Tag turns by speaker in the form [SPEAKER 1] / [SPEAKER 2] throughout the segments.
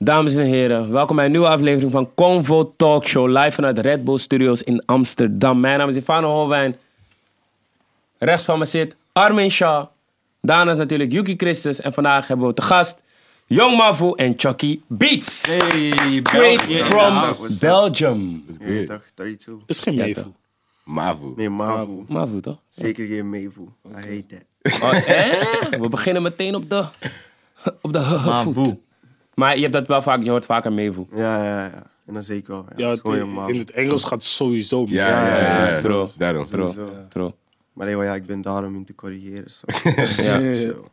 [SPEAKER 1] Dames en heren, welkom bij een nieuwe aflevering van Convo Talk Show live vanuit Red Bull Studios in Amsterdam. Mijn naam is Ivano Holwijn. Rechts van me zit Armin Shah. Daarnaast natuurlijk Yuki Christus. En vandaag hebben we te gast Young Mavu en Chucky Beats.
[SPEAKER 2] Hey,
[SPEAKER 1] Straight
[SPEAKER 2] België in the
[SPEAKER 1] from
[SPEAKER 2] house.
[SPEAKER 1] Belgium.
[SPEAKER 3] Nee, dag, 32.
[SPEAKER 4] is geen meevoel.
[SPEAKER 2] Mavo.
[SPEAKER 3] Nee, Mavu.
[SPEAKER 1] Mavu toch?
[SPEAKER 3] Zeker geen meevoel. Hij heet dat.
[SPEAKER 1] We beginnen meteen op de, op de voet.
[SPEAKER 2] Mavo.
[SPEAKER 1] Maar je hebt dat wel vaak, je hoort vaker Mevu.
[SPEAKER 3] Ja, ja, ja. En dan zeker wel. Ja,
[SPEAKER 4] Ja,
[SPEAKER 3] dat is
[SPEAKER 4] het-
[SPEAKER 3] gewoon je Mavu.
[SPEAKER 4] in het Engels gaat het sowieso mee.
[SPEAKER 2] Ja, ja, ja, ja.
[SPEAKER 1] Bro.
[SPEAKER 2] Daarom.
[SPEAKER 1] Tro, tro.
[SPEAKER 3] Maar anyway, ja, ik ben daarom in te corrigeren. Zo.
[SPEAKER 1] Ja.
[SPEAKER 3] Zo.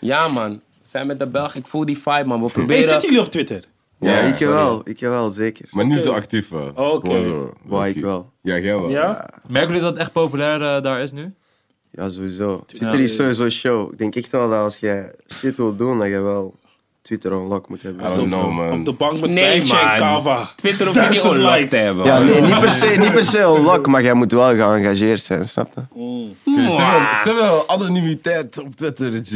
[SPEAKER 1] Ja, man. We zijn met de Belg. Ik voel die vibe, man. We
[SPEAKER 4] Hey,
[SPEAKER 1] proberen...
[SPEAKER 4] zitten jullie op Twitter?
[SPEAKER 3] Ja,
[SPEAKER 2] Ja,
[SPEAKER 3] ik wel. Ik wel, zeker.
[SPEAKER 2] Maar niet zo actief wel.
[SPEAKER 4] Oké.
[SPEAKER 2] Gewoon zo.
[SPEAKER 3] Wou ik wel.
[SPEAKER 2] Ja, jij wel.
[SPEAKER 4] Ja?
[SPEAKER 5] Merken jullie dat het echt populair eh, daar is nu?
[SPEAKER 3] Ja, sowieso. Twitter is sowieso show. Ik denk echt wel dat als jij shit wil doen, dat je wel Twitter unlock moet
[SPEAKER 2] I
[SPEAKER 3] hebben.
[SPEAKER 2] don't know, Oh, man.
[SPEAKER 4] Op de bank met
[SPEAKER 1] Nee,
[SPEAKER 4] wijntje en
[SPEAKER 1] man.
[SPEAKER 4] kava.
[SPEAKER 1] Twitter of
[SPEAKER 4] Duizend
[SPEAKER 1] video likes
[SPEAKER 4] likes.
[SPEAKER 1] te hebben.
[SPEAKER 3] Ja, Ah, nee, niet per, se, niet per se unlock, maar jij moet wel geëngageerd zijn, snap je?
[SPEAKER 2] Terwijl, terwijl anonimiteit op Twitter, G.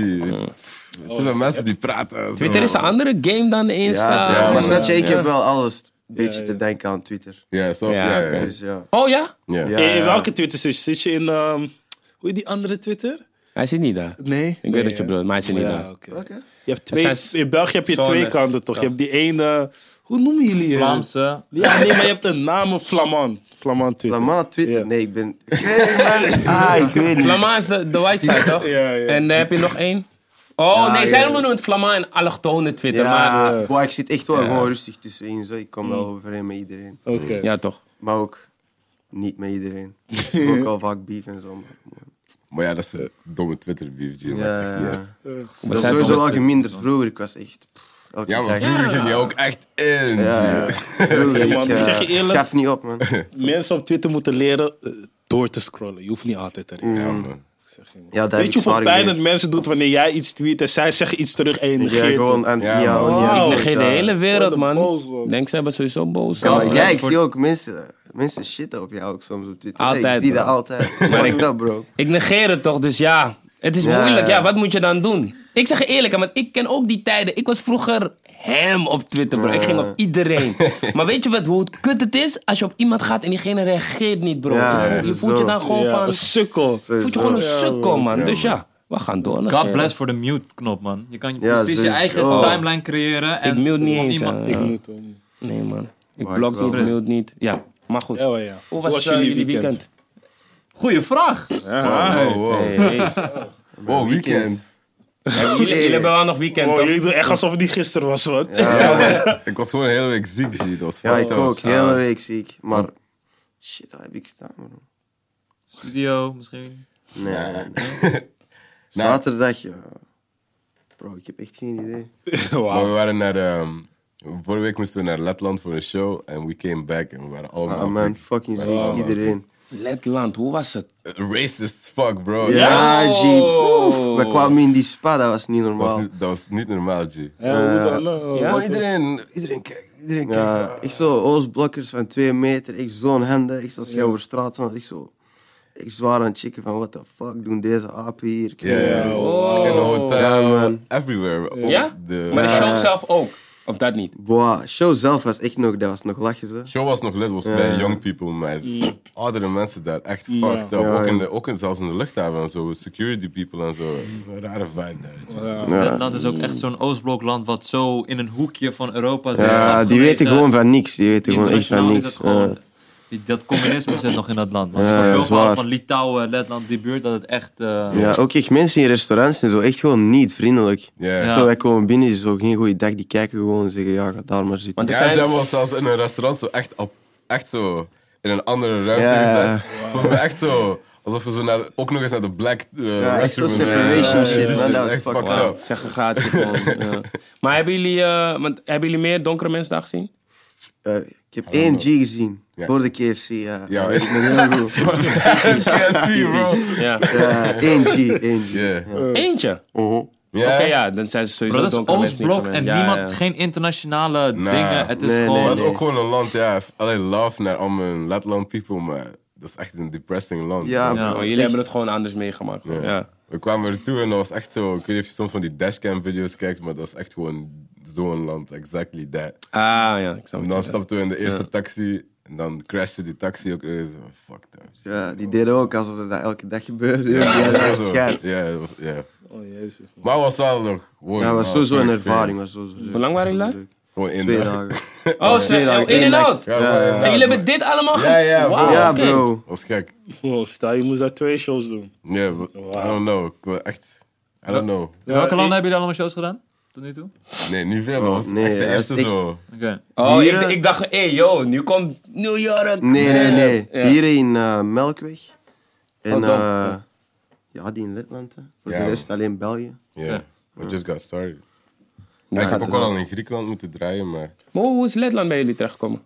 [SPEAKER 2] Terwijl mensen die praten. zo.
[SPEAKER 1] Twitter is een andere game dan Insta.
[SPEAKER 3] Ja,
[SPEAKER 2] ja,
[SPEAKER 3] maar
[SPEAKER 2] ja.
[SPEAKER 3] snap je, ik heb
[SPEAKER 1] Ja.
[SPEAKER 3] wel alles een beetje te denken aan Twitter.
[SPEAKER 2] Ja, zo.
[SPEAKER 1] Ja,
[SPEAKER 2] Ja, ja,
[SPEAKER 1] oké.
[SPEAKER 2] ja.
[SPEAKER 3] Dus ja.
[SPEAKER 1] Oh ja?
[SPEAKER 2] ja.
[SPEAKER 3] Ja.
[SPEAKER 4] Hey, in welke Twitter zit je? Zit je in, ehm, hoe heet die andere Twitter?
[SPEAKER 1] Hij zit niet daar.
[SPEAKER 4] Nee.
[SPEAKER 1] Ik weet dat je bedoelt, maar hij zit niet daar.
[SPEAKER 4] Ja, oké.
[SPEAKER 3] Oké.
[SPEAKER 4] Je hebt twee,
[SPEAKER 1] Er zijn
[SPEAKER 4] in België heb je
[SPEAKER 1] zones.
[SPEAKER 4] twee kanten toch? Je hebt die ene, hoe noemen jullie het?
[SPEAKER 5] Vlaamse.
[SPEAKER 4] Ja, nee, maar je hebt een naam, een Flamand. Flamand Twitter.
[SPEAKER 3] Lama, Twitter?
[SPEAKER 4] Ja.
[SPEAKER 3] Nee, ik ben... Hey, man. Ah, ik weet niet.
[SPEAKER 1] Flama is de, de white side, toch?
[SPEAKER 4] Ja, ja.
[SPEAKER 1] En dan heb je nog één. Oh,
[SPEAKER 3] Ja,
[SPEAKER 1] nee,
[SPEAKER 3] ja.
[SPEAKER 1] zij noemen het Flama en allochtone Twitter,
[SPEAKER 3] Ja,
[SPEAKER 1] maar...
[SPEAKER 3] boy, ik zit echt wel gewoon rustig tussenin. Zo. Ik kom wel overeen met iedereen.
[SPEAKER 4] Oké.
[SPEAKER 1] Ja, toch.
[SPEAKER 3] Maar ook niet met iedereen. Ik heb ook al vaak beef en zo. Maar,
[SPEAKER 2] Maar ja, dat is een domme Twitter beef, G. Maar
[SPEAKER 3] ja, ja,
[SPEAKER 2] echt niet.
[SPEAKER 3] ja.
[SPEAKER 1] We
[SPEAKER 3] Dat is
[SPEAKER 1] zijn
[SPEAKER 3] sowieso
[SPEAKER 1] toch-
[SPEAKER 3] wel geminderd. Vroeger, ik was echt... pff, elke
[SPEAKER 2] Ja, maar
[SPEAKER 3] dag.
[SPEAKER 2] vroeger ging je ook echt in.
[SPEAKER 3] Ja,
[SPEAKER 2] G.
[SPEAKER 3] ja. Vroeger,
[SPEAKER 4] Hey, man,
[SPEAKER 3] ik,
[SPEAKER 4] ik
[SPEAKER 3] eh,
[SPEAKER 4] zeg je eerlijk.
[SPEAKER 3] gaf niet op, man.
[SPEAKER 4] Mensen op Twitter moeten leren eh, door te scrollen. Je hoeft niet altijd te reageren.
[SPEAKER 2] Ja, man.
[SPEAKER 3] Ja, dat heb
[SPEAKER 4] Weet
[SPEAKER 3] ik
[SPEAKER 4] je hoeveel
[SPEAKER 3] zwaar
[SPEAKER 4] pijn het
[SPEAKER 3] geleerd.
[SPEAKER 4] mensen doet wanneer jij iets tweet en zij zeggen iets terug en je
[SPEAKER 3] Ik
[SPEAKER 4] negeert
[SPEAKER 3] ben gewoon
[SPEAKER 4] het?
[SPEAKER 3] aan
[SPEAKER 2] Ja,
[SPEAKER 3] het ja,
[SPEAKER 2] man.
[SPEAKER 4] Wauw.
[SPEAKER 1] Ik
[SPEAKER 4] Oh,
[SPEAKER 1] negeer de
[SPEAKER 3] ja.
[SPEAKER 1] hele wereld, man.
[SPEAKER 4] Boos, man.
[SPEAKER 1] Ik Denk, ze hebben sowieso boos.
[SPEAKER 3] Ja, maar
[SPEAKER 1] man.
[SPEAKER 3] jij, ik zie ook mensen, mensen shitten op jou ook soms op Twitter. Hey,
[SPEAKER 1] Altijd,
[SPEAKER 3] ik zie
[SPEAKER 1] bro.
[SPEAKER 3] dat altijd. Maar ik dat, bro.
[SPEAKER 1] Ik negeer het toch, dus ja. Het is
[SPEAKER 3] Ja,
[SPEAKER 1] moeilijk, ja.
[SPEAKER 3] ja.
[SPEAKER 1] Wat moet je dan doen? Ik zeg je eerlijk, hè, want ik ken ook die tijden. Ik was vroeger hem op Twitter, bro. Ik ging op iedereen. maar weet je wat, hoe kut het is? Als je op iemand gaat en diegene reageert niet, bro.
[SPEAKER 3] Ja,
[SPEAKER 1] Je voelt-
[SPEAKER 3] ja,
[SPEAKER 1] je voelt je
[SPEAKER 3] zo.
[SPEAKER 1] dan gewoon
[SPEAKER 4] Ja,
[SPEAKER 1] van...
[SPEAKER 4] een sukkel.
[SPEAKER 1] voelt je gewoon een
[SPEAKER 4] Ja,
[SPEAKER 1] sukkel, man.
[SPEAKER 2] Ja,
[SPEAKER 1] dus
[SPEAKER 2] man.
[SPEAKER 1] ja, we gaan door. negeren.
[SPEAKER 5] God bless voor de mute-knop, man. Je kan
[SPEAKER 3] Ja,
[SPEAKER 5] precies je
[SPEAKER 3] sowieso.
[SPEAKER 5] eigen
[SPEAKER 3] Oh.
[SPEAKER 5] timeline creëren. En
[SPEAKER 1] Ik mute niet
[SPEAKER 5] gewoon
[SPEAKER 1] eens,
[SPEAKER 5] iemand-
[SPEAKER 1] hè.
[SPEAKER 4] Ik moet ehm, hem.
[SPEAKER 1] Nee, man. Ik
[SPEAKER 3] Maar
[SPEAKER 1] blok
[SPEAKER 3] ik
[SPEAKER 1] niet,
[SPEAKER 3] wel.
[SPEAKER 1] ik mute niet. Ja, maar goed.
[SPEAKER 4] Ja, wel, ja.
[SPEAKER 1] Hoe was, eh, jullie weekend?
[SPEAKER 5] Goeie vraag.
[SPEAKER 1] Ah,
[SPEAKER 2] Wow, wow, wow.
[SPEAKER 1] Hey, hey.
[SPEAKER 2] Wow, weekend.
[SPEAKER 1] jullie, jullie hebben wel nog weekend,
[SPEAKER 4] Oh,
[SPEAKER 1] toch?
[SPEAKER 4] jullie doen echt alsof het niet gisteren was, wat?
[SPEAKER 2] Ja, man. Ik was gewoon de hele week ziek, G. Dat was
[SPEAKER 3] Ja, ik
[SPEAKER 2] fucked up.
[SPEAKER 3] ook. De hele week ziek. Maar shit, dat heb ik gedaan, man.
[SPEAKER 5] Studio, misschien.
[SPEAKER 3] Nee, Nou, nee, nee. Zaterdag, ja. Bro, ik heb echt geen idee.
[SPEAKER 2] Maar
[SPEAKER 4] Wauw.
[SPEAKER 2] we waren naar. ehm, vorige week moesten we naar Letland voor een show. En we came back en we waren allemaal.
[SPEAKER 3] Ah, man, fucking ziek.
[SPEAKER 4] man.
[SPEAKER 3] Iedereen.
[SPEAKER 1] Letland, hoe was het?
[SPEAKER 2] Racist fuck, bro.
[SPEAKER 3] Ja,
[SPEAKER 1] Oh.
[SPEAKER 3] jeep. We kwamen in die spa, dat was niet
[SPEAKER 2] Dat, was
[SPEAKER 3] normaal.
[SPEAKER 2] niet, dat was niet normaal, G.
[SPEAKER 4] Ja, hoe dan? nou?
[SPEAKER 1] Ja,
[SPEAKER 2] Gewoon
[SPEAKER 1] toch?
[SPEAKER 2] iedereen, iedereen kijkt. Iedereen
[SPEAKER 3] dus- Ja,
[SPEAKER 2] kijkt.
[SPEAKER 3] ik zo oostblokkers van twee meter, ik zo'n handen, ik zo als jij over straat stond, ik zo... Ik zwaar aan het checken van, what the fuck doen deze apen hier?
[SPEAKER 2] Ja, ja.
[SPEAKER 1] Oh.
[SPEAKER 2] In een hotel,
[SPEAKER 3] Ja, man.
[SPEAKER 2] everywhere. Op
[SPEAKER 1] Ja?
[SPEAKER 2] De,
[SPEAKER 1] Maar de
[SPEAKER 2] Ja.
[SPEAKER 1] show zelf ook. Of dat niet?
[SPEAKER 3] Boah, show zelf was echt nog, dat was nog lachen ze.
[SPEAKER 2] show was nog lid, was bij young people, maar oudere mensen daar echt fucked up.
[SPEAKER 3] Mm. Ja,
[SPEAKER 2] ook
[SPEAKER 3] ja.
[SPEAKER 2] in de, ook in, zelfs in de luchthaven en zo, security people en zo. Een rare vibe daar.
[SPEAKER 5] Dat land is ook echt zo'n Oostblokland wat zo in een hoekje van Europa zit.
[SPEAKER 3] Ja, die
[SPEAKER 5] afgemeten.
[SPEAKER 3] weten gewoon van niks, die weten gewoon echt van
[SPEAKER 5] Internationaal is het
[SPEAKER 3] niks.
[SPEAKER 5] gewoon...
[SPEAKER 3] Ja.
[SPEAKER 5] die- dat communisme zit nog in dat land, man.
[SPEAKER 3] Ja,
[SPEAKER 5] Ik hoor
[SPEAKER 3] ja,
[SPEAKER 5] veel verhalen
[SPEAKER 3] zwaar.
[SPEAKER 5] van Litouwen, Letland, die buurt, dat het echt... eh,
[SPEAKER 3] Ja, ook echt mensen in restaurants en zo, echt gewoon niet vriendelijk.
[SPEAKER 2] Ja.
[SPEAKER 5] Ja.
[SPEAKER 3] Zo, wij komen binnen, die is ook geen goede dag, die kijken gewoon en zeggen, ja, ga daar maar zitten.
[SPEAKER 1] Want er
[SPEAKER 2] Ja,
[SPEAKER 1] zijn-
[SPEAKER 2] ze hebben ons zelfs in een restaurant zo echt, op, echt zo in een andere ruimte
[SPEAKER 3] Ja.
[SPEAKER 2] gezet. Vonden we echt zo, alsof we zo naar, ook nog eens naar de black eh
[SPEAKER 3] Ja, echt
[SPEAKER 2] restroom
[SPEAKER 3] zo'n
[SPEAKER 2] zijn.
[SPEAKER 3] separation
[SPEAKER 2] Ja,
[SPEAKER 3] shit,
[SPEAKER 2] dus
[SPEAKER 3] man,
[SPEAKER 2] het
[SPEAKER 3] dat
[SPEAKER 2] is
[SPEAKER 3] was
[SPEAKER 2] echt
[SPEAKER 3] fucked
[SPEAKER 2] fucked
[SPEAKER 1] Wauw,
[SPEAKER 2] up.
[SPEAKER 1] segregatie gewoon. ja. Maar hebben jullie, eh, want, hebben jullie meer donkere mensen daar gezien?
[SPEAKER 3] Eh, ik heb één G gezien,
[SPEAKER 2] Ja.
[SPEAKER 3] voor de KFC, ja.
[SPEAKER 2] Ja.
[SPEAKER 3] Dat weet ik nog heel goed.
[SPEAKER 2] KFC, bro.
[SPEAKER 1] Ja.
[SPEAKER 3] Ja, één G, één G.
[SPEAKER 2] Yeah.
[SPEAKER 1] Eentje?
[SPEAKER 2] Ja.
[SPEAKER 1] Oké, ja, dan zijn ze
[SPEAKER 5] Bro,
[SPEAKER 1] sowieso
[SPEAKER 5] dat is
[SPEAKER 1] donkere mensen niet
[SPEAKER 5] Oostblok
[SPEAKER 1] gewend. Ja,
[SPEAKER 5] en niemand,
[SPEAKER 1] ja.
[SPEAKER 5] geen internationale
[SPEAKER 2] Nah.
[SPEAKER 5] dingen. Het is
[SPEAKER 3] Nee, nee,
[SPEAKER 5] gewoon...
[SPEAKER 2] Dat is ook gewoon een land, ja. Alleen love naar al mijn Letland people, maar dat is echt een depressing land.
[SPEAKER 3] Ja,
[SPEAKER 2] bro.
[SPEAKER 5] Ja.
[SPEAKER 1] Oh,
[SPEAKER 3] bro.
[SPEAKER 1] jullie
[SPEAKER 3] Echt.
[SPEAKER 1] hebben het gewoon anders meegemaakt. Ja.
[SPEAKER 2] Ja.
[SPEAKER 1] Ja.
[SPEAKER 2] We kwamen ertoe en dat was echt zo. Ik weet niet of je soms van die dashcam-video's kijkt, maar dat is echt gewoon zo'n land. Exactly that.
[SPEAKER 1] Ah ja, ik snap
[SPEAKER 2] En
[SPEAKER 1] het.
[SPEAKER 2] dan stapten we in de eerste taxi en dan crashte die taxi ook ergens. Fuck that.
[SPEAKER 3] Ja, die deden ook alsof dat elke dag gebeurde. Ja,
[SPEAKER 2] Ja,
[SPEAKER 3] dat
[SPEAKER 2] dat
[SPEAKER 3] is
[SPEAKER 2] was zo.
[SPEAKER 3] scheid.
[SPEAKER 2] Ja, dat was- ja.
[SPEAKER 4] Oh, jezus. man.
[SPEAKER 2] Maar het was wel nog. gewoon
[SPEAKER 3] Ja, was
[SPEAKER 2] wel
[SPEAKER 3] sowieso
[SPEAKER 2] een
[SPEAKER 3] een
[SPEAKER 2] experience.
[SPEAKER 3] ervaring. Was sowieso leuk.
[SPEAKER 1] Hoe lang waren jullie
[SPEAKER 3] Sowieso
[SPEAKER 1] daar?
[SPEAKER 2] Gewoon
[SPEAKER 3] leuk.
[SPEAKER 2] één
[SPEAKER 3] Twee
[SPEAKER 2] dag.
[SPEAKER 3] dagen.
[SPEAKER 1] Oh,
[SPEAKER 3] Twee
[SPEAKER 1] snap,
[SPEAKER 3] dagen,
[SPEAKER 1] oh, in
[SPEAKER 3] één
[SPEAKER 1] en out.
[SPEAKER 3] nacht.
[SPEAKER 2] Ja, gewoon één
[SPEAKER 1] En
[SPEAKER 2] dag,
[SPEAKER 1] jullie
[SPEAKER 2] maar-
[SPEAKER 1] hebben dit allemaal
[SPEAKER 2] Ja,
[SPEAKER 1] gehad?
[SPEAKER 2] ja,
[SPEAKER 1] Wauw,
[SPEAKER 2] bro.
[SPEAKER 3] Ja,
[SPEAKER 1] sick.
[SPEAKER 3] bro.
[SPEAKER 2] was gek.
[SPEAKER 4] Oh, stel, je moest daar twee shows doen.
[SPEAKER 2] Ja, but- I don't know. Ik wil echt. I don't know.
[SPEAKER 5] Welke
[SPEAKER 4] ik-
[SPEAKER 5] landen hebben jullie allemaal shows gedaan? Tot nu toe?
[SPEAKER 2] Nee, niet veel. Dat was
[SPEAKER 3] Oh, nee,
[SPEAKER 2] echt de
[SPEAKER 3] dat is
[SPEAKER 2] eerste
[SPEAKER 3] echt-
[SPEAKER 2] zo.
[SPEAKER 5] Oké.
[SPEAKER 1] Oh, ik,
[SPEAKER 3] Hier, eh,
[SPEAKER 1] ik dacht, hé hey, yo, nu komt New York.
[SPEAKER 3] Nee, nee, nee.
[SPEAKER 1] Ja.
[SPEAKER 3] Hier in eh, Melkweg. En
[SPEAKER 1] Oh,
[SPEAKER 3] eh
[SPEAKER 1] dan.
[SPEAKER 3] ja, die in Letland. hè. Voor
[SPEAKER 2] Ja,
[SPEAKER 3] de
[SPEAKER 2] man.
[SPEAKER 3] rest alleen België.
[SPEAKER 2] Ja, we just got started.
[SPEAKER 1] Ja,
[SPEAKER 2] ik heb
[SPEAKER 1] gaat
[SPEAKER 2] ook
[SPEAKER 1] wel.
[SPEAKER 2] wel in Griekenland moeten draaien, maar...
[SPEAKER 1] Maar hoe is Letland bij jullie terechtgekomen?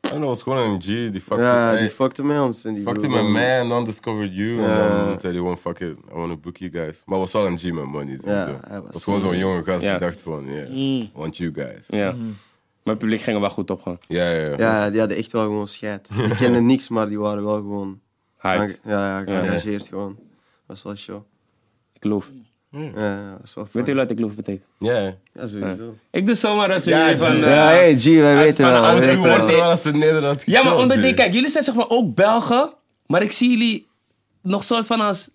[SPEAKER 2] En dat was gewoon een G, die fuckte,
[SPEAKER 3] Ja,
[SPEAKER 2] hey,
[SPEAKER 3] die fuckte met ons. En die
[SPEAKER 2] fuckte
[SPEAKER 3] wilde-
[SPEAKER 2] met mij en dan discovered you. En
[SPEAKER 3] Ja.
[SPEAKER 2] dan zei hij gewoon, fuck it, I want to book you guys. Maar het was wel een G met money, sowieso.
[SPEAKER 3] Ja, hij was-
[SPEAKER 2] Het was gewoon zo'n jonge gast,
[SPEAKER 1] Ja. Mm.
[SPEAKER 2] die dacht van, yeah, want you guys.
[SPEAKER 1] Ja.
[SPEAKER 5] Mm.
[SPEAKER 1] Mijn publiek ging er wel goed op gewoon.
[SPEAKER 2] Ja, ja, ja.
[SPEAKER 3] Ja, die hadden echt wel gewoon scheid. Die kenden niks, maar die waren wel gewoon...
[SPEAKER 1] Hyped.
[SPEAKER 3] Ja, ja, geëngageerd gewoon. was wel show.
[SPEAKER 1] Ik loof.
[SPEAKER 3] Ja, dat was wel
[SPEAKER 1] Weet
[SPEAKER 3] fijn.
[SPEAKER 1] jullie wat ik loof betekent?
[SPEAKER 2] Ja, ja.
[SPEAKER 3] Ja, sowieso.
[SPEAKER 1] Ik doe zomaar als
[SPEAKER 2] Ja,
[SPEAKER 1] jullie
[SPEAKER 2] G.
[SPEAKER 1] van...
[SPEAKER 2] Ja,
[SPEAKER 1] eh,
[SPEAKER 3] Ja, hey, G, wij weten
[SPEAKER 1] van de
[SPEAKER 3] wel. wij
[SPEAKER 1] oude
[SPEAKER 2] Toen
[SPEAKER 3] weten
[SPEAKER 1] tour,
[SPEAKER 2] wordt
[SPEAKER 3] wel.
[SPEAKER 2] er wel eens in Nederland
[SPEAKER 1] Ja, maar
[SPEAKER 2] gechilled,
[SPEAKER 1] omdat
[SPEAKER 2] G.
[SPEAKER 1] die, kijk, jullie zijn zeg maar ook Belgen, maar ik zie jullie nog soort van als,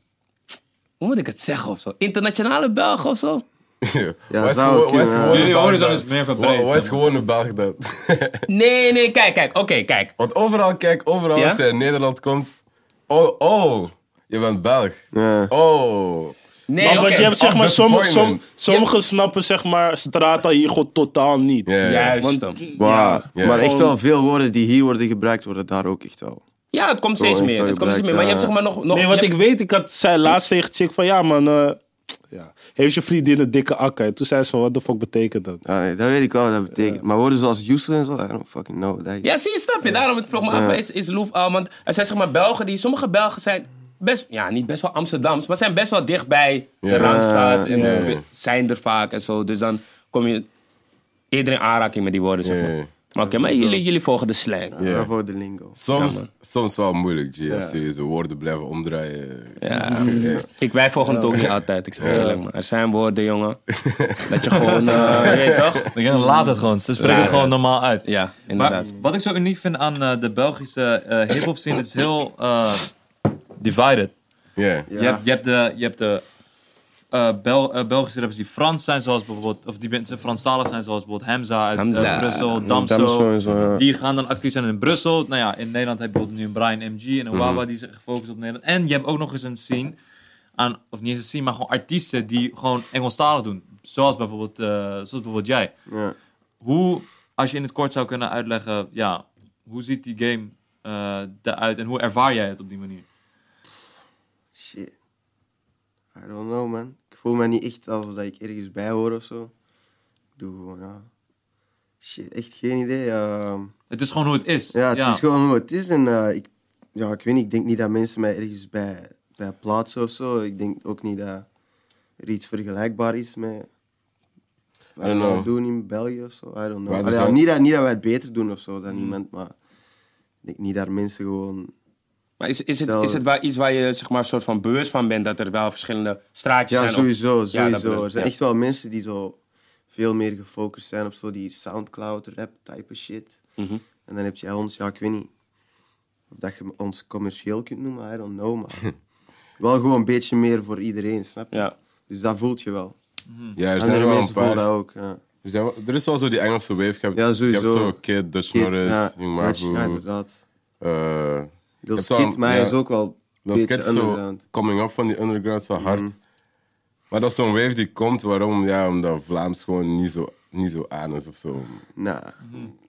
[SPEAKER 1] hoe moet ik het zeggen of zo? Internationale Belgen of zo?
[SPEAKER 2] Ja, Wat is
[SPEAKER 3] zou
[SPEAKER 2] gewoon- wat is
[SPEAKER 3] kunnen,
[SPEAKER 2] gewoon
[SPEAKER 5] ja.
[SPEAKER 2] een
[SPEAKER 5] Jullie horizon
[SPEAKER 2] Belg
[SPEAKER 5] is
[SPEAKER 2] dan?
[SPEAKER 5] meer verbreed,
[SPEAKER 2] Wat wat is
[SPEAKER 5] ja.
[SPEAKER 2] gewoon een Belg dan?
[SPEAKER 1] Nee, nee, kijk, kijk, oké, kijk.
[SPEAKER 2] Want overal, kijk, overal
[SPEAKER 1] Ja?
[SPEAKER 2] als je in Nederland komt... Oh, oh, je bent Belg.
[SPEAKER 3] Ja.
[SPEAKER 2] Oh.
[SPEAKER 1] Nee,
[SPEAKER 4] Maar
[SPEAKER 1] oké.
[SPEAKER 4] want je hebt zeg
[SPEAKER 2] Of
[SPEAKER 4] maar, sommige, som,
[SPEAKER 2] disappointment.
[SPEAKER 4] sommige snappen zeg maar strata hier gewoon totaal niet.
[SPEAKER 2] Ja, ja, ja.
[SPEAKER 1] Juist.
[SPEAKER 4] Want-
[SPEAKER 1] hem.
[SPEAKER 3] Wauw.
[SPEAKER 2] Ja.
[SPEAKER 3] Maar echt
[SPEAKER 4] Gewoon-
[SPEAKER 3] wel veel woorden die hier worden gebruikt, worden daar ook echt wel.
[SPEAKER 1] Ja, het komt steeds
[SPEAKER 3] Oh,
[SPEAKER 1] meer,
[SPEAKER 3] sorry,
[SPEAKER 1] het komt steeds meer.
[SPEAKER 3] Black,
[SPEAKER 1] Maar je
[SPEAKER 3] ja.
[SPEAKER 1] hebt zeg maar nog... nog
[SPEAKER 4] Nee,
[SPEAKER 1] je
[SPEAKER 4] want
[SPEAKER 1] hebt-
[SPEAKER 4] ik weet, ik had zei laatst tegen chick van ja man, eh, ja. heeft je vriendin een dikke akker? En toen zei ze van wat de fuck betekent dat?
[SPEAKER 3] Ja, nee, dat weet ik wel wat dat betekent. Maar woorden zoals useless en zo, I don't fucking know. Dat
[SPEAKER 1] Ja, zie je, snap je. Daarom ik vroeg me af, is, is Loef al? Want er zijn zeg maar Belgen die, sommige Belgen zijn best, ja, niet best wel Amsterdams, maar zijn best wel dichtbij de
[SPEAKER 2] Ja.
[SPEAKER 1] Randstad. En
[SPEAKER 2] Ja.
[SPEAKER 1] we- zijn er vaak en zo. Dus dan kom je eerder in aanraking met die woorden, zeg
[SPEAKER 2] Ja.
[SPEAKER 1] maar. Maar oké, maar jullie, jullie volgen de slang.
[SPEAKER 2] Ja.
[SPEAKER 3] Ja, voor de lingo.
[SPEAKER 2] Soms,
[SPEAKER 1] Ja, man.
[SPEAKER 2] soms wel moeilijk, G. Als je zo woorden blijven omdraaien.
[SPEAKER 1] Ja. Ik, wij volgen het ook niet altijd, ik zeg eerlijk. Maar er zijn woorden, jongen, dat je gewoon, eh, je weet toch?
[SPEAKER 5] Ik denk, laat het gewoon. Ze spreken
[SPEAKER 1] Ja,
[SPEAKER 5] het gewoon
[SPEAKER 1] ja.
[SPEAKER 5] normaal uit.
[SPEAKER 1] Ja,
[SPEAKER 5] Maar
[SPEAKER 1] inderdaad.
[SPEAKER 5] wat ik zo uniek vind aan eh, de Belgische eh hip-hop scene, het is heel eh, divided.
[SPEAKER 2] Ja.
[SPEAKER 3] Ja.
[SPEAKER 5] Je, hebt, je hebt de, je hebt de eh, Bel- eh, Belgische rappers die Frans zijn, zoals bijvoorbeeld, of die mensen Franstalig zijn, zoals bijvoorbeeld Hamza uit eh,
[SPEAKER 1] Hamza.
[SPEAKER 5] Brussel, Damso. Die gaan dan actief zijn in Brussel. Nou ja, in Nederland heb je bijvoorbeeld nu een Brian MG en een
[SPEAKER 1] Mhm.
[SPEAKER 5] Wawa die zich gefocust op Nederland. En je hebt ook nog eens een scene aan, of niet eens een scene, maar gewoon artiesten die gewoon Engelstalig doen. Zoals bijvoorbeeld, eh, zoals bijvoorbeeld jij.
[SPEAKER 3] Ja.
[SPEAKER 5] Hoe, als je in het kort zou kunnen uitleggen, ja, hoe ziet die game eh eruit en hoe ervaar jij het op die manier?
[SPEAKER 3] Shit. I don't know, man. Ik voel me niet echt alsof dat ik ergens bij hoor of zo. Ik doe gewoon, ja. Shit, echt geen idee. ehm.
[SPEAKER 5] Het is gewoon hoe het is.
[SPEAKER 3] ja, het is gewoon hoe het is. En eh, ik, ja, ik weet niet, ik denk niet dat mensen mij ergens bij, bij plaatsen of zo. Ik denk ook niet dat er iets vergelijkbaar is met wat
[SPEAKER 2] I don't
[SPEAKER 3] we
[SPEAKER 2] know.
[SPEAKER 3] doen in België of zo. I don't know.
[SPEAKER 2] Waar Hmm.
[SPEAKER 3] Allee,
[SPEAKER 2] dat-
[SPEAKER 3] ja, niet, dat, niet dat wij het beter doen of zo dan iemand, maar ik denk niet dat mensen gewoon
[SPEAKER 1] Maar is, is het, is het wel iets waar je zeg maar, soort van bewust van bent dat er wel verschillende straatjes
[SPEAKER 3] Ja,
[SPEAKER 1] zijn? of-
[SPEAKER 3] sowieso,
[SPEAKER 1] Ja, dat
[SPEAKER 3] sowieso.
[SPEAKER 1] bedoel
[SPEAKER 3] er
[SPEAKER 1] ik,
[SPEAKER 3] zijn
[SPEAKER 1] ja.
[SPEAKER 3] echt wel mensen die zo veel meer gefocust zijn op zo die Soundcloud rap type shit.
[SPEAKER 2] Mhm.
[SPEAKER 3] En dan heb je ons, ja, ik weet niet of dat je ons commercieel kunt noemen, I don't know, maar wel gewoon een beetje meer voor iedereen, snap je?
[SPEAKER 1] Ja.
[SPEAKER 3] Dus dat voelt je wel.
[SPEAKER 2] Ja, er zijn
[SPEAKER 3] Andere
[SPEAKER 2] er wel een
[SPEAKER 3] mensen
[SPEAKER 2] paar.
[SPEAKER 3] voelen dat ook. Ja,
[SPEAKER 2] Er, zijn wel- er is wel zo die Engelse wave. Je hebt,
[SPEAKER 3] Ja,
[SPEAKER 2] je hebt
[SPEAKER 3] sowieso.
[SPEAKER 2] zo Kid, Dutch
[SPEAKER 3] Kid,
[SPEAKER 2] Norris,
[SPEAKER 3] ja,
[SPEAKER 2] Young
[SPEAKER 3] Ratchet, ja,
[SPEAKER 2] Mabu.
[SPEAKER 3] inderdaad.
[SPEAKER 2] eh,
[SPEAKER 3] Lil
[SPEAKER 2] hebt wel-
[SPEAKER 3] Skid, maar hij
[SPEAKER 2] ja.
[SPEAKER 3] is ook wel een
[SPEAKER 2] Dat is
[SPEAKER 3] beetje
[SPEAKER 2] Kid zo
[SPEAKER 3] underground. Mm.
[SPEAKER 2] coming up van die underground, wel hard. Maar dat is zo'n wave die komt, waarom? Ja, omdat Vlaams gewoon niet zo, niet zo aan is of zo.
[SPEAKER 3] Nou,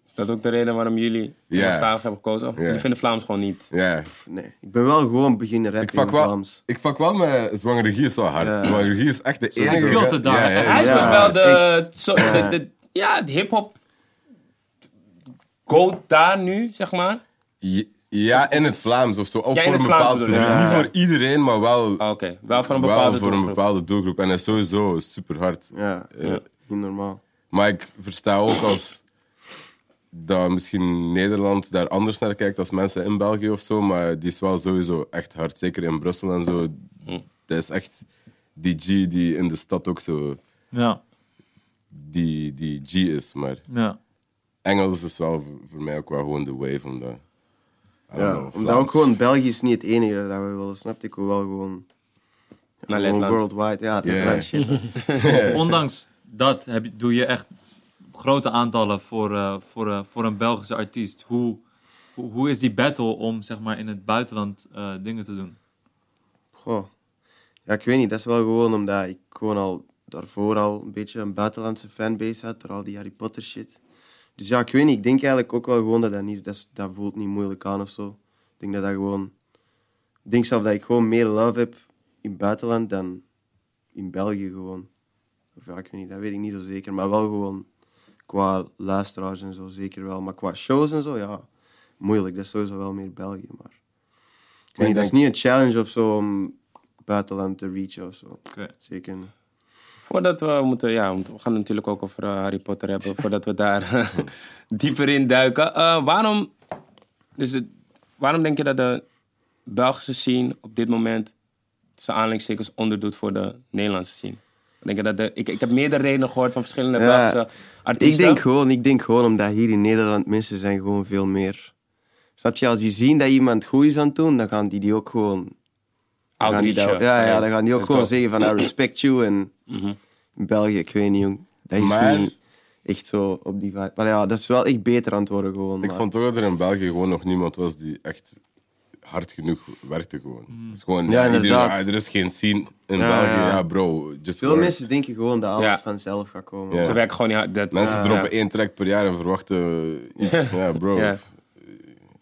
[SPEAKER 1] Is dat ook de reden waarom jullie
[SPEAKER 2] Ja.
[SPEAKER 1] Engelstalig hebben gekozen? Jullie vinden Vlaams gewoon niet.
[SPEAKER 2] Ja.
[SPEAKER 3] pff, nee. Ik ben wel gewoon beginnen
[SPEAKER 2] Ik
[SPEAKER 3] rappen in
[SPEAKER 2] vak wel,
[SPEAKER 3] Vlaams.
[SPEAKER 2] ik vak wel met Zwangere Regie is wel hard.
[SPEAKER 3] Ja.
[SPEAKER 2] Zwangere Regie is echt de
[SPEAKER 3] Sowieso.
[SPEAKER 2] enige...
[SPEAKER 5] Kilt het daar.
[SPEAKER 1] Hij is
[SPEAKER 3] Ja,
[SPEAKER 1] toch wel de, zo, de, de, ja, de hip-hop goat daar nu, zeg maar.
[SPEAKER 2] Ja, in het Vlaams of zo. Of
[SPEAKER 1] Ja, in
[SPEAKER 2] voor
[SPEAKER 1] het
[SPEAKER 2] een
[SPEAKER 1] Vlaams
[SPEAKER 2] bepaald
[SPEAKER 1] bedoel
[SPEAKER 2] publiek.
[SPEAKER 1] je.
[SPEAKER 2] Niet voor iedereen, maar wel,
[SPEAKER 1] Ah, Oké, wel van een
[SPEAKER 2] wel
[SPEAKER 1] bepaalde
[SPEAKER 2] voor een
[SPEAKER 1] doelgroep.
[SPEAKER 2] bepaalde doelgroep. En dat is sowieso super hard.
[SPEAKER 3] Ja, niet normaal.
[SPEAKER 2] Maar ik versta ook als dat misschien Nederland daar anders naar kijkt als mensen in België of zo. Maar die is wel sowieso echt hard. Zeker in Brussel en zo. Dat is echt die G die in de stad ook zo
[SPEAKER 5] Ja,
[SPEAKER 2] die, die G is. Maar
[SPEAKER 5] ja.
[SPEAKER 2] Engels is wel voor, voor mij ook wel gewoon de wave. Omdat, I don't
[SPEAKER 3] Ja,
[SPEAKER 2] know,
[SPEAKER 3] omdat
[SPEAKER 2] Vlaams-
[SPEAKER 3] ook gewoon België is niet het enige dat we willen, snap ik? Wel gewoon,
[SPEAKER 1] Naar
[SPEAKER 3] gewoon
[SPEAKER 1] Letland.
[SPEAKER 3] worldwide. Ja,
[SPEAKER 2] Ja.
[SPEAKER 3] Letland shit.
[SPEAKER 5] Ondanks dat heb, je- doe je echt grote aantallen voor, eh, voor, eh, voor een Belgische artiest. Hoe, hoe, hoe is die battle om zeg maar, in het buitenland eh, dingen te doen?
[SPEAKER 3] Goh. Ja, ik weet niet. Dat is wel gewoon omdat ik gewoon al daarvoor al een beetje een buitenlandse fanbase had door al die Harry Potter shit. Dus ja, ik weet niet. Ik denk eigenlijk ook wel gewoon dat dat niet... Dat, is- dat voelt niet moeilijk aan of zo. Ik denk dat dat gewoon... Ik denk zelf dat ik gewoon meer love heb in het buitenland dan in België gewoon. Of ja, ik weet niet. Dat weet ik niet zo zeker. Maar wel gewoon qua luisteraars en zo zeker wel. Maar qua shows en zo, ja. Moeilijk. Dat is sowieso wel meer België, maar... Ik weet niet, dat is niet een challenge of zo om buitenland te reachen of zo.
[SPEAKER 5] Oké.
[SPEAKER 3] Zeker. niet.
[SPEAKER 1] Voordat we moeten, ja, want we gaan het natuurlijk ook over eh, Harry Potter hebben, voordat we daar eh, dieper in duiken. Eh, waarom, dus het- waarom denk je dat de Belgische scene op dit moment tussen aanhalingstekens onderdoet voor de Nederlandse scene? Ik Denk je dat de, ik, ik heb meerdere redenen gehoord van verschillende
[SPEAKER 3] Ja,
[SPEAKER 1] Belgische
[SPEAKER 3] Ik
[SPEAKER 1] artiesten.
[SPEAKER 3] denk, gewoon, ik denk gewoon omdat hier in Nederland mensen zijn gewoon veel meer. Snap je, als die zien dat iemand goed is aan het doen, dan gaan die die ook gewoon. dan gaan die dat-
[SPEAKER 1] Outreach,
[SPEAKER 3] ja,
[SPEAKER 1] ja.
[SPEAKER 3] ja, dan gaan die ook
[SPEAKER 1] Let's
[SPEAKER 3] gewoon
[SPEAKER 1] go.
[SPEAKER 3] zeggen van I respect you. En in België, ik weet niet, jong. Dat is
[SPEAKER 2] Mhm. Maar-
[SPEAKER 3] niet echt zo op die vibe. Maar ja, dat is wel echt beter aan het worden gewoon.
[SPEAKER 2] Ik
[SPEAKER 3] maar-
[SPEAKER 2] vond toch dat er in België gewoon nog niemand was die echt hard genoeg werkte gewoon. Het is gewoon
[SPEAKER 3] Ja,
[SPEAKER 2] iedereen,
[SPEAKER 3] inderdaad.
[SPEAKER 2] ah, er is geen scene in
[SPEAKER 3] Ja,
[SPEAKER 2] België.
[SPEAKER 3] ja.
[SPEAKER 2] Ja. bro, just
[SPEAKER 3] Veel
[SPEAKER 2] work.
[SPEAKER 3] mensen denken gewoon dat alles
[SPEAKER 1] Ja.
[SPEAKER 3] vanzelf gaat komen.
[SPEAKER 2] Ja.
[SPEAKER 1] Ze werken gewoon niet hard. Dat,
[SPEAKER 2] Mensen
[SPEAKER 1] Ah, ja.
[SPEAKER 2] droppen één track per jaar en verwachten iets. Ja, bro.
[SPEAKER 1] Ja.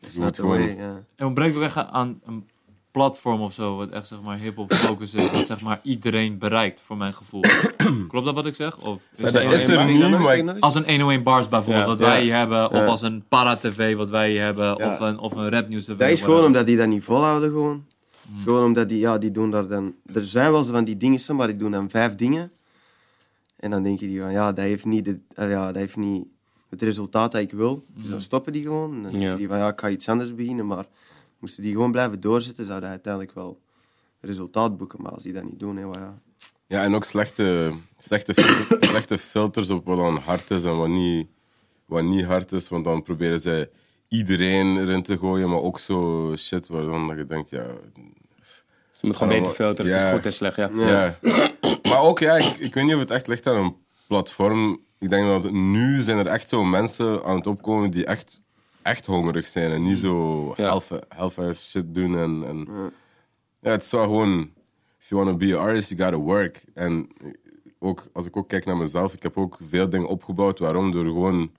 [SPEAKER 3] That's
[SPEAKER 2] Je
[SPEAKER 3] not
[SPEAKER 2] moet
[SPEAKER 3] the way,
[SPEAKER 2] gewoon...
[SPEAKER 3] ja.
[SPEAKER 5] Er ontbreekt ook echt aan een platform of zo, wat echt zeg maar hip-hop focus is, wat zeg maar iedereen bereikt, voor mijn gevoel. Klopt dat wat ik zeg? Of
[SPEAKER 2] Ja,
[SPEAKER 5] het
[SPEAKER 2] dat
[SPEAKER 5] een
[SPEAKER 2] is er
[SPEAKER 5] 101
[SPEAKER 2] niet,
[SPEAKER 3] Zeg nog,
[SPEAKER 2] maar
[SPEAKER 3] zeg
[SPEAKER 2] ik-
[SPEAKER 3] nog.
[SPEAKER 5] Als een 101 Bars bijvoorbeeld,
[SPEAKER 1] Ja.
[SPEAKER 5] wat wij
[SPEAKER 3] Ja.
[SPEAKER 5] hier hebben, of
[SPEAKER 3] Ja.
[SPEAKER 5] als een Para-TV, wat wij hier hebben,
[SPEAKER 3] Ja.
[SPEAKER 5] of een, of een Rapnieuws TV.
[SPEAKER 3] Dat is
[SPEAKER 5] whatever.
[SPEAKER 3] gewoon omdat die dat niet volhouden gewoon.
[SPEAKER 2] Hmm.
[SPEAKER 3] Het is gewoon omdat die, ja, die doen daar dan... Er zijn wel zo van die dingen, maar die doen dan vijf dingen. En dan denk je die van, ja, dat heeft niet, de, eh, ja, dat heeft niet het resultaat dat ik wil. Dus
[SPEAKER 2] Hmm.
[SPEAKER 3] dan stoppen die gewoon. En dan denk
[SPEAKER 1] Ja.
[SPEAKER 3] je die van, ja, ik ga iets anders beginnen. Maar moesten die gewoon blijven doorzetten, zou dat uiteindelijk wel resultaat boeken. Maar als die dat niet doen, hè, wat ja.
[SPEAKER 2] Ja, en ook slechte, slechte, fil- slechte filters op wat dan hard is en wat niet, wat niet hard is. Want dan proberen zij iedereen erin te gooien, maar ook zo shit waar dan dat je denkt, ja...
[SPEAKER 1] Ze moeten gewoon
[SPEAKER 2] Ja,
[SPEAKER 1] beter filteren
[SPEAKER 2] ja.
[SPEAKER 1] tussen goed en slecht. Ja.
[SPEAKER 2] ja. Maar ook, ja, ik, ik weet niet of het echt ligt aan een platform. Ik denk dat nu zijn er echt zo mensen aan het opkomen die echt, echt hongerig zijn en niet zo
[SPEAKER 1] Ja.
[SPEAKER 2] half- half-ass shit doen. En, en, ja, het is wel gewoon... If you want to be an artist, you gotta work. En ook, als ik ook kijk naar mezelf, ik heb ook veel dingen opgebouwd. Waarom? Door gewoon,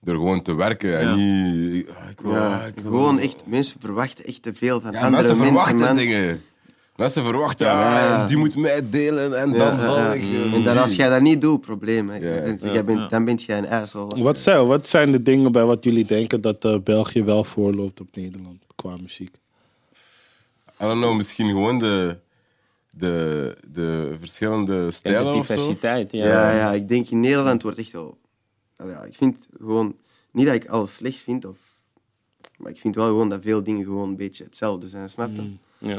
[SPEAKER 2] door gewoon te werken. En
[SPEAKER 5] Ja.
[SPEAKER 2] niet... ah, ik wil, ah, ik wil-
[SPEAKER 3] gewoon echt, mensen verwachten echt te veel van
[SPEAKER 2] ja,
[SPEAKER 3] andere
[SPEAKER 2] mensen
[SPEAKER 3] mensen.
[SPEAKER 2] verwachten
[SPEAKER 3] man.
[SPEAKER 2] dingen. Mensen verwachten,
[SPEAKER 3] Ja.
[SPEAKER 2] ah, die moet mij delen en
[SPEAKER 3] Ja,
[SPEAKER 2] dan zal
[SPEAKER 3] ja.
[SPEAKER 2] ik... eh,
[SPEAKER 3] En dan, als jij dat niet doet, probleem. hè.
[SPEAKER 2] Ja.
[SPEAKER 3] Jij bent- jij bent- Dan ben jij een asshole.
[SPEAKER 4] Wat zijn, wat zijn de dingen bij wat jullie denken dat eh, België wel voorloopt op Nederland qua muziek?
[SPEAKER 2] I don't know, misschien gewoon de, de, de verschillende
[SPEAKER 1] En
[SPEAKER 2] stijlen
[SPEAKER 1] de
[SPEAKER 2] of zo.
[SPEAKER 1] diversiteit. Ja.
[SPEAKER 3] Ja, ja, ik denk in Nederland wordt echt wel. Allee, Ja, ik vind gewoon. Niet dat ik alles slecht vind, of, maar ik vind wel gewoon dat veel dingen gewoon een beetje hetzelfde zijn, snap je?
[SPEAKER 1] Mm, Ja.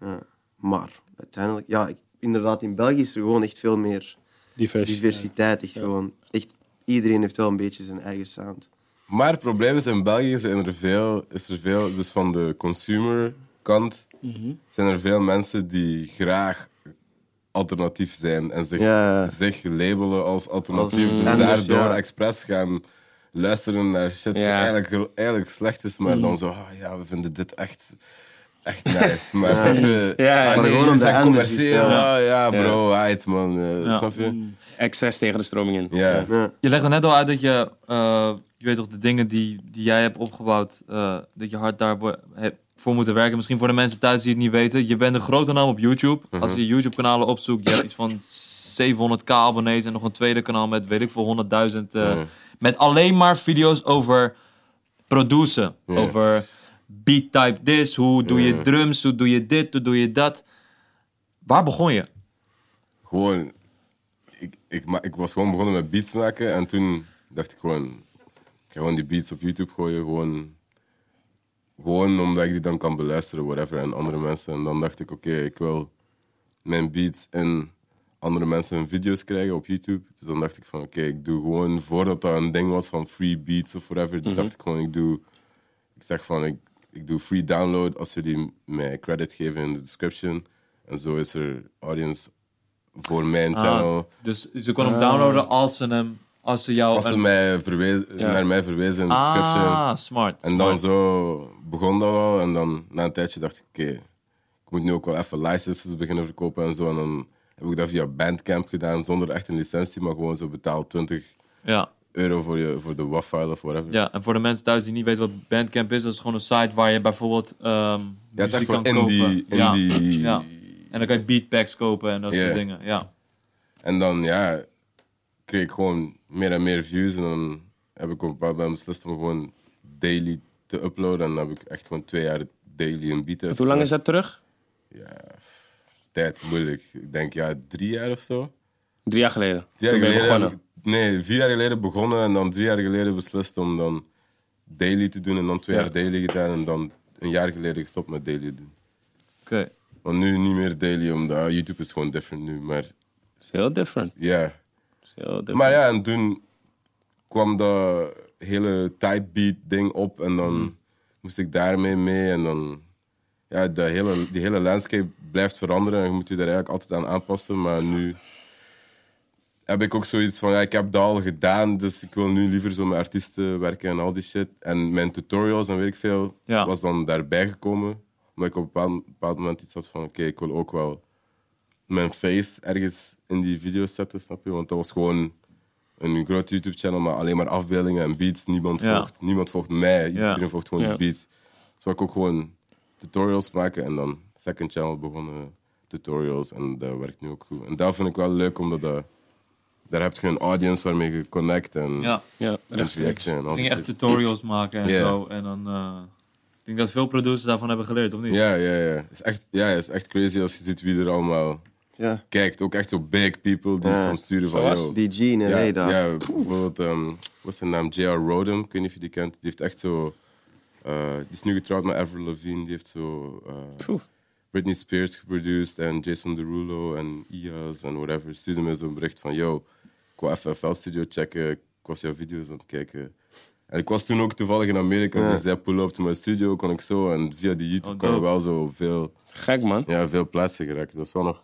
[SPEAKER 3] Ja. Maar uiteindelijk, ja, ik- inderdaad, in België is er gewoon echt veel meer
[SPEAKER 4] Diversiteit.
[SPEAKER 3] diversiteit. Echt gewoon, echt, iedereen heeft wel een beetje zijn eigen sound.
[SPEAKER 2] Maar het probleem is, in België zijn er veel, is er veel dus van de consumer kant,
[SPEAKER 1] Mhm.
[SPEAKER 2] zijn er veel mensen die graag alternatief zijn en zich,
[SPEAKER 3] Ja.
[SPEAKER 2] zich labelen als alternatief.
[SPEAKER 3] Als
[SPEAKER 2] dus
[SPEAKER 3] anders,
[SPEAKER 2] daardoor
[SPEAKER 3] ja.
[SPEAKER 2] expres gaan luisteren naar shit die
[SPEAKER 1] Ja. Mhm.
[SPEAKER 2] eigenlijk, eigenlijk slecht is, maar dan zo, ah, ja, we vinden dit echt... Echt nice, maar snap je?
[SPEAKER 1] Ja, ja.
[SPEAKER 2] ah,
[SPEAKER 1] Maar
[SPEAKER 2] nee,
[SPEAKER 3] gewoon
[SPEAKER 2] jullie
[SPEAKER 3] om de
[SPEAKER 2] zijn
[SPEAKER 3] energy,
[SPEAKER 2] commercieel. Ah,
[SPEAKER 3] ja.
[SPEAKER 2] Ja, ja, bro, uit man. eh,
[SPEAKER 5] Ja.
[SPEAKER 2] Snap
[SPEAKER 1] Mhm.
[SPEAKER 2] je?
[SPEAKER 1] Excess tegen de stroming in.
[SPEAKER 2] Ja.
[SPEAKER 3] Ja.
[SPEAKER 5] Je legde net al uit dat je, eh, je weet toch, de dingen die, die jij hebt opgebouwd, eh, dat je hard daarvoor hebt voor moeten werken. Misschien voor de mensen thuis die het niet weten. Je bent een grote naam op YouTube.
[SPEAKER 2] Mhm.
[SPEAKER 5] Als je YouTube-kanalen opzoekt, je hebt iets van 700k abonnees en nog een tweede kanaal met, weet ik veel, 100.000. eh,
[SPEAKER 2] Ja.
[SPEAKER 5] Met alleen maar video's over produceren.
[SPEAKER 2] Ja.
[SPEAKER 5] Over beat type this, hoe doe je
[SPEAKER 2] Ja.
[SPEAKER 5] drums, hoe doe je dit, hoe doe je dat. Waar begon je?
[SPEAKER 2] gewoon, ik, ik, ma- ik was gewoon begonnen met beats maken en toen dacht ik gewoon, ik ga gewoon die beats op YouTube gooien, gewoon, gewoon omdat ik die dan kan beluisteren, whatever, en andere mensen. En dan dacht ik, oké, ik wil mijn beats en andere mensen hun video's krijgen op YouTube. Dus dan dacht ik van, oké, ik doe gewoon, voordat dat een ding was van free beats of whatever, dacht ik gewoon, ik doe, ik zeg van, ik, ik doe free download als jullie mij credit geven in de description. En zo is er audience voor mijn
[SPEAKER 5] Ah,
[SPEAKER 2] channel.
[SPEAKER 5] Dus ze kon hem downloaden als ze hem... Als ze jou...
[SPEAKER 2] Als ze
[SPEAKER 5] een-
[SPEAKER 2] mij verwezen, naar mij verwezen in de description.
[SPEAKER 5] ah, smart.
[SPEAKER 2] En dan zo begon dat wel. En dan na een tijdje dacht ik, oké, ik moet nu ook wel even licenses beginnen verkopen en zo. En dan heb ik dat via Bandcamp gedaan, zonder echt een licentie, maar gewoon zo betaald 20
[SPEAKER 5] Ja.
[SPEAKER 2] euro voor, je, voor de WAF-file of whatever.
[SPEAKER 5] Ja, en voor de mensen thuis die niet weten wat Bandcamp is, dat is gewoon een site waar je bijvoorbeeld ehm
[SPEAKER 2] Ja, het is
[SPEAKER 5] muziek
[SPEAKER 2] echt
[SPEAKER 5] kan
[SPEAKER 2] voor indie.
[SPEAKER 5] kopen. Ja,
[SPEAKER 2] indie.
[SPEAKER 5] ja. En dan kan je beatpacks kopen en dat
[SPEAKER 2] Ja.
[SPEAKER 5] soort dingen. Ja.
[SPEAKER 2] En dan, ja, kreeg ik gewoon meer en meer views. En dan heb ik op een bepaald moment beslist om gewoon daily te uploaden. En dan heb ik echt gewoon twee jaar daily een beat uit.
[SPEAKER 1] Hoe lang is dat terug?
[SPEAKER 2] Ja, pff, tijd moeilijk. Ik denk, ja, drie jaar of zo.
[SPEAKER 1] Drie jaar geleden.
[SPEAKER 2] Drie jaar
[SPEAKER 1] Toen ben je
[SPEAKER 2] geleden
[SPEAKER 1] begonnen.
[SPEAKER 2] heb ik- nee, vier jaar geleden begonnen en dan drie jaar geleden beslist om dan daily te doen. En dan twee jaar daily gedaan en dan een jaar geleden gestopt met daily doen.
[SPEAKER 5] Oké.
[SPEAKER 2] Want nu niet meer daily, omdat YouTube is gewoon different nu. Maar
[SPEAKER 1] Is heel different.
[SPEAKER 2] ja.
[SPEAKER 1] Is heel different.
[SPEAKER 2] Maar ja, en toen kwam dat hele type beat ding op en dan moest ik daarmee mee en dan... Ja, de hele, die hele landscape blijft veranderen en je moet je daar eigenlijk altijd aan aanpassen, maar nu heb ik ook zoiets van, ja, ik heb dat al gedaan, dus ik wil nu liever zo met artiesten werken en al die shit. En mijn tutorials en weet ik veel,
[SPEAKER 5] Ja.
[SPEAKER 2] was dan daarbij gekomen. Omdat ik op een bepaald, bepaald moment iets had van, oké, ik wil ook wel mijn face ergens in die video's zetten, snap je? Want dat was gewoon een groot YouTube-channel, maar alleen maar afbeeldingen en beats. Niemand
[SPEAKER 5] Ja.
[SPEAKER 2] volgt, niemand volgt mij,
[SPEAKER 5] Ja.
[SPEAKER 2] iedereen volgt gewoon
[SPEAKER 1] Ja.
[SPEAKER 2] de beats. Dus wou ik ook gewoon tutorials maken en dan second channel begonnen tutorials en dat werkt nu ook goed. En dat vind ik wel leuk, omdat dat, daar heb je een audience waarmee je connect en
[SPEAKER 5] Ja.
[SPEAKER 1] Ja,
[SPEAKER 2] reacten
[SPEAKER 1] rechtstreeks.
[SPEAKER 2] en al die
[SPEAKER 5] Ging echt
[SPEAKER 2] shit.
[SPEAKER 5] tutorials maken en
[SPEAKER 2] Ja.
[SPEAKER 5] zo. En dan... eh, ik denk dat veel producers daarvan hebben geleerd, of niet?
[SPEAKER 2] Ja, ja, ja. Het is echt, ja, het is echt crazy als je ziet wie er allemaal
[SPEAKER 3] Ja.
[SPEAKER 2] kijkt. Ook echt zo big people die
[SPEAKER 3] Ja.
[SPEAKER 2] soms sturen van...
[SPEAKER 1] Zoals
[SPEAKER 2] yo,
[SPEAKER 3] Die G in
[SPEAKER 2] Ja,
[SPEAKER 3] LA daar.
[SPEAKER 2] ja bijvoorbeeld, ehm, wat is zijn naam? J.R. Rodham, ik weet niet of je die kent. Die heeft echt zo... eh, die is nu getrouwd met Avril Lavigne. Die heeft zo eh,
[SPEAKER 1] Phew.
[SPEAKER 2] Britney Spears geproduced en Jason Derulo en IAS en whatever. Stuurde me zo'n bericht van, yo, ik wou even FL-studio checken. Ik was jouw video's aan het kijken. En ik was toen ook toevallig in Amerika. Dus zij pull up to mijn studio, kon ik zo. En via die YouTube
[SPEAKER 5] Oh,
[SPEAKER 2] kon ik
[SPEAKER 5] dope.
[SPEAKER 2] wel zo op veel,
[SPEAKER 1] Gek, man.
[SPEAKER 2] ja, veel plaatsen geraken. Dus Dat is wel nog...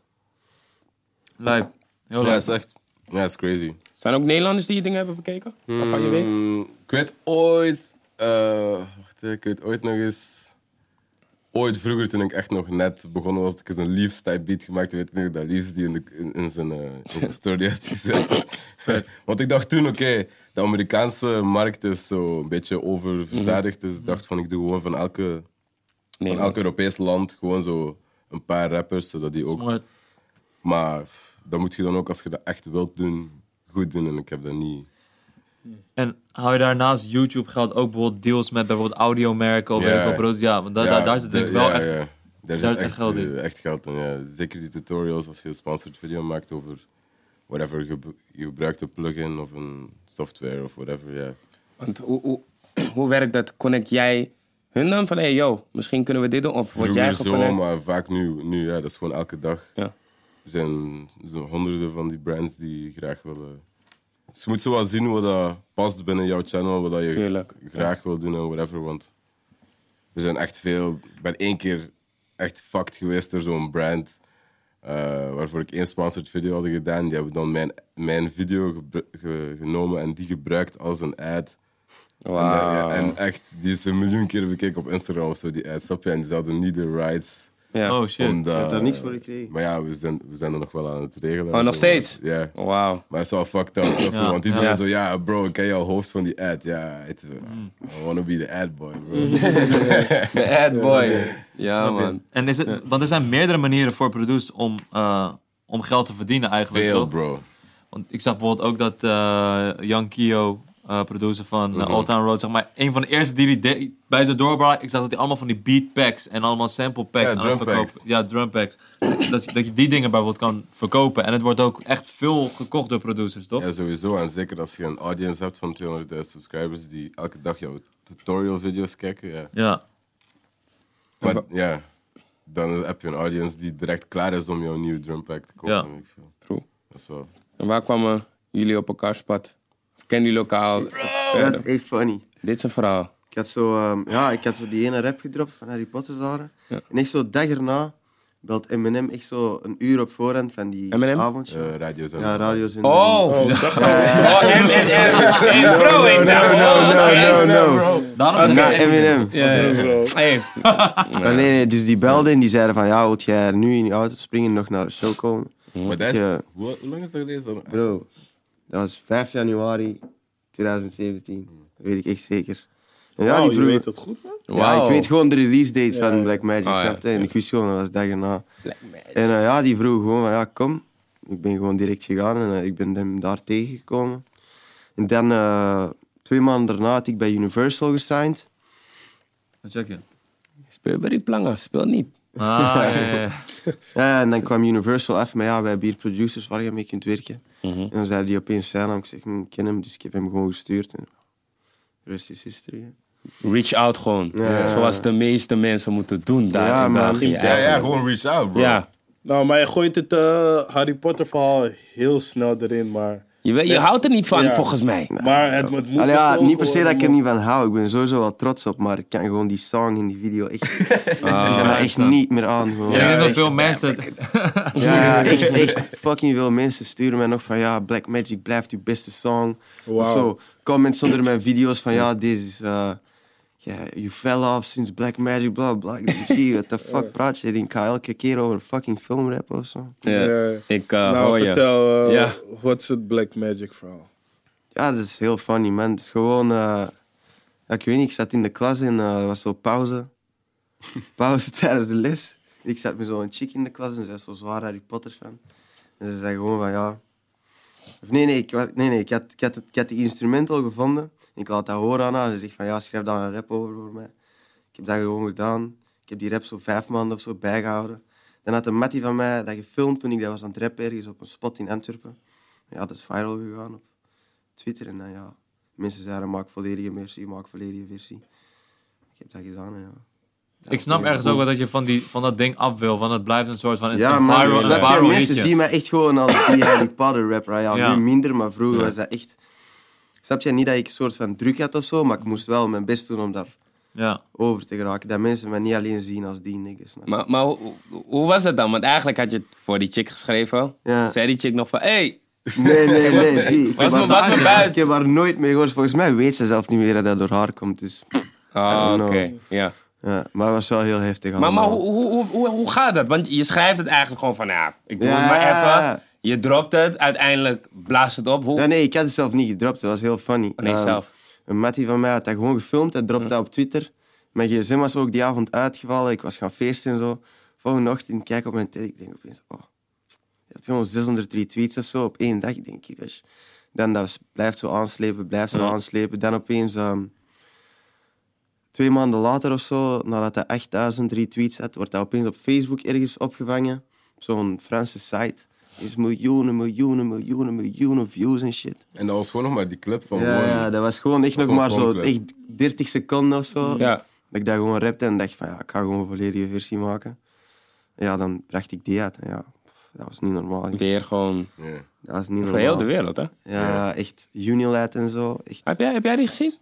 [SPEAKER 5] Lijp. Heel
[SPEAKER 2] ja,
[SPEAKER 5] lijp.
[SPEAKER 2] is echt... Ja, is crazy.
[SPEAKER 1] Zijn er ook Nederlanders die je dingen hebben bekeken? Waarvan je weet?
[SPEAKER 2] Mm, Ik weet ooit. eh, wacht, hè, ik weet ooit nog eens. Ooit vroeger, toen ik echt nog net begonnen was, had ik eens een Leafs type beat gemaakt. Weet ik nog dat Leafs die in, de, in, in zijn, eh, in zijn story had gezet. Want ik dacht toen, oké, de Amerikaanse markt is zo een beetje oververzadigd. Dus ik dacht van, ik doe gewoon van elke,
[SPEAKER 1] Nee,
[SPEAKER 2] van elk Europees land gewoon zo een paar rappers, zodat die ook...
[SPEAKER 5] Smart.
[SPEAKER 2] Maar pff, dat moet je dan ook, als je dat echt wilt doen, goed doen. En ik heb dat niet...
[SPEAKER 5] En hou je daarnaast YouTube geld ook bijvoorbeeld deals met bijvoorbeeld audiomerken of
[SPEAKER 2] Ja.
[SPEAKER 5] weet ik veel producten? Ja, want da-
[SPEAKER 2] Ja,
[SPEAKER 5] da- daar zit
[SPEAKER 2] de-
[SPEAKER 5] denk ik wel
[SPEAKER 2] ja,
[SPEAKER 5] echt...
[SPEAKER 2] ja. Daar,
[SPEAKER 5] daar
[SPEAKER 2] zit echt, geld in.
[SPEAKER 5] in.
[SPEAKER 2] echt geld in. Ja. Zeker die tutorials, als je een sponsored video maakt over whatever je, be- je gebruikt, een plugin of een software of whatever. Ja.
[SPEAKER 1] Want hoe, hoe, hoe werkt dat? Connect jij hun dan van, hé, hey, yo, misschien kunnen we dit doen? Of word jij
[SPEAKER 2] Vroeger zo,
[SPEAKER 1] geconnect?
[SPEAKER 2] maar vaak nu, nu ja, dat is gewoon elke dag.
[SPEAKER 1] Ja.
[SPEAKER 2] Er zijn zo honderden van die brands die graag willen. Dus je moet zo wel zien wat dat past binnen jouw channel, wat dat je
[SPEAKER 1] Tuurlijk,
[SPEAKER 2] graag wil doen en whatever. Want er zijn echt veel. Ik ben één keer echt fucked geweest door zo'n brand. eh, waarvoor ik één sponsored video had gedaan. Die hebben dan mijn, mijn video gebru- ge- genomen en die gebruikt als een ad. En, daar- ja,
[SPEAKER 1] Wauw.
[SPEAKER 2] en echt, die is een miljoen keer bekeken op Instagram of zo, die ad. Snap je? En die hadden niet de rights.
[SPEAKER 1] Ja.
[SPEAKER 5] Oh shit.
[SPEAKER 2] om dat-
[SPEAKER 3] hebt daar niks voor gekregen.
[SPEAKER 2] Maar ja, we zijn, we zijn er nog wel aan het regelen.
[SPEAKER 1] Oh, nog
[SPEAKER 2] Zo, maar-
[SPEAKER 1] steeds?
[SPEAKER 2] Ja.
[SPEAKER 1] Wauw.
[SPEAKER 2] Maar het is wel fucked up. snap je?
[SPEAKER 5] Ja,
[SPEAKER 2] Want iedereen
[SPEAKER 1] ja. Hmm.
[SPEAKER 2] zo, ja bro, ik ken jouw hoofd van die ad. Ja, het, I wanna be the ad boy, bro.
[SPEAKER 1] De ad boy. Ja, man.
[SPEAKER 5] En is het, Want er zijn meerdere manieren voor producers om, eh, om geld te verdienen eigenlijk.
[SPEAKER 2] Veel,
[SPEAKER 5] toch?
[SPEAKER 2] bro.
[SPEAKER 5] Want ik zag bijvoorbeeld ook dat eh Young Kio, eh, producer van
[SPEAKER 2] Mhm.
[SPEAKER 5] eh, Old Town Road, zeg maar, een van de eerste die die deed, bij zijn doorbraak, ik zag dat hij allemaal van die beat packs en allemaal sample packs
[SPEAKER 2] Ja,
[SPEAKER 5] aan het
[SPEAKER 2] drum
[SPEAKER 5] verkopen-
[SPEAKER 2] packs.
[SPEAKER 5] Ja, drum packs. dat, je- dat je die dingen bijvoorbeeld kan verkopen. En het wordt ook echt veel gekocht door producers, toch?
[SPEAKER 2] Ja, sowieso. En zeker als je een audience hebt van 200.000 subscribers die elke dag jouw tutorial video's kijken. Ja.
[SPEAKER 5] Ja.
[SPEAKER 2] Maar ja, dan heb je een audience die direct klaar is om jouw nieuwe drumpack te kopen.
[SPEAKER 5] Ja.
[SPEAKER 2] weet ik veel.
[SPEAKER 1] True.
[SPEAKER 2] Dat is wel.
[SPEAKER 1] En waar kwamen jullie op elkaars pad? Of kennen jullie elkaar? al?
[SPEAKER 3] Dat is echt funny.
[SPEAKER 1] Dit is een verhaal.
[SPEAKER 3] Ik had zo, ehm, ja, ik had zo die ene rap gedropt van Harry Potter daar. En echt zo dag erna belt Eminem echt zo een uur op voorhand van die
[SPEAKER 1] Eminem?
[SPEAKER 3] avondshow.
[SPEAKER 2] eh radio's en
[SPEAKER 3] ja, radio's in
[SPEAKER 1] Oh! Oh, M en M. Hey, bro, ik dacht, oh,
[SPEAKER 3] No,
[SPEAKER 1] oké.
[SPEAKER 3] no,
[SPEAKER 5] Daarom zeg
[SPEAKER 3] Not
[SPEAKER 5] ik Eminem.
[SPEAKER 3] Eminem.
[SPEAKER 1] Hey,
[SPEAKER 3] Maar nee, nee, dus die belden en die zeiden van, ja, wilt jij nu in je auto springen en nog naar de show komen?
[SPEAKER 2] Maar dat is,
[SPEAKER 3] Ja.
[SPEAKER 2] hoe, hoe lang is dat geleden? Dan-
[SPEAKER 3] Bro, dat was 5 januari 2017. Dat weet ik echt zeker. En ja, die
[SPEAKER 4] Wauw, Oh, je
[SPEAKER 3] vroeg-
[SPEAKER 4] weet het goed, man.
[SPEAKER 3] Ja,
[SPEAKER 1] Wauw.
[SPEAKER 3] ik weet gewoon de release date van Black Magic,
[SPEAKER 1] Ah, ja.
[SPEAKER 3] snap je? En ik wist gewoon, dat was dag erna. En eh, ja, die vroeg gewoon van, ja, kom. Ik ben gewoon direct gegaan en eh, ik ben hem daar tegengekomen. En dan, eh, twee maanden daarna had ik bij Universal gesigned.
[SPEAKER 5] Wat check je?
[SPEAKER 1] Speel bij die plangen, speel niet.
[SPEAKER 5] Ah, ja, ja, ja.
[SPEAKER 3] Ja, en dan kwam Universal af met, ja, wij hebben hier producers waar je mee kunt werken. En dan zei die opeens zijn naam. Ik zeg, "Hm, ik ken hem, dus ik heb hem gewoon gestuurd. En, rest is history, hè.
[SPEAKER 1] Reach out gewoon.
[SPEAKER 3] Ja.
[SPEAKER 1] Zoals de meeste mensen moeten doen daar
[SPEAKER 3] Ja,
[SPEAKER 1] in
[SPEAKER 3] man.
[SPEAKER 1] België.
[SPEAKER 4] Ja,
[SPEAKER 2] Ja, ja,
[SPEAKER 1] eigenlijk.
[SPEAKER 2] gewoon reach out, bro.
[SPEAKER 1] Ja.
[SPEAKER 4] Nou, maar je gooit het eh, Harry Potter verhaal heel snel erin, maar...
[SPEAKER 1] Je, weet- je houdt er niet van,
[SPEAKER 4] Ja.
[SPEAKER 1] volgens mij.
[SPEAKER 4] Maar het, het moet
[SPEAKER 3] Allee, Nou, ja,
[SPEAKER 4] besproken
[SPEAKER 3] niet per se dat ik er
[SPEAKER 4] worden,
[SPEAKER 3] niet van hou. Ik ben sowieso wel trots op, maar ik kan gewoon die song in die video echt, ik kan
[SPEAKER 1] Ah.
[SPEAKER 3] dat echt niet meer aan. Gewoon.
[SPEAKER 5] ik denk dat
[SPEAKER 1] echt.
[SPEAKER 5] veel mensen... het-
[SPEAKER 3] Ja, echt, echt fucking veel mensen sturen mij nog van ja, Black Magic blijft uw beste song. Of
[SPEAKER 4] Wauw.
[SPEAKER 3] zo, comments onder mijn video's van ja, deze is. eh ja, you fell off since Black Magic, bla bla. Ik denk, "Gee, what the fuck praat je? Ik denk, ik ga elke keer over fucking filmrap of zo.
[SPEAKER 1] Ja.
[SPEAKER 4] Ja.
[SPEAKER 1] Ik eh, hoor
[SPEAKER 4] Nou,
[SPEAKER 1] je.
[SPEAKER 4] vertel, eh,
[SPEAKER 1] Ja.
[SPEAKER 4] wat is het Black Magic verhaal?
[SPEAKER 3] Ja, dat is heel funny, man. Het is gewoon... eh, ja, ik weet niet, ik zat in de klas en eh, er was zo pauze. pauze tijdens de les. Ik zat met zo'n chick in de klas en zij is zo zwaar Harry Potter fan. En ze zei gewoon van, ja... Of nee, nee, ik, wa- nee, nee ik, had, ik, had, het- ik had die instrument al gevonden. Ik laat dat horen aan haar. Ze zegt van, ja, schrijf daar een rap over voor mij. Ik heb dat gewoon gedaan. Ik heb die rap zo vijf maanden of zo bijgehouden. Dan had een mattie van mij dat gefilmd toen ik dat was aan het rappen ergens op een spot in Antwerpen. Ja, dat is viral gegaan op Twitter. En dan ja, mensen zeiden maak volledige versie, maak volledige versie. Ik heb dat gedaan en ja. Dat
[SPEAKER 5] Ik snap
[SPEAKER 3] was
[SPEAKER 5] ergens
[SPEAKER 3] cool.
[SPEAKER 5] ook wel dat je van, die, van dat ding af wil. Van het blijft een soort van een,
[SPEAKER 3] Ja,
[SPEAKER 5] een
[SPEAKER 3] maar
[SPEAKER 5] viral, een
[SPEAKER 3] snap je,
[SPEAKER 5] viral
[SPEAKER 3] mensen
[SPEAKER 5] hitje.
[SPEAKER 3] zien mij echt gewoon als die Harry Potter rapper. Ja,
[SPEAKER 5] Ja.
[SPEAKER 3] nu minder, maar vroeger was dat echt... Snap je, niet dat ik een soort van druk had of zo, maar ik moest wel mijn best doen om daar
[SPEAKER 5] Ja.
[SPEAKER 3] over te geraken. Dat mensen mij niet alleen zien als die niggas. snap je?
[SPEAKER 1] Maar, maar hoe, hoe was het dan? Want eigenlijk had je het voor die chick geschreven.
[SPEAKER 3] Ja.
[SPEAKER 1] Zei die chick nog van, hey,
[SPEAKER 3] Nee, nee, nee. G, ik,
[SPEAKER 1] Was
[SPEAKER 3] heb
[SPEAKER 1] me-
[SPEAKER 3] haar-
[SPEAKER 1] was me buiten.
[SPEAKER 3] ik heb haar nooit meer gehoord. Volgens mij weet ze zelf niet meer dat dat door haar komt. Dus,
[SPEAKER 1] Ah,
[SPEAKER 3] don't
[SPEAKER 1] oké.
[SPEAKER 3] know.
[SPEAKER 1] Ja.
[SPEAKER 3] ja, maar het was wel heel heftig
[SPEAKER 1] Maar, maar
[SPEAKER 3] allemaal.
[SPEAKER 1] hoe, hoe, hoe, hoe, hoe gaat dat? Want je schrijft het eigenlijk gewoon van, ja, ik doe het
[SPEAKER 3] Ja.
[SPEAKER 1] maar even. Je dropt het, uiteindelijk blaast het op. Hoe?
[SPEAKER 3] Ja, nee, ik had het zelf niet gedropt. Dat was heel funny.
[SPEAKER 1] nee,
[SPEAKER 3] Ehm,
[SPEAKER 1] zelf.
[SPEAKER 3] Een mattie van mij had dat gewoon gefilmd. Hij dropte dat op Twitter. Mijn gsm was ook die avond uitgevallen. Ik was gaan feesten en zo. Volgende ochtend kijk ik op mijn tijd. Ik denk opeens, oh. Je hebt gewoon 600 retweets of zo op één dag. Ik denk, kievers. Dan dat was- blijft zo aanslepen, blijft zo aanslepen. Dan opeens, ehm, twee maanden later of zo, nadat hij 8000 retweets had, wordt dat opeens op Facebook ergens opgevangen. Op zo'n Franse site. Is miljoenen, miljoenen, miljoenen, miljoenen views en shit.
[SPEAKER 2] En dat was gewoon nog maar die clip van
[SPEAKER 3] Ja,
[SPEAKER 2] gewoon-
[SPEAKER 3] ja, dat was gewoon echt
[SPEAKER 2] Dat
[SPEAKER 3] nog
[SPEAKER 2] was
[SPEAKER 3] maar
[SPEAKER 2] gewoon
[SPEAKER 3] zo
[SPEAKER 2] klep.
[SPEAKER 3] echt 30 seconden of zo.
[SPEAKER 1] Ja.
[SPEAKER 3] Dat ik dat gewoon rapte en dacht van ja, ik ga gewoon een volledige versie maken. Ja, dan bracht ik die uit. En ja, pff, dat was niet normaal.
[SPEAKER 1] Weer gewoon
[SPEAKER 2] Ja.
[SPEAKER 3] Dat was niet
[SPEAKER 1] voor heel de
[SPEAKER 3] normaal.
[SPEAKER 1] wereld, hè?
[SPEAKER 3] Ja, ja, echt Unilight en zo. Echt.
[SPEAKER 1] Heb jij, heb jij die gezien?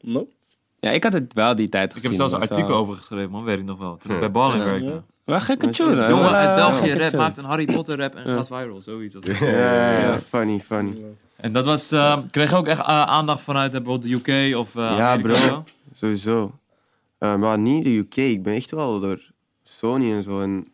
[SPEAKER 4] Nope.
[SPEAKER 1] Ja, ik had het wel die tijd
[SPEAKER 5] Ik
[SPEAKER 1] gezien.
[SPEAKER 5] heb zelfs een
[SPEAKER 1] maar zo-
[SPEAKER 5] artikel over geschreven, man. Weet ik nog wel. Toen ik bij Balling werkte.
[SPEAKER 1] Maar gekke tune, hè?
[SPEAKER 5] Jongen
[SPEAKER 1] Ja,
[SPEAKER 5] uit België
[SPEAKER 1] gekke
[SPEAKER 5] rap
[SPEAKER 1] tune.
[SPEAKER 5] maakt een Harry Potter rap en gaat viral. Zoiets.
[SPEAKER 3] Ja, ja, ja, eh, funny, funny.
[SPEAKER 5] En dat was... eh, kreeg je ook echt eh, aandacht vanuit eh, bijvoorbeeld de UK of eh,
[SPEAKER 3] Ja,
[SPEAKER 5] Amerika
[SPEAKER 3] bro.
[SPEAKER 5] of zo?
[SPEAKER 3] Sowieso. Eh, maar niet de UK. Ik ben echt wel door Sony en zo en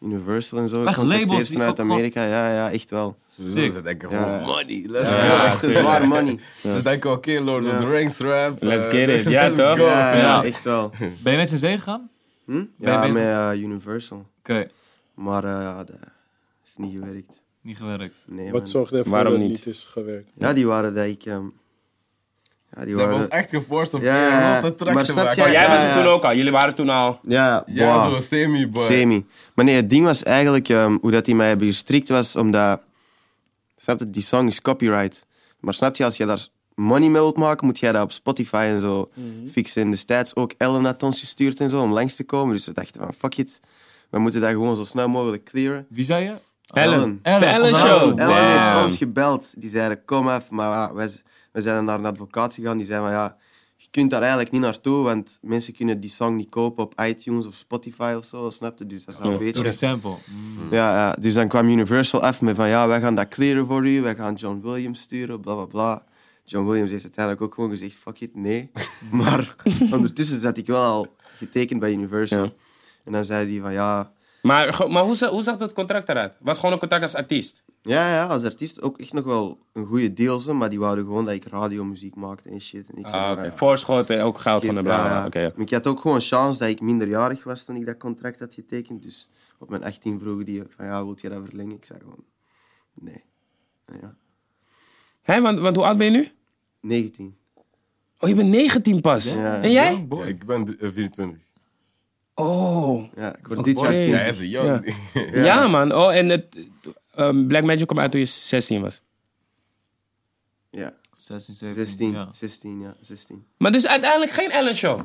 [SPEAKER 3] Universal en zo.
[SPEAKER 5] Echt
[SPEAKER 3] gecontacteerd
[SPEAKER 5] labels die oh, ook
[SPEAKER 3] vanuit
[SPEAKER 5] gewoon-
[SPEAKER 3] Amerika. Ja, ja, echt wel.
[SPEAKER 2] Zo,
[SPEAKER 5] Sick.
[SPEAKER 2] ze denken
[SPEAKER 3] Ja.
[SPEAKER 2] gewoon money, let's
[SPEAKER 3] Ja,
[SPEAKER 2] go.
[SPEAKER 3] echt een zwaar money.
[SPEAKER 2] Ze denken, oké Lord of the Rings rap.
[SPEAKER 1] Let's
[SPEAKER 2] eh,
[SPEAKER 1] get it. Ja,
[SPEAKER 2] let's
[SPEAKER 1] toch?
[SPEAKER 2] go.
[SPEAKER 3] Ja,
[SPEAKER 5] Ja.
[SPEAKER 3] ja, echt wel.
[SPEAKER 5] Ben je met z'n zee gegaan?
[SPEAKER 3] Hm?
[SPEAKER 5] Ben je
[SPEAKER 3] Ja,
[SPEAKER 5] bezig?
[SPEAKER 3] met eh, Universal.
[SPEAKER 5] Oké.
[SPEAKER 3] Maar eh, ja, dat heeft niet gewerkt.
[SPEAKER 5] Niet gewerkt.
[SPEAKER 3] Nee, man.
[SPEAKER 4] Wat zorgde ervoor
[SPEAKER 1] Waarom
[SPEAKER 4] dat het
[SPEAKER 1] niet?
[SPEAKER 4] niet is gewerkt?
[SPEAKER 3] Ja, die waren dat ik... ehm, ja, die
[SPEAKER 2] Ze hebben ons
[SPEAKER 3] waren...
[SPEAKER 2] echt geforst om
[SPEAKER 3] Ja,
[SPEAKER 2] ja, een rotte track
[SPEAKER 3] maar
[SPEAKER 2] te
[SPEAKER 3] snap
[SPEAKER 2] maken.
[SPEAKER 3] jij-
[SPEAKER 1] Jij
[SPEAKER 3] Ja,
[SPEAKER 1] was
[SPEAKER 3] ja.
[SPEAKER 1] er toen ook al. Jullie waren toen al...
[SPEAKER 3] Ja,
[SPEAKER 2] Ja,
[SPEAKER 3] boah,
[SPEAKER 2] zo semi-boy.
[SPEAKER 3] semi. Maar nee, het ding was eigenlijk ehm, hoe dat die mij hebben gestrikt was, omdat... Snap je, die song is copyright. Maar snap je, als je daar money mee wilt maken, moet jij dat op Spotify en zo fixen. En de stats ook Ellen had ons gestuurd en zo om langs te komen. Dus we dachten van fuck it, we moeten dat gewoon zo snel mogelijk clearen.
[SPEAKER 5] Wie zei je?
[SPEAKER 1] Ellen.
[SPEAKER 5] Ellen.
[SPEAKER 1] Ellen
[SPEAKER 5] Ellen.
[SPEAKER 1] Show.
[SPEAKER 3] Ellen heeft
[SPEAKER 1] Damn.
[SPEAKER 3] ons gebeld. Die zeiden, kom even. Maar ja, wij, z- wij zijn naar een advocaat gegaan. Die zei van, ja, je kunt daar eigenlijk niet naartoe. Want mensen kunnen die song niet kopen op iTunes of Spotify of zo. Snap je? Dus dat is al een
[SPEAKER 5] Door de
[SPEAKER 3] beetje...
[SPEAKER 5] sample. Mm,
[SPEAKER 3] Ja, ja, dus dan kwam Universal even met van, ja, wij gaan dat clearen voor u. Wij gaan John Williams sturen, bla, bla, bla. John Williams heeft uiteindelijk ook gewoon gezegd, fuck it, nee. Maar ondertussen zat ik wel al getekend bij Universal.
[SPEAKER 1] Ja.
[SPEAKER 3] En dan zei hij van, ja...
[SPEAKER 1] Maar, ge- maar hoe, za- hoe zag dat contract eruit? Was gewoon een contract als artiest?
[SPEAKER 3] Ja, ja, als artiest ook echt nog wel een goede deal, zo, maar die wouden gewoon dat ik radiomuziek maakte en shit. En ik zei,
[SPEAKER 1] Ah,
[SPEAKER 3] van,
[SPEAKER 1] oké.
[SPEAKER 3] ja,
[SPEAKER 1] Voorschoten, ook goud
[SPEAKER 3] skip,
[SPEAKER 1] van de
[SPEAKER 3] ja,
[SPEAKER 1] Brabant.
[SPEAKER 3] ja.
[SPEAKER 1] Oké, ja.
[SPEAKER 3] Maar Ik had ook gewoon chance dat ik minderjarig was toen ik dat contract had getekend. Dus op mijn 18 vroegen die van, ja, wilt je dat verlengen? Ik zei gewoon, nee. En Ja,
[SPEAKER 1] Hé, want, want hoe oud ben je nu?
[SPEAKER 3] 19.
[SPEAKER 1] Oh, je bent 19 pas.
[SPEAKER 3] Ja.
[SPEAKER 1] En jij?
[SPEAKER 2] Ja, ik ben d- eh, 24.
[SPEAKER 1] Oh.
[SPEAKER 3] Ja, ik word dit jaar
[SPEAKER 1] Oké.
[SPEAKER 3] 20.
[SPEAKER 2] Ja,
[SPEAKER 3] Ja,
[SPEAKER 2] hij is een jong.
[SPEAKER 1] Ja, man. Oh, en het, ehm, Black Magic kwam uit toen je 16 was.
[SPEAKER 3] ja,
[SPEAKER 5] 16, 17.
[SPEAKER 3] 16,
[SPEAKER 5] Ja.
[SPEAKER 3] 16, ja, 16.
[SPEAKER 1] Maar dus uiteindelijk geen Ellen Show.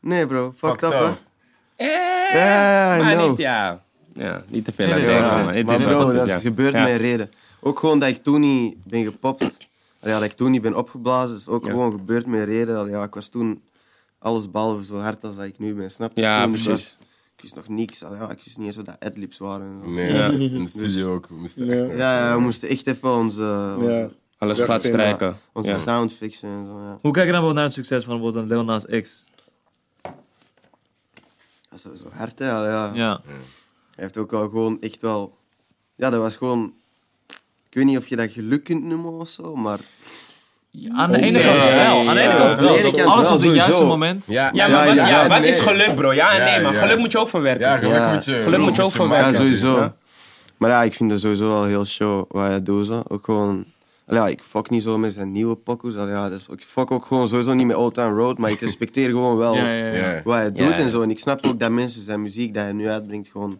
[SPEAKER 3] Nee bro, fucked up
[SPEAKER 2] Fucked
[SPEAKER 3] hè.
[SPEAKER 2] up.
[SPEAKER 1] Eh,
[SPEAKER 3] Ja, I
[SPEAKER 1] maar
[SPEAKER 3] know.
[SPEAKER 1] niet, ja. Ja, niet te veel.
[SPEAKER 5] Nee,
[SPEAKER 1] aan
[SPEAKER 5] nee,
[SPEAKER 1] zeggen,
[SPEAKER 5] nee,
[SPEAKER 1] maar
[SPEAKER 5] nee.
[SPEAKER 1] het is
[SPEAKER 3] Maar
[SPEAKER 1] wat
[SPEAKER 3] bro,
[SPEAKER 1] het is,
[SPEAKER 3] dat
[SPEAKER 1] ja.
[SPEAKER 3] gebeurt
[SPEAKER 1] Ja.
[SPEAKER 3] met reden. Ook gewoon dat ik toen niet ben gepopt. Allee, dat ik toen niet ben opgeblazen. is ook gewoon gebeurd met reden. Allee, ja, ik was toen alles behalve zo hard als dat ik nu ben. Snap je?
[SPEAKER 1] Ja,
[SPEAKER 3] Toen
[SPEAKER 1] precies.
[SPEAKER 3] was- ik wist nog niks. Allee, ja, ik wist niet eens wat dat adlibs waren. en zo.
[SPEAKER 2] Nee,
[SPEAKER 1] Ja.
[SPEAKER 2] in de studio ook. We moesten
[SPEAKER 4] Ja.
[SPEAKER 2] echt nog-
[SPEAKER 3] Ja, ja, we moesten echt even onze, onze,
[SPEAKER 4] Ja.
[SPEAKER 1] Alles
[SPEAKER 4] Ja,
[SPEAKER 1] glad
[SPEAKER 4] vind ik,
[SPEAKER 1] strijken.
[SPEAKER 3] onze
[SPEAKER 1] Ja.
[SPEAKER 3] sound fixen en zo. Ja.
[SPEAKER 5] Hoe kijk je dan bijvoorbeeld naar het succes van bijvoorbeeld een Lil Nas X?
[SPEAKER 3] Dat is sowieso hard, hè. Allee, ja.
[SPEAKER 5] Ja.
[SPEAKER 3] Hij heeft ook wel gewoon echt wel... Ja, dat was gewoon... Ik weet niet of je dat geluk kunt noemen of zo, maar...
[SPEAKER 5] Aan de ene
[SPEAKER 1] nee.
[SPEAKER 5] kant wel. Aan de ene
[SPEAKER 1] Ja.
[SPEAKER 5] kant
[SPEAKER 3] Aan de ene
[SPEAKER 5] wel.
[SPEAKER 3] kant
[SPEAKER 5] Alles
[SPEAKER 3] wel,
[SPEAKER 5] op het juiste
[SPEAKER 3] sowieso.
[SPEAKER 5] moment.
[SPEAKER 2] Ja,
[SPEAKER 1] Ja, maar
[SPEAKER 3] Ja,
[SPEAKER 1] wat,
[SPEAKER 3] ja,
[SPEAKER 1] ja,
[SPEAKER 3] ja,
[SPEAKER 1] wat
[SPEAKER 2] nee.
[SPEAKER 1] is geluk, bro? Ja, en
[SPEAKER 2] Ja,
[SPEAKER 1] nee, maar
[SPEAKER 2] ja.
[SPEAKER 1] geluk moet je ook verwerken.
[SPEAKER 2] Ja, geluk
[SPEAKER 3] Ja.
[SPEAKER 2] moet je...
[SPEAKER 1] Geluk moet je ook verwerken.
[SPEAKER 3] Ja,
[SPEAKER 2] maken.
[SPEAKER 3] sowieso.
[SPEAKER 1] Ja.
[SPEAKER 3] Maar ja, ik vind dat sowieso wel heel show wat hij doet. Zo. Ook gewoon... Allee, ja, ik fuck niet zo met zijn nieuwe pokkels. Allee, ja, dus ik fuck ook gewoon sowieso niet met Old Town Road, maar ik respecteer gewoon wel
[SPEAKER 5] Ja, ja, ja.
[SPEAKER 2] Ja.
[SPEAKER 3] wat hij doet
[SPEAKER 1] Ja, ja.
[SPEAKER 3] en zo. En ik snap ook dat mensen zijn muziek dat hij nu uitbrengt gewoon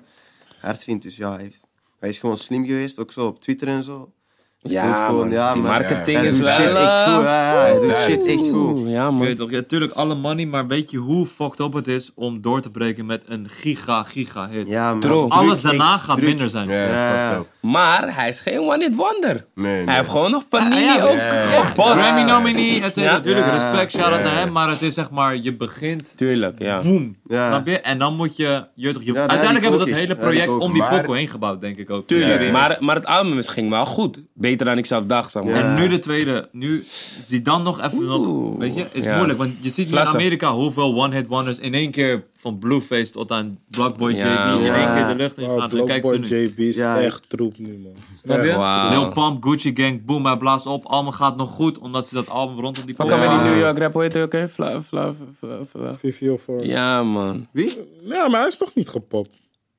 [SPEAKER 3] hard vindt. Dus ja, hij, heeft- hij is gewoon slim geweest, ook zo op Twitter en zo.
[SPEAKER 1] Ja,
[SPEAKER 3] doet gewoon,
[SPEAKER 1] man.
[SPEAKER 3] ja,
[SPEAKER 1] Die
[SPEAKER 3] maar-
[SPEAKER 1] marketing
[SPEAKER 2] Ja,
[SPEAKER 3] hij
[SPEAKER 1] is
[SPEAKER 3] doet
[SPEAKER 1] wel...
[SPEAKER 3] shit echt goed.
[SPEAKER 1] eh,
[SPEAKER 3] Ja, ja, hij doet
[SPEAKER 2] Oeh.
[SPEAKER 3] shit echt goed.
[SPEAKER 1] oeh, Ja,
[SPEAKER 5] Ik
[SPEAKER 1] man.
[SPEAKER 5] Weet toch, ja, tuurlijk alle money, maar weet je hoe fucked up het is om door te breken met een giga, giga hit?
[SPEAKER 3] Ja, man.
[SPEAKER 1] True.
[SPEAKER 5] Alles
[SPEAKER 3] Drukt echt,
[SPEAKER 5] daarna gaat
[SPEAKER 3] drukt.
[SPEAKER 5] minder zijn.
[SPEAKER 2] Ja, dat is
[SPEAKER 3] Ja.
[SPEAKER 2] fucked up.
[SPEAKER 1] Maar hij is geen one-hit wonder.
[SPEAKER 2] Nee, nee.
[SPEAKER 1] Hij heeft gewoon nog Panini
[SPEAKER 5] Ja, ja,
[SPEAKER 1] ook
[SPEAKER 2] ja, ja.
[SPEAKER 1] gebost.
[SPEAKER 5] Grammy nominee, et cetera.
[SPEAKER 1] Ja.
[SPEAKER 5] Natuurlijk,
[SPEAKER 3] Ja.
[SPEAKER 5] respect, shout out
[SPEAKER 2] Ja.
[SPEAKER 5] naar hem, maar het is zeg maar, je begint,
[SPEAKER 1] Tuurlijk, ja.
[SPEAKER 5] boom,
[SPEAKER 3] Ja.
[SPEAKER 5] snap je? En dan moet je, je, weet toch, je
[SPEAKER 3] Ja, daar
[SPEAKER 5] uiteindelijk
[SPEAKER 3] heb ik
[SPEAKER 5] hebben we
[SPEAKER 3] ook
[SPEAKER 5] dat hele
[SPEAKER 3] iets. Daar heb ik
[SPEAKER 5] project
[SPEAKER 3] ook.
[SPEAKER 5] om die
[SPEAKER 2] Maar-
[SPEAKER 5] pokoe heen gebouwd, denk ik ook.
[SPEAKER 1] Tuurlijk,
[SPEAKER 2] Ja.
[SPEAKER 1] Maar, maar het album is- ging wel goed. Beter dan ik zelf dacht, zeg maar.
[SPEAKER 3] Ja.
[SPEAKER 5] En nu de tweede, nu zie dan nog even nog, weet je, is
[SPEAKER 1] Ja.
[SPEAKER 5] moeilijk, want je ziet in
[SPEAKER 1] Lastig.
[SPEAKER 5] Amerika hoeveel one-hit wonders in één keer van Blueface tot aan Blackboy
[SPEAKER 1] Ja,
[SPEAKER 5] JB in
[SPEAKER 1] man.
[SPEAKER 5] één keer de lucht in gaan.
[SPEAKER 4] Oh,
[SPEAKER 5] Dan kijk ze
[SPEAKER 4] Blockboy
[SPEAKER 5] nu.
[SPEAKER 4] JB is
[SPEAKER 3] Ja.
[SPEAKER 4] echt troep nu, man.
[SPEAKER 5] Snap je?
[SPEAKER 4] Echt.
[SPEAKER 1] Wauw.
[SPEAKER 5] Lil Pump, Gucci Gang, boom, hij blaast op. Allemaal gaat nog goed, omdat ze dat album rondom die
[SPEAKER 1] Wat kan
[SPEAKER 5] pokoe-
[SPEAKER 1] met
[SPEAKER 3] Ja.
[SPEAKER 1] die New York rap, hoe heet het ook, hè? Fla, fla, fla, fla.
[SPEAKER 4] 504. Ja.
[SPEAKER 1] Ja, man.
[SPEAKER 3] Wie?
[SPEAKER 4] maar hij is nog niet gepopt.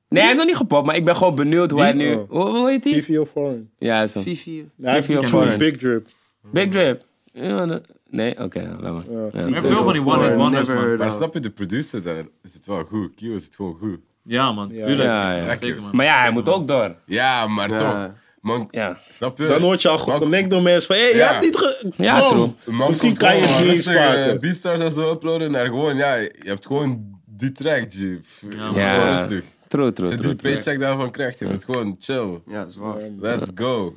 [SPEAKER 1] Nee, hij heeft nog niet gepopt, maar ik ben gewoon benieuwd hoe hij nu...
[SPEAKER 4] Oh.
[SPEAKER 1] Hoe, hoe heet hij?
[SPEAKER 4] 504.
[SPEAKER 1] Ja, zo.
[SPEAKER 3] Fifi.
[SPEAKER 4] Hij heeft nog
[SPEAKER 1] 504.
[SPEAKER 4] een big drip.
[SPEAKER 1] Big Drip. Ja, nee. Nee, oké, laat maar.
[SPEAKER 4] Ja.
[SPEAKER 5] Er zijn veel van die one-hit wonders,
[SPEAKER 3] Never
[SPEAKER 5] man.
[SPEAKER 3] heard
[SPEAKER 2] Maar
[SPEAKER 3] of.
[SPEAKER 2] snap je, de producer, dan is het wel goed. Kio is het gewoon goed.
[SPEAKER 5] Ja, man,
[SPEAKER 4] Ja.
[SPEAKER 5] tuurlijk.
[SPEAKER 1] Ja, ja.
[SPEAKER 5] Zeker, man.
[SPEAKER 1] Maar ja, hij moet ook door.
[SPEAKER 2] Ja, maar
[SPEAKER 3] Ja.
[SPEAKER 2] toch. Man,
[SPEAKER 1] Ja.
[SPEAKER 2] snap je?
[SPEAKER 4] Dan word je al geconnect door mensen van, hé, hey, je
[SPEAKER 2] Ja.
[SPEAKER 4] hebt niet ge...
[SPEAKER 1] Ja, true.
[SPEAKER 2] Man
[SPEAKER 4] Misschien
[SPEAKER 2] komt
[SPEAKER 4] kan je
[SPEAKER 2] gewoon
[SPEAKER 4] het niet eens
[SPEAKER 2] rustig, eh,
[SPEAKER 4] maken.
[SPEAKER 2] Beatstars en zo uploaden naar gewoon, ja, je hebt gewoon die track, G. F-
[SPEAKER 5] Ja.
[SPEAKER 2] Gewoon
[SPEAKER 1] Ja,
[SPEAKER 2] rustig.
[SPEAKER 1] true,
[SPEAKER 2] Als
[SPEAKER 1] true,
[SPEAKER 2] je
[SPEAKER 1] true.
[SPEAKER 2] die
[SPEAKER 1] true.
[SPEAKER 2] paycheck daarvan krijgt, je bent gewoon chill.
[SPEAKER 3] Ja, zwaar.
[SPEAKER 2] Let's go.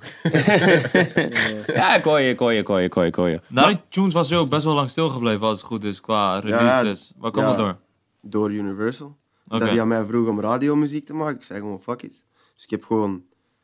[SPEAKER 1] Ja, ik hoor je, ik hoor je, ik hoor je, ik hoor je, ik hoor je.
[SPEAKER 5] Na Nou, die tunes was hij ook best wel lang stilgebleven, als het goed is, qua releases. Waar komt
[SPEAKER 3] ja.
[SPEAKER 5] dat door?
[SPEAKER 3] Door Universal.
[SPEAKER 5] Oké.
[SPEAKER 3] Dat die aan mij vroeg om radiomuziek te maken. Ik zei gewoon fuck it. Dus ik heb gewoon...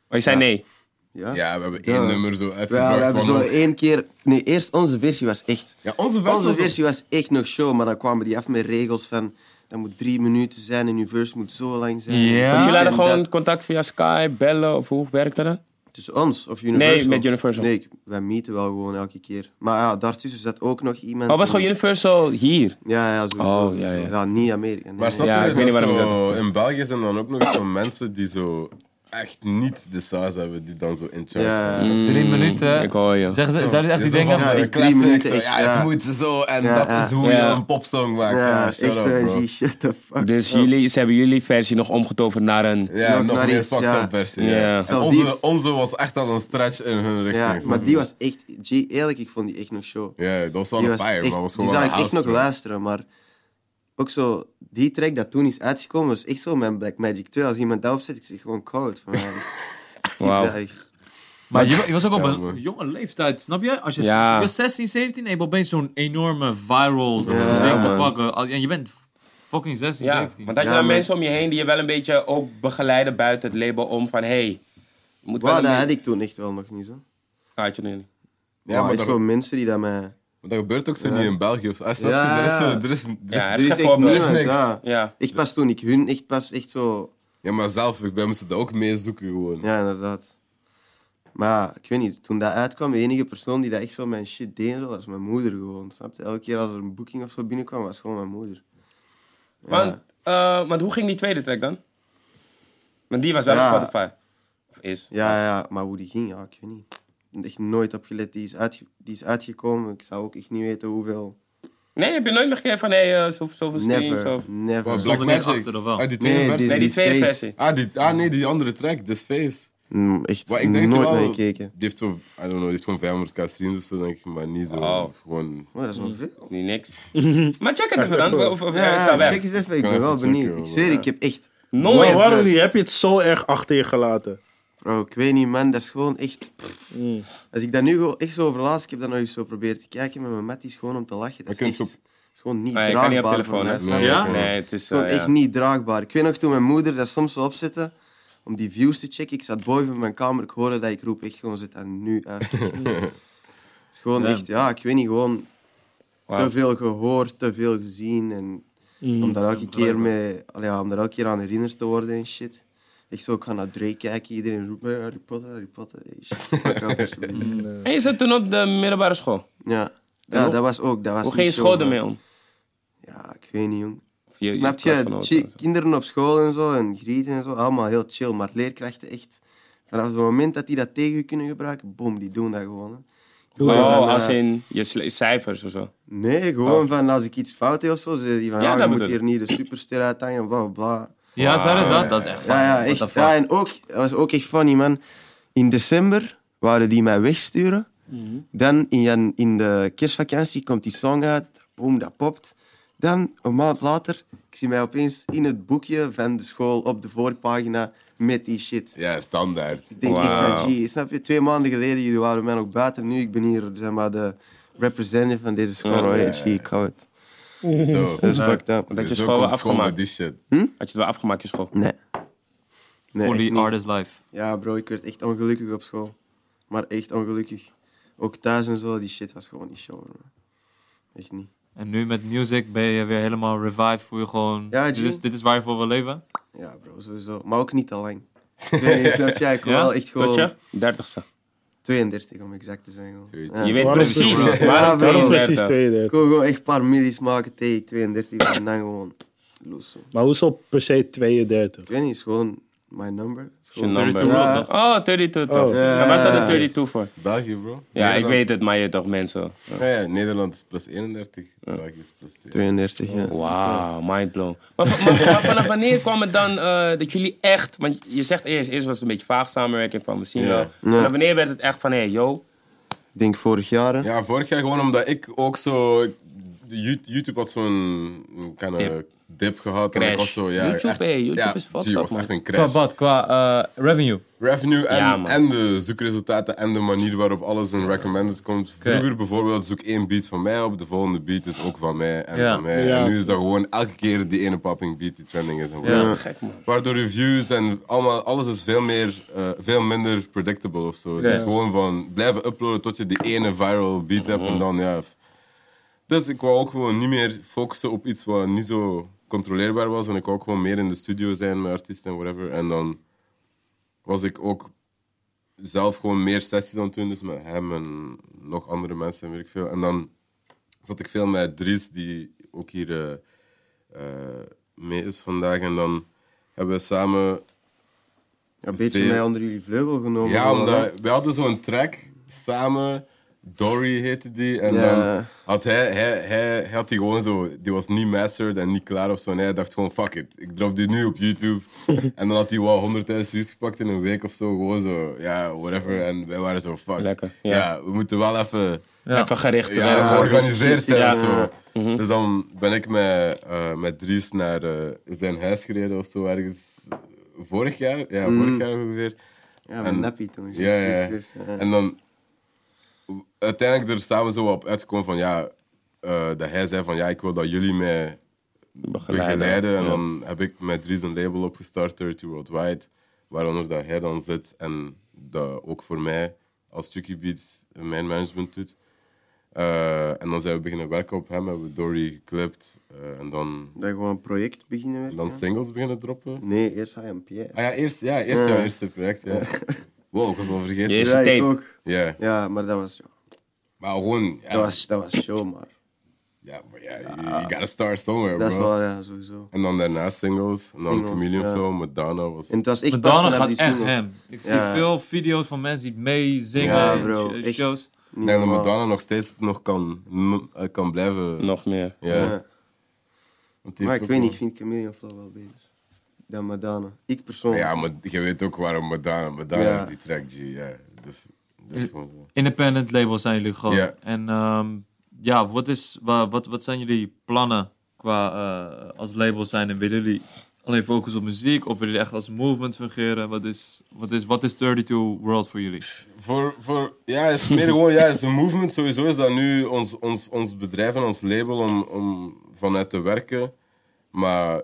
[SPEAKER 1] Maar je zei
[SPEAKER 3] Ja.
[SPEAKER 1] nee.
[SPEAKER 3] Ja,
[SPEAKER 2] Ja, we hebben
[SPEAKER 3] Ja.
[SPEAKER 2] één nummer zo
[SPEAKER 3] Ja, we
[SPEAKER 2] uitgebracht.
[SPEAKER 3] hebben
[SPEAKER 2] want
[SPEAKER 3] zo
[SPEAKER 2] nog-
[SPEAKER 3] één keer... Nee, eerst onze versie was echt...
[SPEAKER 2] Ja, onze versie
[SPEAKER 3] Onze
[SPEAKER 2] was
[SPEAKER 3] versie was echt nog show, maar dan kwamen die af met regels van... Dat moet drie minuten zijn en uw verse moet zo lang zijn.
[SPEAKER 5] Ja.
[SPEAKER 1] Want
[SPEAKER 5] Want
[SPEAKER 1] Dus jullie hadden
[SPEAKER 3] En
[SPEAKER 1] gewoon
[SPEAKER 3] dat-
[SPEAKER 1] contact via Skype, bellen of hoe werkte dat? Oh,
[SPEAKER 3] Tussen Dus ons of Universal?
[SPEAKER 1] Nee, met Universal.
[SPEAKER 3] Nee, ik- wij meeten wel gewoon elke keer. Maar ja, daartussen zat ook nog iemand...
[SPEAKER 1] Oh, was gewoon Universal hier?
[SPEAKER 3] Ja, ja, sowieso.
[SPEAKER 1] Oh, ja, ja.
[SPEAKER 3] niet Amerika. nee.
[SPEAKER 2] Maar snap
[SPEAKER 1] Ja,
[SPEAKER 2] je,
[SPEAKER 1] ik weet
[SPEAKER 2] dat
[SPEAKER 1] niet waarom
[SPEAKER 2] zo, in België zijn dan ook nog zo mensen die zo echt niet de saus hebben die dan zo in charge
[SPEAKER 3] Ja.
[SPEAKER 2] zijn.
[SPEAKER 5] Drie minuten.
[SPEAKER 1] Ik hoor je.
[SPEAKER 5] Zeggen ze, zou dit echt die
[SPEAKER 2] Zo
[SPEAKER 5] dingen?
[SPEAKER 2] van, eh,
[SPEAKER 3] Ja, ik-
[SPEAKER 2] classic,
[SPEAKER 3] drie minuten,
[SPEAKER 2] zo,
[SPEAKER 3] ik-
[SPEAKER 2] ja,
[SPEAKER 3] ja.
[SPEAKER 2] het moet zo en
[SPEAKER 3] Ja,
[SPEAKER 2] dat
[SPEAKER 3] ja.
[SPEAKER 2] is hoe
[SPEAKER 1] Ja.
[SPEAKER 2] je een popsong maakt.
[SPEAKER 3] Ja,
[SPEAKER 2] Ja,
[SPEAKER 3] ik
[SPEAKER 2] shut up, bro.
[SPEAKER 3] zei, shit the fuck.
[SPEAKER 1] Dus jullie, ze hebben jullie versie nog omgetoverd naar een...
[SPEAKER 2] Ja,
[SPEAKER 3] Nog
[SPEAKER 2] nog
[SPEAKER 3] maar
[SPEAKER 2] meer
[SPEAKER 3] iets,
[SPEAKER 2] fucked
[SPEAKER 3] ja.
[SPEAKER 2] up versie.
[SPEAKER 1] Ja.
[SPEAKER 2] Ja. En
[SPEAKER 3] Zelf
[SPEAKER 2] onze,
[SPEAKER 3] die-
[SPEAKER 2] onze was echt al een stretch in hun richting.
[SPEAKER 3] Ja, maar die was echt, G, eerlijk, ik vond die echt nog show.
[SPEAKER 2] Ja, dat was wel
[SPEAKER 3] Die
[SPEAKER 2] een fire,
[SPEAKER 3] echt-
[SPEAKER 2] maar was
[SPEAKER 3] die
[SPEAKER 2] gewoon
[SPEAKER 3] zou
[SPEAKER 2] wel
[SPEAKER 3] ik
[SPEAKER 2] een
[SPEAKER 3] echt
[SPEAKER 2] house
[SPEAKER 3] nog
[SPEAKER 2] track.
[SPEAKER 3] luisteren, maar ook zo, die track dat toen is uitgekomen, was echt zo mijn Black Magic 2. Als iemand daarop zit, ik zeg gewoon koud. Van, mij. Skip
[SPEAKER 1] Wauw.
[SPEAKER 3] dat echt.
[SPEAKER 5] Maar je, je was ook op
[SPEAKER 2] Ja,
[SPEAKER 5] een
[SPEAKER 2] man.
[SPEAKER 5] jonge leeftijd, snap je? Als je,
[SPEAKER 1] Ja.
[SPEAKER 5] je was 16, 17 en je hebt opeens zo'n enorme viral
[SPEAKER 3] Ja,
[SPEAKER 5] ding te
[SPEAKER 1] man.
[SPEAKER 5] pakken. Al- En je bent fucking 16,
[SPEAKER 1] Ja,
[SPEAKER 5] 17.
[SPEAKER 1] want dat je
[SPEAKER 3] Ja,
[SPEAKER 1] dan
[SPEAKER 3] maar-
[SPEAKER 1] mensen om je heen die je wel een beetje ook begeleiden buiten het label om van... Hey, je moet wel
[SPEAKER 3] Wauw,
[SPEAKER 1] een
[SPEAKER 3] dat
[SPEAKER 1] beetje-
[SPEAKER 3] had ik toen echt wel nog niet zo.
[SPEAKER 1] Ah, had je nog niet.
[SPEAKER 2] Ja, maar
[SPEAKER 3] echt
[SPEAKER 2] dat,
[SPEAKER 3] zo mensen die dat mij...
[SPEAKER 2] dat gebeurt ook zo niet in België. Of, zo, snap je?
[SPEAKER 3] Ja,
[SPEAKER 2] Er is
[SPEAKER 3] ja.
[SPEAKER 2] zo... Er is, er is,
[SPEAKER 1] Ja,
[SPEAKER 2] ja,
[SPEAKER 1] er is
[SPEAKER 3] Er
[SPEAKER 1] geen
[SPEAKER 3] echt
[SPEAKER 1] voorbeeld.
[SPEAKER 2] Er is
[SPEAKER 3] niemand,
[SPEAKER 2] niks.
[SPEAKER 3] ja.
[SPEAKER 1] Ja.
[SPEAKER 3] Echt pas toen ik hun, echt pas echt zo...
[SPEAKER 2] maar zelf, ik ben moesten dat ook mee zoeken gewoon.
[SPEAKER 3] Ja, inderdaad. Maar ja, ik weet niet, toen dat uitkwam, de enige persoon die dat echt zo mijn shit deed, zo, was mijn moeder gewoon. Snap je? Elke keer als er een boeking of zo binnenkwam, was gewoon mijn moeder.
[SPEAKER 1] Want, eh, want hoe ging die tweede track dan? Want die was wel
[SPEAKER 3] Ja.
[SPEAKER 1] op Spotify. Of is.
[SPEAKER 3] Ja, ja, maar hoe die ging, ja, ik weet niet. Echt nooit op gelet, die is, uitge- die is uitgekomen. Ik zou ook echt niet weten hoeveel.
[SPEAKER 1] Nee, heb je nooit meer gegeven van... Hey, eh, zoveel zoveel streams
[SPEAKER 3] Never,
[SPEAKER 1] of...
[SPEAKER 2] Was
[SPEAKER 3] never.
[SPEAKER 2] Black
[SPEAKER 5] niks
[SPEAKER 2] Magic.
[SPEAKER 5] achter, of wel?
[SPEAKER 2] Ah, die tweede
[SPEAKER 3] Nee,
[SPEAKER 2] versie.
[SPEAKER 1] Nee, die
[SPEAKER 3] Die
[SPEAKER 1] tweede
[SPEAKER 3] Space.
[SPEAKER 1] versie.
[SPEAKER 2] Ah, die, ah, nee, die andere track, This Face.
[SPEAKER 3] Mm, Echt
[SPEAKER 2] Maar
[SPEAKER 3] nooit
[SPEAKER 2] ik denk dat je
[SPEAKER 3] naar
[SPEAKER 2] wel-
[SPEAKER 3] gekeken.
[SPEAKER 2] Die heeft zo, I don't know, die heeft gewoon 500k streams of zo, denk ik, maar niet zo.
[SPEAKER 1] Oh.
[SPEAKER 2] of Gewoon,
[SPEAKER 3] Oh, dat is
[SPEAKER 1] Mm.
[SPEAKER 3] wel veel.
[SPEAKER 1] Is niet niks. maar check het even dan. Of, of ja, is
[SPEAKER 3] Ja,
[SPEAKER 1] dat weg?
[SPEAKER 3] check eens even, ik
[SPEAKER 2] Kan
[SPEAKER 3] ben wel
[SPEAKER 2] even checken,
[SPEAKER 3] benieuwd. Ik
[SPEAKER 2] hoor.
[SPEAKER 3] zweer, ik heb echt...
[SPEAKER 1] Nooit.
[SPEAKER 4] Maar waarom niet? Heb je het zo erg achter je gelaten?
[SPEAKER 3] Bro, ik weet niet, man, dat is gewoon echt...
[SPEAKER 4] Mm.
[SPEAKER 3] Als ik dat nu gewoon echt zo overlaat, ik heb dat nog eens zo proberen te kijken met mijn matties, gewoon om te lachen.
[SPEAKER 2] Maar
[SPEAKER 3] Dat is
[SPEAKER 2] kun je
[SPEAKER 3] echt...
[SPEAKER 2] het
[SPEAKER 3] Dat is gewoon niet
[SPEAKER 1] Nee, ik Ah, kan niet op
[SPEAKER 3] draagbaar
[SPEAKER 1] telefoon,
[SPEAKER 3] voor
[SPEAKER 1] hè?
[SPEAKER 3] mij. snap
[SPEAKER 2] Nee.
[SPEAKER 3] je?
[SPEAKER 5] Ja?
[SPEAKER 1] Nee, het is...
[SPEAKER 3] Het is
[SPEAKER 1] eh,
[SPEAKER 3] gewoon echt
[SPEAKER 1] ja.
[SPEAKER 3] niet draagbaar. Ik weet nog toen mijn moeder dat soms zo opzette om die views te checken. Ik zat boven in mijn kamer, ik hoorde dat ik roep echt gewoon zit aan nu uit. Het is gewoon echt, ja, ik weet niet, gewoon
[SPEAKER 1] Wauw. Mm.
[SPEAKER 3] te veel gehoord, te veel gezien en om daar elke keer mee, allee, ja, om daar elke keer aan herinnerd te worden en shit. Ik zo, ik ga naar Drake kijken, iedereen roept mij Harry Potter, Harry Potter. Hey, shit, fuck up, alsjeblieft.
[SPEAKER 1] En je zat toen op de middelbare school. Mm.
[SPEAKER 3] ja.
[SPEAKER 1] En
[SPEAKER 3] ja,
[SPEAKER 1] hoe-
[SPEAKER 3] dat was ook, dat was
[SPEAKER 1] Hoe ging je
[SPEAKER 3] niet zo,
[SPEAKER 1] school
[SPEAKER 3] maar-
[SPEAKER 1] ermee om?
[SPEAKER 3] Ja, ik weet niet, jong.
[SPEAKER 1] Of je- je
[SPEAKER 3] Snap je?
[SPEAKER 1] klasgenoten
[SPEAKER 3] Chi-
[SPEAKER 1] of zo?
[SPEAKER 3] kinderen op school en zo, en grieten en zo, allemaal heel chill. Maar leerkrachten echt, vanaf het moment dat die dat tegen je kunnen gebruiken, boom, die doen dat gewoon. hè.
[SPEAKER 4] Hoe dan?
[SPEAKER 1] Oh,
[SPEAKER 3] eh,
[SPEAKER 1] als in je sle- cijfers of zo.
[SPEAKER 3] Nee, gewoon van als ik iets fout heb of zo, zeggen die van,
[SPEAKER 1] Oh. Ja,
[SPEAKER 3] ja,
[SPEAKER 1] dat
[SPEAKER 3] je moet
[SPEAKER 1] bedoel ik.
[SPEAKER 3] hier niet de superster uithangen, bla bla.
[SPEAKER 5] Ja, zo is dat. Dat is echt
[SPEAKER 3] Ja, ja,
[SPEAKER 5] fucking-
[SPEAKER 3] echt.
[SPEAKER 5] what the fuck.
[SPEAKER 3] Ja, en ook, dat was ook echt funny, man. In december wouden die mij wegsturen. Dan in, jan- in de kerstvakantie komt die song uit. Boom, dat popt. Dan, een maand later, ik zie mij opeens in het boekje van de school op de voorpagina met die shit.
[SPEAKER 2] ja, standaard.
[SPEAKER 3] Ik denk echt
[SPEAKER 1] Wauw.
[SPEAKER 3] van, gee, snap je? Twee maanden geleden, jullie waren mij nog buiten. Nu, ik ben hier, zeg maar, de representative van deze school. Oh, hey, gee, ik hou het.
[SPEAKER 2] Zo.
[SPEAKER 3] Dat is fucked up.
[SPEAKER 1] Dat je
[SPEAKER 2] Zo
[SPEAKER 1] school wel
[SPEAKER 2] komt school met
[SPEAKER 1] afgemaakt. Hm?
[SPEAKER 2] die shit.
[SPEAKER 1] Had je het wel afgemaakt, je school.
[SPEAKER 3] Nee. Nee, echt
[SPEAKER 5] Only
[SPEAKER 3] niet.
[SPEAKER 5] artist life.
[SPEAKER 3] Ja, bro, ik werd echt ongelukkig op school. Maar echt ongelukkig. Ook thuis en zo, die shit was gewoon niet show, man. Echt niet.
[SPEAKER 5] En nu met music ben je weer helemaal revived. Voel je gewoon...
[SPEAKER 3] Ja,
[SPEAKER 5] dit,
[SPEAKER 3] G.
[SPEAKER 5] is, dit is waar je voor wil leven.
[SPEAKER 3] Ja, bro, sowieso. Maar ook niet te lang. Ik weet niet, snap jij? Ik wil
[SPEAKER 5] Ja?
[SPEAKER 3] wel echt
[SPEAKER 1] Tot
[SPEAKER 3] gewoon...
[SPEAKER 1] je? Dertigste.
[SPEAKER 3] 32, om exact te zijn. Gewoon. Ja.
[SPEAKER 1] Je weet
[SPEAKER 4] Waarom
[SPEAKER 1] precies.
[SPEAKER 4] precies?
[SPEAKER 1] Waarom
[SPEAKER 3] Ja,
[SPEAKER 4] Waarom
[SPEAKER 1] 32?
[SPEAKER 4] precies
[SPEAKER 3] Ik
[SPEAKER 4] 32?
[SPEAKER 3] wil gewoon echt een paar millies maken tegen ik 32 ben en dan gewoon loeso.
[SPEAKER 4] Maar hoezo per se 32?
[SPEAKER 3] Ik weet niet, is gewoon my number. Is
[SPEAKER 1] Je
[SPEAKER 3] gewoon-
[SPEAKER 1] number.
[SPEAKER 3] Ah.
[SPEAKER 5] Ja.
[SPEAKER 1] Ja. Oh, 32 toch.
[SPEAKER 4] Oh.
[SPEAKER 1] En waar staat de 32 voor?
[SPEAKER 2] België, bro.
[SPEAKER 1] Ja, ik
[SPEAKER 2] Nederland-
[SPEAKER 1] weet het, maar je toch mensen.
[SPEAKER 2] Ja, ja, Nederland is plus 31, België is plus 2.
[SPEAKER 3] 32,
[SPEAKER 1] Oh.
[SPEAKER 3] ja.
[SPEAKER 1] Wauw, mindblown. Maar, v- maar, maar vanaf wanneer kwam het dan eh, dat jullie echt... Want je zegt eerst, eerst was het een beetje vaag samenwerking van we zien
[SPEAKER 2] Ja.
[SPEAKER 1] wel. Maar wanneer werd het echt van, hé, hey, yo.
[SPEAKER 3] Ik denk vorig jaar. hè.
[SPEAKER 2] Ja, vorig jaar gewoon omdat ik ook zo. Ju- YouTube had zo'n kind
[SPEAKER 1] Dip.
[SPEAKER 2] dip. dip gehad. En ik
[SPEAKER 1] Crash.
[SPEAKER 2] was zo, ja,
[SPEAKER 1] YouTube,
[SPEAKER 2] echt,
[SPEAKER 1] hey, YouTube
[SPEAKER 2] ja,
[SPEAKER 1] is fucked
[SPEAKER 2] G, was
[SPEAKER 1] up, man.
[SPEAKER 2] echt een
[SPEAKER 5] Qua
[SPEAKER 2] crash.
[SPEAKER 5] wat? Qua eh, revenue.
[SPEAKER 2] Revenue en,
[SPEAKER 1] Ja, man.
[SPEAKER 2] en de zoekresultaten en de manier waarop alles in recommended komt. Vroeger bijvoorbeeld zoek één beat van mij op, de volgende beat is ook van mij en
[SPEAKER 5] Ja.
[SPEAKER 2] van mij.
[SPEAKER 4] Ja.
[SPEAKER 2] En nu is dat gewoon elke keer die ene popping beat die trending is. En
[SPEAKER 5] Ja.
[SPEAKER 2] zo.
[SPEAKER 1] Gek, man.
[SPEAKER 2] Waardoor reviews en allemaal, alles is veel, meer, eh, veel minder predictable of zo. Het is gewoon van blijven uploaden tot je die ene viral beat hebt en dan ja. Dus ik wou ook gewoon niet meer focussen op iets wat niet zo controleerbaar was. En ik wou ook gewoon meer in de studio zijn met artiesten en whatever. En dan was ik ook zelf gewoon meer sessies aan het doen. Dus met hem en nog andere mensen en weet ik veel. En dan zat ik veel met Dries, die ook hier eh, eh, mee is vandaag. En dan hebben we samen
[SPEAKER 3] Ja, een beetje
[SPEAKER 2] Veel.
[SPEAKER 3] mij onder jullie vleugel genomen.
[SPEAKER 2] Ja,
[SPEAKER 3] wel, hè?
[SPEAKER 2] omdat we hadden zo'n track samen. Dory heette die. En
[SPEAKER 3] Ja.
[SPEAKER 2] dan had hij, hij, hij, hij had die gewoon zo. Die was niet mastered en niet klaar of zo. En hij dacht gewoon: fuck it, ik drop die nu op YouTube. en dan had hij wel 100.000 views gepakt in een week of zo. Gewoon zo, ja, whatever. En wij waren zo: fuck.
[SPEAKER 1] Lekker, ja.
[SPEAKER 2] Ja, we moeten wel even
[SPEAKER 5] Ja.
[SPEAKER 1] Even gericht.
[SPEAKER 2] ja,
[SPEAKER 1] eh,
[SPEAKER 2] georganiseerd zijn
[SPEAKER 1] Ja.
[SPEAKER 2] of zo. Dus dan ben ik met, eh, met Dries naar eh, zijn huis gereden of zo. Ergens vorig jaar. Ja, vorig jaar ongeveer.
[SPEAKER 3] Ja, met
[SPEAKER 2] En-
[SPEAKER 3] Nappie toen.
[SPEAKER 2] Ja, ja.
[SPEAKER 3] Juist, juist, juist, ja.
[SPEAKER 2] En dan uiteindelijk er samen zo op uitgekomen van ja, eh, dat hij zei van ja, ik wil dat jullie mij
[SPEAKER 1] Begeleiden.
[SPEAKER 2] begeleiden. En
[SPEAKER 1] Ja.
[SPEAKER 2] dan heb ik met Dries een label opgestart, 30 Worldwide, waaronder dat hij dan zit en dat ook voor mij als Chucky Beats mijn management doet. Eh, en dan zijn we beginnen werken op hem, hebben we Dory geklipt eh, en dan,
[SPEAKER 3] Dat gewoon een project beginnen
[SPEAKER 2] en
[SPEAKER 3] werken.
[SPEAKER 2] dan
[SPEAKER 3] ja.
[SPEAKER 2] singles beginnen droppen.
[SPEAKER 3] Nee, eerst hij en Pierre.
[SPEAKER 2] Ah ja, eerst, ja, eerst jouw eerste project. Ja. Wow, ik was al vergeten.
[SPEAKER 1] Jezus. Eerste
[SPEAKER 3] ja, ik
[SPEAKER 1] tape.
[SPEAKER 3] ook.
[SPEAKER 2] Ja,
[SPEAKER 3] Ja, maar dat was,
[SPEAKER 2] maar gewoon... ja,
[SPEAKER 3] dat was, dat was show, maar.
[SPEAKER 2] Ja, maar ja, you- you gotta start somewhere,
[SPEAKER 3] Dat is
[SPEAKER 2] bro.
[SPEAKER 3] wel, ja, sowieso.
[SPEAKER 2] En dan daarna singles. En dan
[SPEAKER 3] Singles,
[SPEAKER 2] Chameleon
[SPEAKER 3] ja.
[SPEAKER 2] Flow, Madonna was...
[SPEAKER 3] En het was echt
[SPEAKER 5] Madonna
[SPEAKER 3] pas vanaf
[SPEAKER 5] gaat
[SPEAKER 3] die
[SPEAKER 5] echt
[SPEAKER 3] singles.
[SPEAKER 5] hem. Ik
[SPEAKER 3] Ja.
[SPEAKER 5] zie veel video's van mensen die meezingen
[SPEAKER 3] Ja,
[SPEAKER 5] in
[SPEAKER 3] bro,
[SPEAKER 5] sh-
[SPEAKER 3] echt.
[SPEAKER 5] shows.
[SPEAKER 2] Ik
[SPEAKER 3] Niet
[SPEAKER 2] denk dat
[SPEAKER 3] normaal.
[SPEAKER 2] Madonna nog steeds nog kan, no- eh, kan blijven.
[SPEAKER 1] Nog meer.
[SPEAKER 2] Ja.
[SPEAKER 3] Ja.
[SPEAKER 2] want die
[SPEAKER 3] Maar
[SPEAKER 2] eh, heeft
[SPEAKER 3] ik
[SPEAKER 2] ook
[SPEAKER 3] weet niet,
[SPEAKER 2] wel-
[SPEAKER 3] ik vind Chameleon Flow wel beter. Dan Madonna. Ik persoonlijk.
[SPEAKER 2] Ja, maar je weet ook waarom Madonna... Madonna
[SPEAKER 3] Ja.
[SPEAKER 2] is die track, G. Ja, dus... dus gewoon zo.
[SPEAKER 5] Independent labels zijn jullie gewoon.
[SPEAKER 2] Ja.
[SPEAKER 5] En ehm, ja, wat, is, wa- wat, wat zijn jullie plannen qua eh, als labels zijn? En willen jullie alleen focussen op muziek of willen jullie echt als movement fungeren? Wat is, wat is, wat is 32 World voor jullie?
[SPEAKER 2] Voor, voor, ja, het is meer gewoon, ja, het is een movement. Sowieso is dat nu ons, ons, ons bedrijf en ons label om, om vanuit te werken. Maar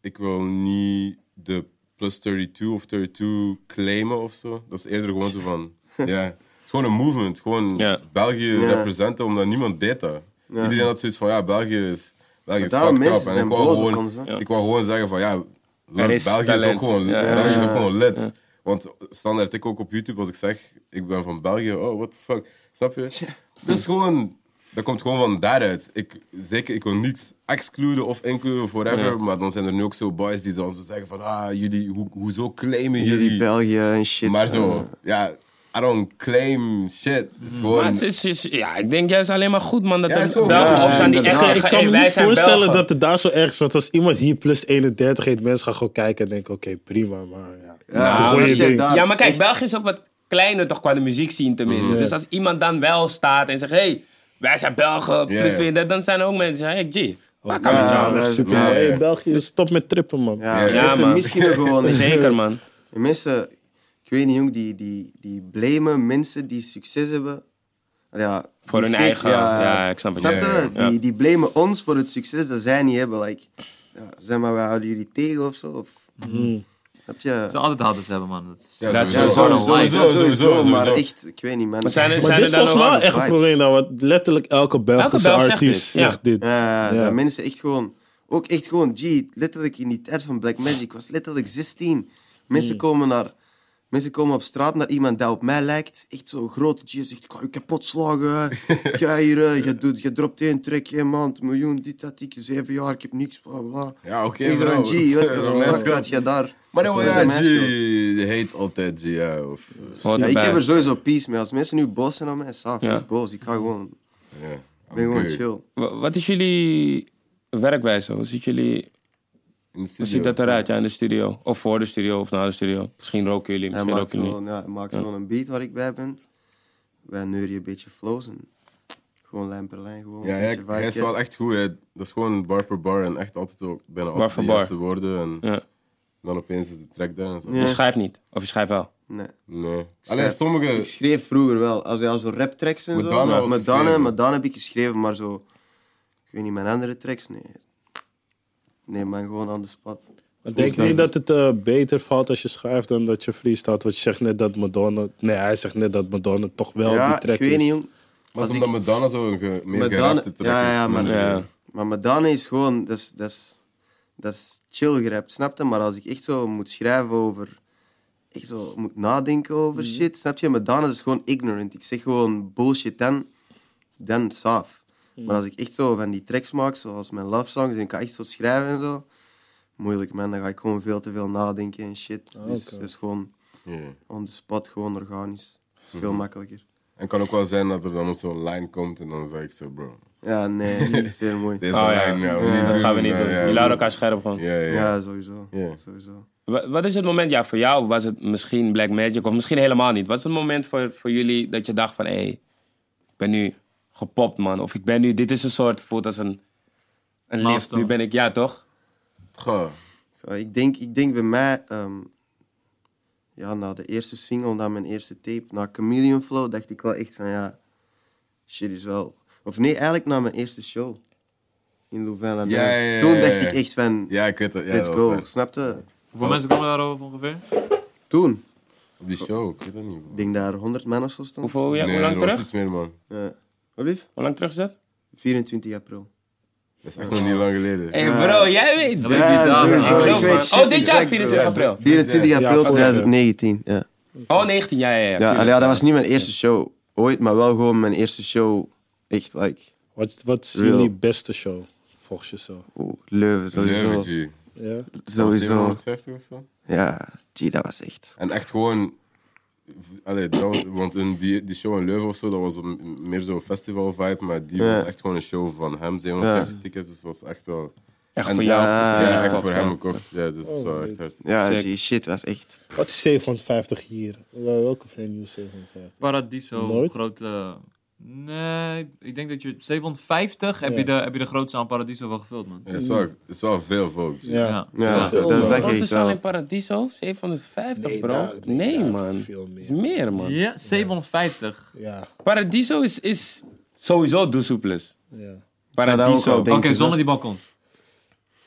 [SPEAKER 2] ik wil niet de plus 32 of 32 claimen of zo. Dat is eerder gewoon zo van, ja. Het is gewoon een movement. Gewoon
[SPEAKER 1] Ja.
[SPEAKER 2] België
[SPEAKER 3] Ja.
[SPEAKER 2] representen, omdat niemand deed dat. Iedereen had zoiets van, ja, België is, België is
[SPEAKER 3] daarom
[SPEAKER 2] fucked up.
[SPEAKER 3] mensen
[SPEAKER 2] En
[SPEAKER 3] zijn
[SPEAKER 2] ik wou,
[SPEAKER 3] boos op
[SPEAKER 2] gewoon,
[SPEAKER 3] ons, hè. Ja.
[SPEAKER 2] ik wou gewoon zeggen van, ja,
[SPEAKER 1] Er is
[SPEAKER 2] België is
[SPEAKER 1] talent.
[SPEAKER 2] ook gewoon,
[SPEAKER 1] Ja.
[SPEAKER 2] België is ook
[SPEAKER 3] Ja.
[SPEAKER 2] gewoon lid. Want standaard ik ook op YouTube als ik zeg, ik ben van België, oh, what the fuck. Snap je? Dat is gewoon, dat komt gewoon van daaruit. Ik, zeker, ik wil niets excluden of includen forever, maar dan zijn er nu ook zo boys die dan zo zeggen van, ah, jullie, hoe hoezo claimen jullie?
[SPEAKER 3] Jullie België en shit.
[SPEAKER 2] maar
[SPEAKER 3] eh,
[SPEAKER 2] zo, ja, I don't claim shit. Het is
[SPEAKER 1] Maar
[SPEAKER 2] gewoon...
[SPEAKER 1] het is, is- ja, ik denk juist alleen maar goed, man. Dat
[SPEAKER 2] Ja,
[SPEAKER 1] er
[SPEAKER 2] is ook-
[SPEAKER 1] Belgen
[SPEAKER 2] ja,
[SPEAKER 1] opstaan die
[SPEAKER 2] inderdaad.
[SPEAKER 1] echt
[SPEAKER 2] Ja,
[SPEAKER 1] zeggen,
[SPEAKER 4] ik kan
[SPEAKER 1] hey,
[SPEAKER 4] me
[SPEAKER 1] wij
[SPEAKER 4] niet
[SPEAKER 1] zijn
[SPEAKER 4] voorstellen
[SPEAKER 1] Belgen.
[SPEAKER 4] dat het daar zo erg is. Want als iemand hier plus 31 heet, mensen gaan gewoon kijken en denken, oké, prima, maar ja.
[SPEAKER 3] Ja,
[SPEAKER 4] Goeie
[SPEAKER 3] omdat jij
[SPEAKER 4] ding.
[SPEAKER 3] daar
[SPEAKER 1] Ja, maar kijk,
[SPEAKER 3] echt-
[SPEAKER 1] België is ook wat kleiner toch qua de muziek zien tenminste. Dus als iemand dan wel staat en zegt, hey, wij zijn Belgen, plus
[SPEAKER 2] Ja, ja.
[SPEAKER 1] 32, dan zijn er ook mensen die zeggen, hey, G, waar kan
[SPEAKER 4] Ja,
[SPEAKER 1] met jou?
[SPEAKER 4] maar
[SPEAKER 3] ja,
[SPEAKER 4] super.
[SPEAKER 2] ja,
[SPEAKER 4] man.
[SPEAKER 2] ja.
[SPEAKER 4] Hey, België, stop met trippen, man.
[SPEAKER 3] Ja,
[SPEAKER 2] Ja,
[SPEAKER 3] mensen
[SPEAKER 1] man.
[SPEAKER 3] misschien gewoon.
[SPEAKER 1] Zeker, man.
[SPEAKER 3] En Mensen, ik weet niet jong, die, die, die blamen mensen die succes hebben. Ja,
[SPEAKER 1] Voor
[SPEAKER 3] die
[SPEAKER 1] hun
[SPEAKER 3] steeds-
[SPEAKER 1] eigen- ja, ik snap het.
[SPEAKER 2] Ja, ja,
[SPEAKER 3] je?
[SPEAKER 1] ja.
[SPEAKER 3] Die, die blamen ons voor het succes dat zij niet hebben. Like, ja, zeg maar, wij houden jullie tegen of zo. Of,
[SPEAKER 4] Hmm.
[SPEAKER 3] Snap je?
[SPEAKER 5] Ze altijd hadden ze hebben, man. Dat is-
[SPEAKER 2] Ja,
[SPEAKER 1] Dat
[SPEAKER 2] sowieso,
[SPEAKER 5] sowieso,
[SPEAKER 2] sowieso,
[SPEAKER 5] sowieso,
[SPEAKER 2] sowieso, sowieso.
[SPEAKER 3] Maar echt, ik weet niet, man.
[SPEAKER 1] Maar zijn er-
[SPEAKER 4] Maar
[SPEAKER 1] zijn
[SPEAKER 4] dit
[SPEAKER 1] er
[SPEAKER 4] is
[SPEAKER 1] dan
[SPEAKER 4] volgens mij
[SPEAKER 3] ook-
[SPEAKER 4] wel echt een probleem, nou, want letterlijk elke Belgische
[SPEAKER 1] Belg zegt
[SPEAKER 4] artiest
[SPEAKER 1] dit, ja.
[SPEAKER 4] zegt dit.
[SPEAKER 3] Ja,
[SPEAKER 4] Ja.
[SPEAKER 3] Eh, dat mensen echt gewoon... Ook echt gewoon, G, letterlijk in die tijd van Black Magic, ik was letterlijk 16.
[SPEAKER 2] Mm.
[SPEAKER 3] Mensen komen naar... Mensen komen op straat naar iemand dat op mij lijkt. Echt zo'n grote G zegt, ik ga je kapot slagen. Ga hier, eh, je, doet, je dropt één trek, één maand, miljoen, dit, dat, ik, zeven jaar, ik heb niks, bla, bla.
[SPEAKER 2] Ja, oké,
[SPEAKER 3] Ik
[SPEAKER 2] bro.
[SPEAKER 3] een G, wat
[SPEAKER 2] Let's
[SPEAKER 3] de fuck
[SPEAKER 2] go.
[SPEAKER 3] had je daar?
[SPEAKER 2] Maar dan,
[SPEAKER 3] Dat
[SPEAKER 2] ja,
[SPEAKER 3] is een
[SPEAKER 2] G,
[SPEAKER 3] meisje, hoor.
[SPEAKER 2] je heet altijd G, ja, of...
[SPEAKER 1] Hoort
[SPEAKER 3] Ja, ik
[SPEAKER 1] erbij.
[SPEAKER 3] heb er sowieso peace mee. Als mensen nu boos zijn op mij, saaf,
[SPEAKER 1] Ja.
[SPEAKER 3] ik boos. Ik ga gewoon,
[SPEAKER 2] Ja,
[SPEAKER 3] ik ben gewoon
[SPEAKER 2] oké.
[SPEAKER 3] chill.
[SPEAKER 1] Wa- Wat is jullie werkwijze? Hoe ziet jullie...
[SPEAKER 2] In de
[SPEAKER 1] Hoe
[SPEAKER 2] studio.
[SPEAKER 1] ziet dat eruit, ja, in de studio? Of voor de studio, of na de studio? Misschien roken jullie,
[SPEAKER 3] Hij
[SPEAKER 1] misschien
[SPEAKER 3] maakt,
[SPEAKER 1] roken jullie niet.
[SPEAKER 3] gewoon, ja, hij maakt gewoon een beat waar ik bij ben. Wij neuren een beetje flows en gewoon lijn per lijn. Gewoon
[SPEAKER 2] Ja,
[SPEAKER 3] een
[SPEAKER 2] hij,
[SPEAKER 3] beetje
[SPEAKER 2] hij is
[SPEAKER 3] vibe.
[SPEAKER 2] wel echt goed. Hè. Dat is gewoon bar per bar en echt altijd ook bijna altijd
[SPEAKER 1] voor
[SPEAKER 2] de
[SPEAKER 1] bar.
[SPEAKER 2] juiste woorden. En
[SPEAKER 1] Ja.
[SPEAKER 2] dan opeens is de track daar en zo.
[SPEAKER 3] Ja.
[SPEAKER 1] Je schrijft niet, of je schrijft wel.
[SPEAKER 3] Nee.
[SPEAKER 2] Nee. Alleen
[SPEAKER 3] Ik
[SPEAKER 2] sommige...
[SPEAKER 3] schreef vroeger wel, als hij al zo rap tracks en
[SPEAKER 2] Madonna
[SPEAKER 3] zo.
[SPEAKER 2] Dus- was
[SPEAKER 3] Madonna,
[SPEAKER 2] geschreven.
[SPEAKER 3] Madonna heb ik geschreven, maar zo. Ik weet niet, mijn andere tracks, nee. Nee, man, gewoon aan de spot.
[SPEAKER 4] Ik denk je niet dat het eh, beter valt als je schrijft dan dat je freestyle. Want je zegt net dat Madonna... Nee, hij zegt net dat Madonna toch wel die
[SPEAKER 3] ja,
[SPEAKER 4] track
[SPEAKER 3] ik weet
[SPEAKER 4] is.
[SPEAKER 3] niet, jong.
[SPEAKER 2] Maar
[SPEAKER 3] Als
[SPEAKER 2] is omdat
[SPEAKER 3] ik-
[SPEAKER 2] Madonna zo een ge, meer
[SPEAKER 3] Madonna-
[SPEAKER 2] gerapte track
[SPEAKER 3] ja,
[SPEAKER 2] is.
[SPEAKER 3] ja, maar-
[SPEAKER 2] minder.
[SPEAKER 1] Ja.
[SPEAKER 3] Maar Madonna is gewoon, dat is, dat is, dat is chill gerapt, snap je? Maar als ik echt zo moet schrijven over, echt zo moet nadenken over shit, snap je? Madonna is gewoon ignorant. Ik zeg gewoon bullshit dan, dan saaf. Maar als ik echt zo van die tracks maak, zoals mijn love songs, en ik kan echt zo schrijven en zo, moeilijk man, dan ga ik gewoon veel te veel nadenken en shit. Dus
[SPEAKER 4] oké.
[SPEAKER 3] dat is gewoon
[SPEAKER 2] Ja.
[SPEAKER 3] On the spot, gewoon organisch. Dat is veel makkelijker.
[SPEAKER 2] En kan ook wel zijn dat er dan zo'n lijn komt en dan zeg ik zo, bro.
[SPEAKER 3] Ja, nee, dat is heel mooi.
[SPEAKER 2] Deze
[SPEAKER 1] Oh, ja.
[SPEAKER 2] lijn, ja,
[SPEAKER 3] Ja,
[SPEAKER 1] Dat gaan we niet
[SPEAKER 2] ja,
[SPEAKER 1] doen.
[SPEAKER 2] ja,
[SPEAKER 1] Je laat elkaar scherp gewoon.
[SPEAKER 2] Ja, ja.
[SPEAKER 3] Ja, sowieso.
[SPEAKER 2] Ja.
[SPEAKER 3] sowieso.
[SPEAKER 1] Wa- Wat is het moment, ja, voor jou was het misschien Black Magic of misschien helemaal niet. Wat is het moment voor, voor jullie dat je dacht van, hé, hey, ik ben nu gepopt, man. Of ik ben nu, dit is een soort, voelt als een, een lift.
[SPEAKER 5] Milestone.
[SPEAKER 1] Nu ben ik, ja, toch?
[SPEAKER 2] Goh.
[SPEAKER 3] Ja, Eh, ik, denk, ik denk bij mij, ehm, ja, na de eerste single, na mijn eerste tape, na Chameleon Flow, dacht ik wel echt van ja, shit is wel. Of nee, eigenlijk na mijn eerste show in Louvain.
[SPEAKER 2] Ja, ja, ja,
[SPEAKER 3] Toen
[SPEAKER 2] ja,
[SPEAKER 3] dacht
[SPEAKER 2] ja.
[SPEAKER 3] ik echt van,
[SPEAKER 2] Ja, ik weet het. Ja,
[SPEAKER 3] let's
[SPEAKER 2] dat
[SPEAKER 3] go,
[SPEAKER 2] was waar.
[SPEAKER 3] snap je?
[SPEAKER 5] Hoeveel mensen komen daarover ongeveer?
[SPEAKER 3] Toen,
[SPEAKER 2] Op die show, ik weet dat niet. bro.
[SPEAKER 3] ik denk daar 100 man of zo stond.
[SPEAKER 1] Hoeveel, ja,
[SPEAKER 2] nee,
[SPEAKER 1] hoe lang
[SPEAKER 2] er was
[SPEAKER 1] terug?
[SPEAKER 2] iets meer, man.
[SPEAKER 3] Ja. Wat lief?
[SPEAKER 1] Hoe lang terug is dat?
[SPEAKER 3] 24 april.
[SPEAKER 2] Dat is echt nog niet lang geleden.
[SPEAKER 1] Hé, bro, jij weet.
[SPEAKER 5] weet niet, daar,
[SPEAKER 3] sowieso,
[SPEAKER 5] man.
[SPEAKER 3] ik
[SPEAKER 5] Oh,
[SPEAKER 3] weet shit
[SPEAKER 1] oh, dit jaar,
[SPEAKER 3] exact,
[SPEAKER 1] 24
[SPEAKER 3] bro.
[SPEAKER 1] april.
[SPEAKER 3] 24
[SPEAKER 4] Ja,
[SPEAKER 3] april
[SPEAKER 4] fuck,
[SPEAKER 3] 2019, ja.
[SPEAKER 1] Oh, 19, ja, ja, ja.
[SPEAKER 3] Ja,
[SPEAKER 1] tuurlijk.
[SPEAKER 3] allee, ja, dat was niet mijn eerste show ooit, maar wel gewoon mijn eerste show. Echt, like,
[SPEAKER 4] Wat, wat is
[SPEAKER 3] Real.
[SPEAKER 4] jullie beste show, volgens je zo?
[SPEAKER 3] oeh, oh, Leuven, sowieso.
[SPEAKER 2] Leuven, G.
[SPEAKER 4] Ja?
[SPEAKER 3] Sowieso.
[SPEAKER 2] 750 of zo.
[SPEAKER 3] Ja, gee, dat was echt.
[SPEAKER 2] En echt gewoon... v- Allee, dat was- want in die, die show in Leuven of zo, dat was een- meer zo'n festival-vibe, maar die
[SPEAKER 3] Ja.
[SPEAKER 2] was echt gewoon een show van hem. 750 tickets, dus was echt wel...
[SPEAKER 1] Echt
[SPEAKER 2] en-
[SPEAKER 1] voor jou.
[SPEAKER 2] Ja,
[SPEAKER 3] Ja,
[SPEAKER 1] jou
[SPEAKER 2] echt
[SPEAKER 1] gekocht,
[SPEAKER 2] voor
[SPEAKER 1] ja.
[SPEAKER 2] hem gekocht. Ja, dus dat is wel echt hard.
[SPEAKER 3] Ja,
[SPEAKER 1] Sick.
[SPEAKER 3] gee, shit was echt.
[SPEAKER 4] Wat is 750 hier? Wel- Welke venue is 750?
[SPEAKER 5] Paradiso,
[SPEAKER 4] Nooit?
[SPEAKER 5] grote... Nee, ik denk dat je 750 heb,
[SPEAKER 4] Ja.
[SPEAKER 5] je de, heb je de grootste aan Paradiso wel gevuld, man.
[SPEAKER 2] Ja, het, is wel, het is wel veel volk. G.
[SPEAKER 4] Ja.
[SPEAKER 3] Ja,
[SPEAKER 4] veel,
[SPEAKER 3] dat
[SPEAKER 4] man.
[SPEAKER 3] was
[SPEAKER 4] zeg
[SPEAKER 1] Oh, Wat
[SPEAKER 3] echt
[SPEAKER 1] is al in
[SPEAKER 3] wel.
[SPEAKER 1] Paradiso? 750,
[SPEAKER 4] Nee,
[SPEAKER 1] bro.
[SPEAKER 4] daar- nee,
[SPEAKER 1] nee,
[SPEAKER 4] daar
[SPEAKER 1] man.
[SPEAKER 4] veel meer.
[SPEAKER 1] is meer, man.
[SPEAKER 5] Ja, 750.
[SPEAKER 4] Ja,
[SPEAKER 1] Paradiso is, is sowieso Doesoeplus.
[SPEAKER 4] ja.
[SPEAKER 3] ook wel
[SPEAKER 1] Paradiso.
[SPEAKER 3] denken.
[SPEAKER 5] Oké,
[SPEAKER 3] je
[SPEAKER 5] zonder die balkon.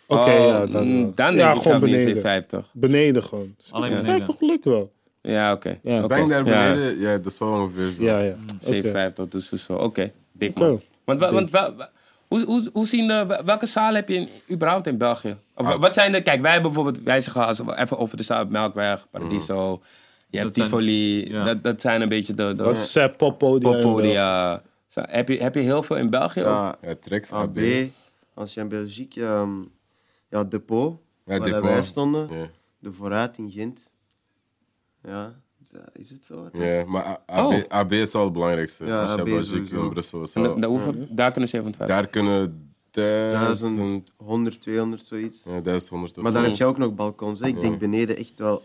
[SPEAKER 4] Oké,
[SPEAKER 1] Oh,
[SPEAKER 4] ja. Dan,
[SPEAKER 1] mm,
[SPEAKER 4] wel.
[SPEAKER 1] dan denk
[SPEAKER 4] ja,
[SPEAKER 1] ik
[SPEAKER 4] gewoon
[SPEAKER 1] zelf niet
[SPEAKER 4] beneden.
[SPEAKER 1] C50.
[SPEAKER 4] Beneden gewoon.
[SPEAKER 1] Oh,
[SPEAKER 5] Alleen
[SPEAKER 4] Ja.
[SPEAKER 5] beneden.
[SPEAKER 4] 50 lukt wel.
[SPEAKER 1] Ja, oké.
[SPEAKER 4] Ja.
[SPEAKER 1] Oké.
[SPEAKER 2] Bang daar
[SPEAKER 1] Ja,
[SPEAKER 2] beneden, ja. dat is wel ongeveer zo.
[SPEAKER 4] Ja, ja. Oké.
[SPEAKER 1] C50, dus zo, zo. Oké, dik
[SPEAKER 4] Oké.
[SPEAKER 1] man. Want, wa- want wa- wa- hoe, hoe, hoe zien de, wa- welke zalen heb je in, überhaupt in België? Of, wa- Wat zijn de, kijk, wij bijvoorbeeld, wij zeggen als we even over de zaal, Melkweg, Paradiso, je hebt
[SPEAKER 5] Dat zijn-
[SPEAKER 1] Tivoli,
[SPEAKER 5] ja.
[SPEAKER 1] dat, dat zijn een beetje de, de
[SPEAKER 4] Dat is eh, poppodia. en wel.
[SPEAKER 1] poppodia. Zo, Heb je, heb je heel veel in België? of-
[SPEAKER 3] Ja,
[SPEAKER 2] Ja, Trex, AB.
[SPEAKER 3] AB. Als je in België, ehm, ja, Depot,
[SPEAKER 2] Ja,
[SPEAKER 3] waar
[SPEAKER 2] Depot.
[SPEAKER 3] wij stonden.
[SPEAKER 2] Ja.
[SPEAKER 3] De Vooruit in Gent. Ja, dat- is het zo?
[SPEAKER 2] Ja, maar A- AB,
[SPEAKER 1] Oh.
[SPEAKER 2] AB is wel het belangrijkste.
[SPEAKER 3] Ja,
[SPEAKER 2] Als je
[SPEAKER 3] AB
[SPEAKER 2] België
[SPEAKER 3] sowieso.
[SPEAKER 2] in Brussel is
[SPEAKER 1] en
[SPEAKER 2] wel...
[SPEAKER 1] da- hoeveel- Daar kunnen 750.
[SPEAKER 2] Daar kunnen duizend...
[SPEAKER 3] 1000, 100, 200, zoiets.
[SPEAKER 2] Ja, duizend honderd of
[SPEAKER 3] Maar daar
[SPEAKER 2] zo.
[SPEAKER 3] heb je ook nog balkons. Hè? Ik denk beneden echt wel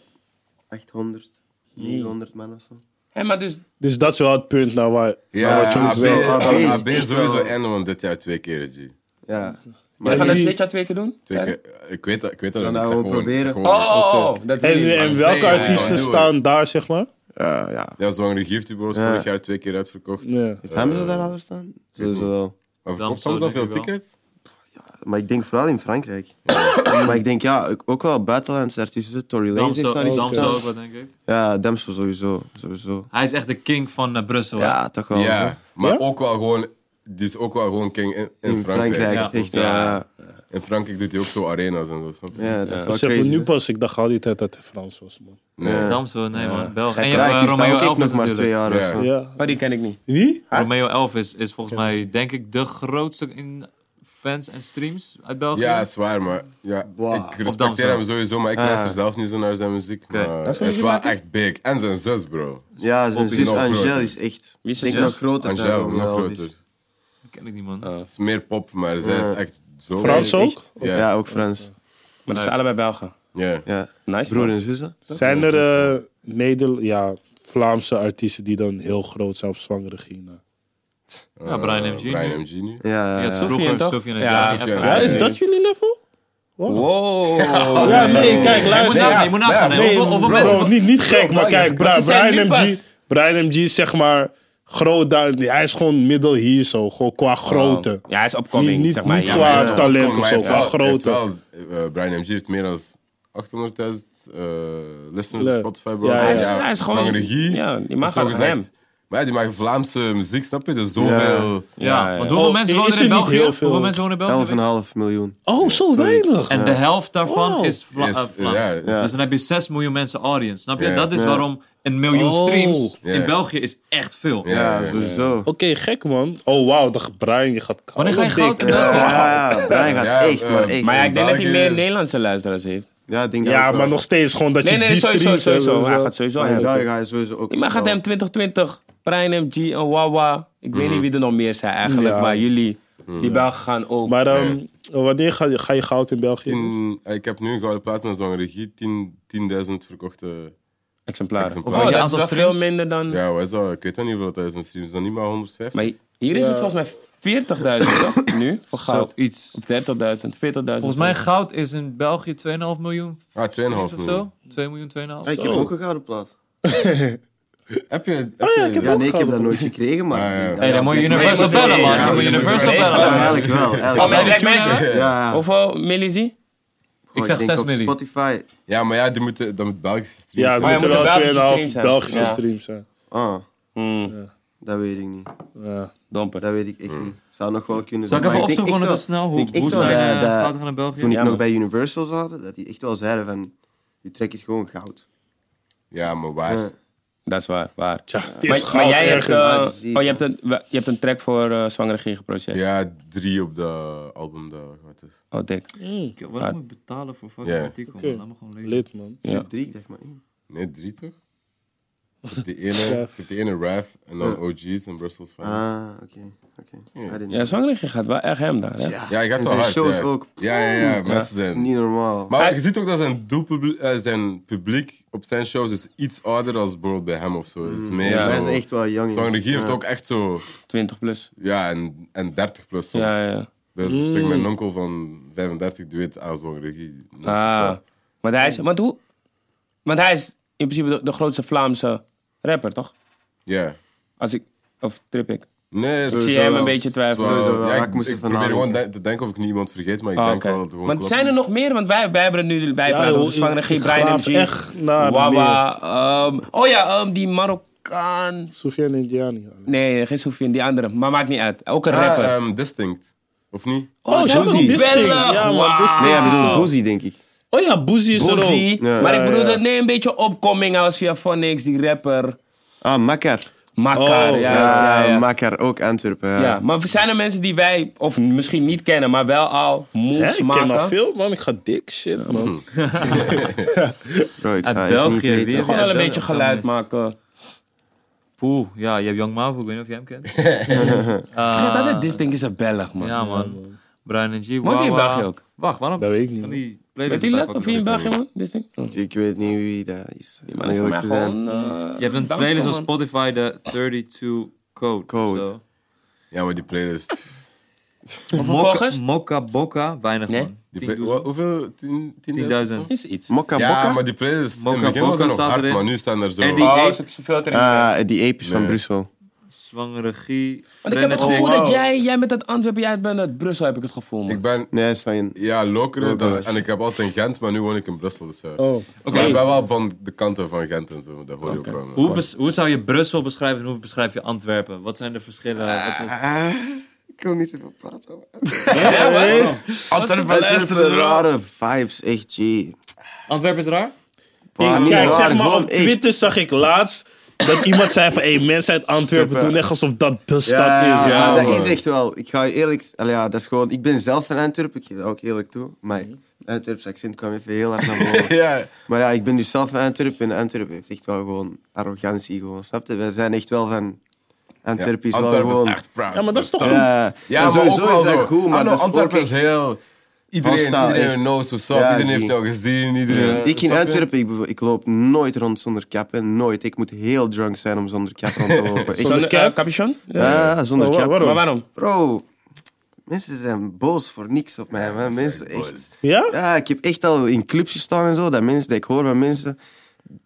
[SPEAKER 3] 800, 900 man of zo.
[SPEAKER 1] Hé, maar dus,
[SPEAKER 4] Dus dat is wel het punt naar waar, naar
[SPEAKER 2] Ja,
[SPEAKER 4] wat je moet
[SPEAKER 2] AB,
[SPEAKER 4] wel.
[SPEAKER 3] AB is
[SPEAKER 2] AB
[SPEAKER 3] echt
[SPEAKER 2] is sowieso
[SPEAKER 3] wel-
[SPEAKER 2] en want dit jaar twee keer, G.
[SPEAKER 3] Ja.
[SPEAKER 1] we gaan
[SPEAKER 4] jullie-
[SPEAKER 1] dat dit jaar twee keer doen?
[SPEAKER 2] Twee keer. Ik weet dat, ik weet dat
[SPEAKER 3] Dan
[SPEAKER 2] niet. Ik
[SPEAKER 3] gaan
[SPEAKER 2] zeg
[SPEAKER 3] we
[SPEAKER 2] gewoon- ik zeg
[SPEAKER 3] proberen.
[SPEAKER 2] gewoon-
[SPEAKER 1] Oh, oh, oh, dat weet ik
[SPEAKER 4] En,
[SPEAKER 1] niet.
[SPEAKER 4] en
[SPEAKER 2] I'm
[SPEAKER 4] welke
[SPEAKER 2] saying,
[SPEAKER 4] artiesten
[SPEAKER 2] man, doe
[SPEAKER 4] staan daar, zeg maar?
[SPEAKER 3] Ja, ja.
[SPEAKER 2] Ja, Zwangere Giftenbroers
[SPEAKER 3] Ja.
[SPEAKER 2] vorig jaar twee keer uitverkocht.
[SPEAKER 4] Ja.
[SPEAKER 3] Heeft hebben ze daar al staan? Sowieso wel.
[SPEAKER 2] Maar
[SPEAKER 5] Dan
[SPEAKER 2] verkoopt
[SPEAKER 5] zo,
[SPEAKER 2] Hamza
[SPEAKER 5] denk
[SPEAKER 2] veel
[SPEAKER 5] ik wel.
[SPEAKER 2] tickets?
[SPEAKER 3] Maar ik denk vooral in Frankrijk. maar ik denk ja, ook- ook wel buitenlandse artiesten. Tory Lanez heeft daar
[SPEAKER 4] nou
[SPEAKER 5] Damso,
[SPEAKER 3] iets
[SPEAKER 5] Damso
[SPEAKER 3] gedaan.
[SPEAKER 5] ook wel, denk ik.
[SPEAKER 3] Ja, Damso sowieso. sowieso.
[SPEAKER 5] Hij is echt de king van eh, Brussel. hè?
[SPEAKER 3] Ja, toch wel. hè?
[SPEAKER 2] Ja, maar
[SPEAKER 4] Ja?
[SPEAKER 2] ook wel gewoon... Die is ook wel gewoon king in, in
[SPEAKER 3] In
[SPEAKER 2] Frankrijk.
[SPEAKER 3] Frankrijk, echt
[SPEAKER 1] Ja.
[SPEAKER 3] ja. Ja,
[SPEAKER 2] In Frankrijk doet hij ook zo arena's en zo, snap je?
[SPEAKER 3] ja, dat is wel
[SPEAKER 4] Zeg maar,
[SPEAKER 3] crazy.
[SPEAKER 4] nu pas, ik dacht al die tijd dat hij Frans was, man.
[SPEAKER 2] Nee.
[SPEAKER 3] Ja.
[SPEAKER 5] Damso, nee man, België. En je
[SPEAKER 3] Ja,
[SPEAKER 5] hebt
[SPEAKER 3] ik
[SPEAKER 5] eh,
[SPEAKER 3] sta
[SPEAKER 5] Romeo
[SPEAKER 3] ook echt
[SPEAKER 5] Elvis
[SPEAKER 3] nog maar twee
[SPEAKER 5] natuurlijk.
[SPEAKER 3] jaar
[SPEAKER 2] Ja.
[SPEAKER 3] of zo.
[SPEAKER 4] Ja.
[SPEAKER 1] Maar Oh, die ken ik niet.
[SPEAKER 4] Wie?
[SPEAKER 5] Romeo Elvis is volgens mij, denk ik, de grootste in fans en streams uit België.
[SPEAKER 2] Ja, is waar, maar ja,
[SPEAKER 3] Wow.
[SPEAKER 2] ik
[SPEAKER 5] Op Damsel.
[SPEAKER 2] respecteer hem sowieso, maar ik
[SPEAKER 3] Ah.
[SPEAKER 2] luister zelf niet zo naar zijn muziek. Maar
[SPEAKER 1] Dat is
[SPEAKER 2] hij is
[SPEAKER 1] muziek
[SPEAKER 2] wel
[SPEAKER 1] maken.
[SPEAKER 2] echt big. En zijn zus, bro.
[SPEAKER 3] Ja, zijn
[SPEAKER 2] Poppy
[SPEAKER 3] zus
[SPEAKER 2] nog
[SPEAKER 3] Angèle
[SPEAKER 2] groter.
[SPEAKER 3] is echt...
[SPEAKER 1] Wie is
[SPEAKER 3] denk
[SPEAKER 1] zijn
[SPEAKER 3] nog
[SPEAKER 1] zus?
[SPEAKER 3] groter dan
[SPEAKER 2] Angel,
[SPEAKER 3] Romeo
[SPEAKER 2] nog
[SPEAKER 3] Elvis.
[SPEAKER 2] groter.
[SPEAKER 5] Dat ken ik niet man.
[SPEAKER 2] Het is meer pop, maar zij is
[SPEAKER 3] Ja.
[SPEAKER 2] echt zo...
[SPEAKER 4] Frans
[SPEAKER 3] echt.
[SPEAKER 4] ook?
[SPEAKER 2] Ja.
[SPEAKER 3] Ja, ook Frans.
[SPEAKER 1] Maar dat zijn allebei Belgen.
[SPEAKER 2] Ja.
[SPEAKER 3] Ja.
[SPEAKER 1] Nice,
[SPEAKER 3] Broer
[SPEAKER 1] man.
[SPEAKER 3] en zus, hè?
[SPEAKER 4] Zijn er eh, Neder ja, Vlaamse artiesten die dan heel groot zijn op nou? zwangere Gina?
[SPEAKER 5] Ja, Brian MG.
[SPEAKER 2] Eh, Brian MG nu.
[SPEAKER 3] Ja,
[SPEAKER 5] Je
[SPEAKER 3] ja.
[SPEAKER 5] had
[SPEAKER 1] Sophie
[SPEAKER 5] vroeger
[SPEAKER 1] toch?
[SPEAKER 5] Sophie en
[SPEAKER 1] Ja,
[SPEAKER 5] Jesse
[SPEAKER 2] Sophie en
[SPEAKER 5] F.
[SPEAKER 4] Ja, is
[SPEAKER 1] nee.
[SPEAKER 4] dat jullie level?
[SPEAKER 1] Wow.
[SPEAKER 4] Ja, nee, kijk,
[SPEAKER 5] Je moet
[SPEAKER 4] luister.
[SPEAKER 5] nagaan, je moet nagaan. hè.
[SPEAKER 4] Nee,
[SPEAKER 5] Hoeveel- hoeveel
[SPEAKER 4] bro,
[SPEAKER 5] mensen-
[SPEAKER 4] niet, niet gek, maar
[SPEAKER 1] België is-
[SPEAKER 4] kijk,
[SPEAKER 1] maar ze
[SPEAKER 4] Bra-
[SPEAKER 1] zijn
[SPEAKER 4] Brian
[SPEAKER 1] nu
[SPEAKER 4] MG,
[SPEAKER 1] pas.
[SPEAKER 4] Brian MG is zeg maar groot, daar- hij is gewoon middel hier zo, gewoon qua grootte.
[SPEAKER 1] Ja, hij is
[SPEAKER 4] Niet,
[SPEAKER 1] opkoming,
[SPEAKER 4] niet,
[SPEAKER 1] zeg maar.
[SPEAKER 4] niet
[SPEAKER 1] Ja,
[SPEAKER 4] qua
[SPEAKER 1] maar hij
[SPEAKER 2] Ja,
[SPEAKER 1] is-
[SPEAKER 2] kom,
[SPEAKER 4] talent
[SPEAKER 2] maar
[SPEAKER 4] of
[SPEAKER 2] hij
[SPEAKER 4] zo,
[SPEAKER 2] heeft
[SPEAKER 4] qua
[SPEAKER 2] wel- hij
[SPEAKER 4] grootte.
[SPEAKER 2] heeft wel, eh, Brian MG heeft meer dan 800.000 eh listeners
[SPEAKER 4] Le-
[SPEAKER 2] op Spotify, bro.
[SPEAKER 4] Ja, ja.
[SPEAKER 1] Hij is, hij is gewoon...
[SPEAKER 2] Zwangere Guy,
[SPEAKER 1] Ja, die mag
[SPEAKER 2] zo
[SPEAKER 1] aan hem.
[SPEAKER 2] gezegd. Maar ja, die maken Vlaamse muziek, snap je? Dus zoveel...
[SPEAKER 1] Ja,
[SPEAKER 5] Ja,
[SPEAKER 1] ja.
[SPEAKER 5] want hoeveel
[SPEAKER 4] Oh,
[SPEAKER 5] mensen
[SPEAKER 4] is
[SPEAKER 5] wonen er
[SPEAKER 4] er
[SPEAKER 5] in
[SPEAKER 4] niet
[SPEAKER 5] België?
[SPEAKER 4] heel veel?
[SPEAKER 5] Hoeveel mensen wonen in België?
[SPEAKER 3] 11,5 miljoen.
[SPEAKER 4] Oh, zo weinig.
[SPEAKER 5] En de helft daarvan
[SPEAKER 4] Oh.
[SPEAKER 5] is Vla
[SPEAKER 2] Yes,
[SPEAKER 5] eh, Vlaams.
[SPEAKER 2] ja, ja.
[SPEAKER 5] Dus dan heb je 6 miljoen mensen audience. Snap je?
[SPEAKER 2] Ja.
[SPEAKER 5] Dat is
[SPEAKER 3] Ja.
[SPEAKER 5] waarom een miljoen
[SPEAKER 4] Oh.
[SPEAKER 5] streams
[SPEAKER 2] Ja.
[SPEAKER 5] in België is echt veel.
[SPEAKER 2] Ja,
[SPEAKER 3] Ja,
[SPEAKER 2] ja,
[SPEAKER 3] sowieso.
[SPEAKER 4] Oké, gek man. Oh, wauw, dat Brian, je gaat koud.
[SPEAKER 5] Wanneer ga je
[SPEAKER 4] dik.
[SPEAKER 5] goud in
[SPEAKER 3] Ja,
[SPEAKER 5] België?
[SPEAKER 3] ja, Brian gaat
[SPEAKER 2] Ja,
[SPEAKER 3] echt, maar
[SPEAKER 2] eh,
[SPEAKER 3] echt.
[SPEAKER 1] Maar ja, ik denk dat hij
[SPEAKER 2] België
[SPEAKER 1] meer
[SPEAKER 2] is-
[SPEAKER 1] Nederlandse luisteraars heeft.
[SPEAKER 3] Ja, ik denk dat
[SPEAKER 4] Ja,
[SPEAKER 3] ook wel.
[SPEAKER 4] maar nog steeds gewoon dat
[SPEAKER 1] Nee,
[SPEAKER 4] je
[SPEAKER 1] nee,
[SPEAKER 4] die
[SPEAKER 1] sowieso,
[SPEAKER 4] streams
[SPEAKER 1] sowieso.
[SPEAKER 4] hebt en
[SPEAKER 1] Hij
[SPEAKER 4] zo.
[SPEAKER 1] gaat sowieso
[SPEAKER 3] Maar in
[SPEAKER 1] hebben.
[SPEAKER 3] België ga je sowieso ook...
[SPEAKER 1] Maar gaat
[SPEAKER 3] wel-
[SPEAKER 1] hem 2020, Brian MG en Wawa. Ik weet niet wie er nog meer zijn eigenlijk,
[SPEAKER 4] Ja.
[SPEAKER 1] maar jullie, die Belgen gaan ook.
[SPEAKER 4] Maar ehm, wanneer ga je, ga je goud in België?
[SPEAKER 2] Tien- eh, ik heb nu een gouden plaat met zwangere regie, 10 10.000 verkochte.
[SPEAKER 1] exemplaren.
[SPEAKER 2] Exemplaren.
[SPEAKER 1] Oh,
[SPEAKER 2] Op
[SPEAKER 1] dat
[SPEAKER 5] welk
[SPEAKER 1] is
[SPEAKER 5] aantal
[SPEAKER 1] wel
[SPEAKER 5] streams?
[SPEAKER 1] veel minder dan...
[SPEAKER 2] Ja, wat is dat? Ik weet dat niet hoeveel dat is in streams. Is dat niet maar 150?
[SPEAKER 1] Maar hier is het volgens mij 40.000 toch? Nu, voor goud.
[SPEAKER 5] Zoiets.
[SPEAKER 1] Of 30.000, 40.000.
[SPEAKER 5] Volgens mij goud is in België 2,5 miljoen.
[SPEAKER 2] ah, 2,5
[SPEAKER 5] streams of
[SPEAKER 2] miljoen.
[SPEAKER 5] zo. 2 miljoen, 2,5.
[SPEAKER 3] Ja, Ah, ik heb ook een gouden plaat.
[SPEAKER 2] Heb je... Heb
[SPEAKER 4] ja,
[SPEAKER 2] je-
[SPEAKER 4] ik heb
[SPEAKER 3] Ja, nee, ik heb
[SPEAKER 4] gouden
[SPEAKER 3] dat nooit
[SPEAKER 4] plaat.
[SPEAKER 3] gekregen, maar...
[SPEAKER 2] Ah, ja.
[SPEAKER 5] Hey, dan moet je Universal
[SPEAKER 1] nee,
[SPEAKER 5] bellen,
[SPEAKER 1] nee,
[SPEAKER 5] man.
[SPEAKER 1] nee,
[SPEAKER 5] Dan moet je
[SPEAKER 2] nee, nee,
[SPEAKER 5] Universal
[SPEAKER 2] nee,
[SPEAKER 5] bellen.
[SPEAKER 3] Ja,
[SPEAKER 2] nee,
[SPEAKER 5] man.
[SPEAKER 3] eigenlijk wel. Eigenlijk
[SPEAKER 1] Als
[SPEAKER 5] Als
[SPEAKER 1] hij
[SPEAKER 5] hij
[SPEAKER 3] wel.
[SPEAKER 5] Black
[SPEAKER 1] Oh, Black
[SPEAKER 5] Magic,
[SPEAKER 1] Magic.
[SPEAKER 3] Ja, ja.
[SPEAKER 1] Hoeveel millizie?
[SPEAKER 5] Ik zeg
[SPEAKER 3] denk
[SPEAKER 5] 6
[SPEAKER 3] op
[SPEAKER 5] miljoen.
[SPEAKER 3] Spotify.
[SPEAKER 2] Ja, maar ja, die moeten dan met Belgische streams.
[SPEAKER 4] Ja, het
[SPEAKER 2] zijn.
[SPEAKER 1] moet
[SPEAKER 4] moeten
[SPEAKER 1] een
[SPEAKER 4] wel
[SPEAKER 1] Belgische
[SPEAKER 4] 2,5
[SPEAKER 1] stream zijn.
[SPEAKER 4] Belgische
[SPEAKER 1] Ja.
[SPEAKER 4] streams zijn.
[SPEAKER 3] Ah,
[SPEAKER 1] Hmm,
[SPEAKER 3] dat weet ik niet.
[SPEAKER 4] Ja.
[SPEAKER 1] domper.
[SPEAKER 3] Dat weet ik echt niet. Zou nog wel kunnen
[SPEAKER 5] Zal
[SPEAKER 3] zijn.
[SPEAKER 5] ik even
[SPEAKER 3] maar denk
[SPEAKER 5] opzoeken
[SPEAKER 3] echt
[SPEAKER 5] dat
[SPEAKER 3] wel-
[SPEAKER 5] snel?
[SPEAKER 3] ik
[SPEAKER 5] Hoe,
[SPEAKER 3] denk
[SPEAKER 5] hoe
[SPEAKER 3] echt
[SPEAKER 5] zijn
[SPEAKER 3] wel dat-
[SPEAKER 5] eh,
[SPEAKER 3] dat-
[SPEAKER 5] gouden gaan in België?
[SPEAKER 3] Toen ik
[SPEAKER 1] Ja,
[SPEAKER 3] nog
[SPEAKER 1] man.
[SPEAKER 3] bij Universal zat, dat die echt wel zeiden van... Je trekt het gewoon goud.
[SPEAKER 2] Ja, maar waar?
[SPEAKER 3] Ja.
[SPEAKER 1] Dat is waar, waar.
[SPEAKER 4] Tja, het is
[SPEAKER 1] Maar,
[SPEAKER 4] goud
[SPEAKER 1] maar jij hebt,
[SPEAKER 4] ergens.
[SPEAKER 1] eh,
[SPEAKER 3] Dat is niet-
[SPEAKER 1] oh, je, hebt een, we- je hebt een track voor eh Zwangere Gier geproduceerd.
[SPEAKER 2] Ja, drie op de album dat gaat is.
[SPEAKER 1] Oh, dik.
[SPEAKER 4] Mm,
[SPEAKER 5] Ik- Waarom moet ik betalen voor fucking
[SPEAKER 2] Ja.
[SPEAKER 5] artikel?
[SPEAKER 4] Oké.
[SPEAKER 5] man? Laat me gewoon lezen.
[SPEAKER 4] lid, man.
[SPEAKER 1] Ja.
[SPEAKER 3] Drie, ik dacht maar één.
[SPEAKER 2] Nee, drie toch? Je hebt de ene, je hebt de ene Raf en dan OG's en Brussels Fans.
[SPEAKER 3] Ah, oké. oké. I didn't
[SPEAKER 1] Ja, Zwangere Gier gaat wel echt hem daar. Hè?
[SPEAKER 2] Ja, je gaat wel
[SPEAKER 3] en zijn
[SPEAKER 2] hard.
[SPEAKER 3] shows
[SPEAKER 2] ja.
[SPEAKER 3] ook.
[SPEAKER 2] Ja, ja, ja, mensen
[SPEAKER 3] Dat is
[SPEAKER 2] zijn...
[SPEAKER 3] niet normaal.
[SPEAKER 2] Maar je ziet ook dat zijn, doelpubliek, eh, zijn publiek op zijn shows is iets ouder dan bijvoorbeeld bij hem of zo. Is meer
[SPEAKER 1] Ja,
[SPEAKER 2] zo.
[SPEAKER 3] Wij zijn echt wel jong.
[SPEAKER 2] Zo'n
[SPEAKER 3] jongens.
[SPEAKER 2] regie heeft
[SPEAKER 3] Ja.
[SPEAKER 2] ook echt zo...
[SPEAKER 1] 20 plus.
[SPEAKER 2] Ja, en, en 30 plus soms.
[SPEAKER 1] Ja, ja.
[SPEAKER 2] Dus ik spreek mijn onkel van 35, die weet aan zo'n regie.
[SPEAKER 1] Ah. Want hij is, want, hoe, want hij is in principe de, de grootste Vlaamse rapper, toch?
[SPEAKER 2] Ja.
[SPEAKER 1] Als ik, of trip ik.
[SPEAKER 2] Nee,
[SPEAKER 1] Ik zie hem een beetje twijfelen.
[SPEAKER 3] Sowieso wel.
[SPEAKER 2] Ja,
[SPEAKER 3] Ik
[SPEAKER 2] ik,
[SPEAKER 3] moest
[SPEAKER 2] ik
[SPEAKER 3] even
[SPEAKER 2] probeer
[SPEAKER 3] nadenken.
[SPEAKER 2] gewoon de- te denken of ik niemand vergeet, maar ik
[SPEAKER 1] Ah,
[SPEAKER 2] denk
[SPEAKER 1] oké.
[SPEAKER 2] wel dat het gewoon
[SPEAKER 1] Want
[SPEAKER 2] klopt.
[SPEAKER 1] zijn er nog meer? Want wij, wij hebben het nu, wij praten
[SPEAKER 4] joh,
[SPEAKER 1] over Zwangere
[SPEAKER 4] ik-
[SPEAKER 1] Gier,
[SPEAKER 4] ik
[SPEAKER 1] Brian
[SPEAKER 4] graaf
[SPEAKER 1] MG.
[SPEAKER 4] echt naar
[SPEAKER 1] Wawa. ehm, oh ja, ehm, die Marokkaan.
[SPEAKER 4] Soufiane Indiani. Oh,
[SPEAKER 1] Nee, geen Sofian, die andere. Maar maakt niet uit. Ook een
[SPEAKER 2] Ah,
[SPEAKER 1] rapper.
[SPEAKER 2] ehm, Distinct. Of niet?
[SPEAKER 1] oh, ze hebben
[SPEAKER 4] Josie.
[SPEAKER 1] ook bellen.
[SPEAKER 4] Ja, man,
[SPEAKER 1] Wauw.
[SPEAKER 4] Disney.
[SPEAKER 3] Nee, ja, dat is Boozy, denk ik.
[SPEAKER 4] Oh ja, Boezie is er ook.
[SPEAKER 1] Boosie.
[SPEAKER 3] Ja.
[SPEAKER 1] maar ik bedoel,
[SPEAKER 4] Ja, ja.
[SPEAKER 1] dat nee, een beetje opkoming als via Phonics, die rapper.
[SPEAKER 3] Ah, Makkar.
[SPEAKER 1] Makkar,
[SPEAKER 4] Oh,
[SPEAKER 1] ja, ja,
[SPEAKER 3] Ja,
[SPEAKER 1] ja.
[SPEAKER 3] Makkar, ook Antwerpen. Ja.
[SPEAKER 1] Ja, maar zijn er mensen die wij, of misschien niet kennen, maar wel al
[SPEAKER 4] Hè,
[SPEAKER 1] moves
[SPEAKER 4] ik ken al
[SPEAKER 1] maken?
[SPEAKER 4] veel, man. Ik ga dik shit, man.
[SPEAKER 3] Bro, ik zou echt
[SPEAKER 5] Uit
[SPEAKER 3] niet
[SPEAKER 5] België,
[SPEAKER 3] weten.
[SPEAKER 5] weer.
[SPEAKER 1] Gewoon wel een
[SPEAKER 5] Ja,
[SPEAKER 1] beetje
[SPEAKER 5] dat- dat
[SPEAKER 1] geluid
[SPEAKER 5] is-
[SPEAKER 1] maken.
[SPEAKER 5] Poeh, ja, je hebt Young Mavo, ik weet niet of jij hem kent. Eh,
[SPEAKER 1] Vergeet
[SPEAKER 5] Ah,
[SPEAKER 1] dat het Disney is een Belg, man.
[SPEAKER 5] Ja, man. Brian en G.
[SPEAKER 1] Woont hij in
[SPEAKER 5] Wawa.
[SPEAKER 1] België ook?
[SPEAKER 5] Wacht, waarom?
[SPEAKER 4] Dat weet ik niet,
[SPEAKER 5] Van
[SPEAKER 4] man.
[SPEAKER 5] die playlist
[SPEAKER 1] Weet je dat?
[SPEAKER 5] erbij
[SPEAKER 1] Of hier in
[SPEAKER 5] pakken?
[SPEAKER 1] België, man? Disney? Oh.
[SPEAKER 3] Ik weet niet wie dat is.
[SPEAKER 1] Die man is voor
[SPEAKER 3] Om
[SPEAKER 1] mij
[SPEAKER 3] eerlijk te zijn.
[SPEAKER 1] gewoon... eh,
[SPEAKER 5] Je hebt een
[SPEAKER 1] Belgisch,
[SPEAKER 5] playlist op
[SPEAKER 1] man.
[SPEAKER 5] Spotify, de 32 Code.
[SPEAKER 3] Code.
[SPEAKER 5] Zo.
[SPEAKER 2] Ja, maar die playlist.
[SPEAKER 1] Of
[SPEAKER 5] Mokka,
[SPEAKER 1] vervolgens?
[SPEAKER 5] Mokka Bokka, weinig
[SPEAKER 1] Nee.
[SPEAKER 5] man.
[SPEAKER 2] Die
[SPEAKER 5] 10.000.
[SPEAKER 2] play- Wa- hoeveel? 10.000?
[SPEAKER 5] 10.000.
[SPEAKER 1] Is iets.
[SPEAKER 3] Mokka
[SPEAKER 2] Ja,
[SPEAKER 3] Bokka?
[SPEAKER 2] maar die playlist.
[SPEAKER 5] Mokka
[SPEAKER 2] in het begin was het nog
[SPEAKER 5] Bokka staat
[SPEAKER 2] hard,
[SPEAKER 5] erin.
[SPEAKER 2] maar nu staan er zo.
[SPEAKER 5] En die-
[SPEAKER 1] Oh,
[SPEAKER 5] Nee.
[SPEAKER 1] is ook zoveel te
[SPEAKER 3] Ah, die apes van
[SPEAKER 2] Nee.
[SPEAKER 3] Brussel.
[SPEAKER 5] Zwangere Gie.
[SPEAKER 1] Want ik heb het
[SPEAKER 5] Frenetics.
[SPEAKER 1] gevoel
[SPEAKER 4] wauw.
[SPEAKER 1] dat jij, jij met dat Antwerpen, jij bent uit Brussel, heb ik het gevoel, man.
[SPEAKER 2] Ik ben.
[SPEAKER 3] Nee, is van je.
[SPEAKER 2] Ja, Lokeren. dat is-
[SPEAKER 3] Lokeren.
[SPEAKER 2] en ik heb altijd in Gent, maar nu woon ik in Brussel. Dus, ja.
[SPEAKER 4] Oh.
[SPEAKER 2] Maar ik ben wel van de kanten van Gent en zo. Dat hoor je ook wel.
[SPEAKER 5] Hoe, bes- hoe zou je Brussel beschrijven en hoe beschrijf je Antwerpen? Wat zijn de verschillen? Wat is-
[SPEAKER 3] Ik wil niet zoveel praten over.
[SPEAKER 1] Ja, man.
[SPEAKER 3] Antwerpen luisteren. Rare vibes, echt, gee.
[SPEAKER 5] Antwerpen is raar?
[SPEAKER 3] Waar-
[SPEAKER 4] Ik, kijk,
[SPEAKER 3] waar-
[SPEAKER 4] zeg maar,
[SPEAKER 3] gewoon
[SPEAKER 4] op
[SPEAKER 3] echt.
[SPEAKER 4] Twitter zag ik laatst dat iemand zei van... hey, mensen uit Antwerpen doen echt alsof dat de stad is.
[SPEAKER 3] ja,
[SPEAKER 2] ja,
[SPEAKER 3] dat
[SPEAKER 2] man.
[SPEAKER 3] is echt wel. Ik ga je eerlijk... s- Allee, ja, dat is gewoon... Ik ben zelf van Antwerpen, ik geef dat ook eerlijk toe. Maar het Antwerps accent kwam even heel hard naar boven.
[SPEAKER 2] Ja,
[SPEAKER 3] Maar ja, ik ben dus zelf van Antwerpen. En Antwerpen heeft echt wel gewoon arrogantie. Gewoon, snap je? Wij zijn echt wel van... Antwerpen is wel
[SPEAKER 2] Antwerpen
[SPEAKER 3] gewoon...
[SPEAKER 2] is echt proud.
[SPEAKER 4] Ja, maar dat is toch goed?
[SPEAKER 3] Ja,
[SPEAKER 2] Ja,
[SPEAKER 3] en
[SPEAKER 2] maar
[SPEAKER 3] sowieso
[SPEAKER 2] ook wel
[SPEAKER 3] is dat
[SPEAKER 2] zo.
[SPEAKER 3] goed, maar
[SPEAKER 2] Ah, no,
[SPEAKER 3] dat is
[SPEAKER 2] Antwerpen
[SPEAKER 3] ook
[SPEAKER 2] is heel... Iedereen,
[SPEAKER 3] Hostile,
[SPEAKER 2] iedereen
[SPEAKER 3] echt.
[SPEAKER 2] knows what's up.
[SPEAKER 3] Ja,
[SPEAKER 2] iedereen heeft
[SPEAKER 3] zie.
[SPEAKER 2] jou gezien. Iedereen,
[SPEAKER 3] Ik in
[SPEAKER 2] eh, snap je?
[SPEAKER 3] Antwerpen, ik, bevo- ik loop nooit rond zonder cap. Hè. Nooit. Ik moet heel drunk zijn om zonder cap rond te lopen. Echt.
[SPEAKER 1] Zo'n
[SPEAKER 4] Zonder cap?
[SPEAKER 1] eh, capuchon? Ja.
[SPEAKER 3] Ja, zonder
[SPEAKER 4] Oh, wa-
[SPEAKER 3] cap.
[SPEAKER 4] waarom?
[SPEAKER 1] Maar waarom?
[SPEAKER 3] Bro, mensen zijn boos voor niks op mij. man. Mensen
[SPEAKER 2] echt
[SPEAKER 3] echt...
[SPEAKER 4] Ja?
[SPEAKER 3] Ja, ik heb echt al in clubs gestaan en zo. Dat, mensen, dat ik hoor van mensen...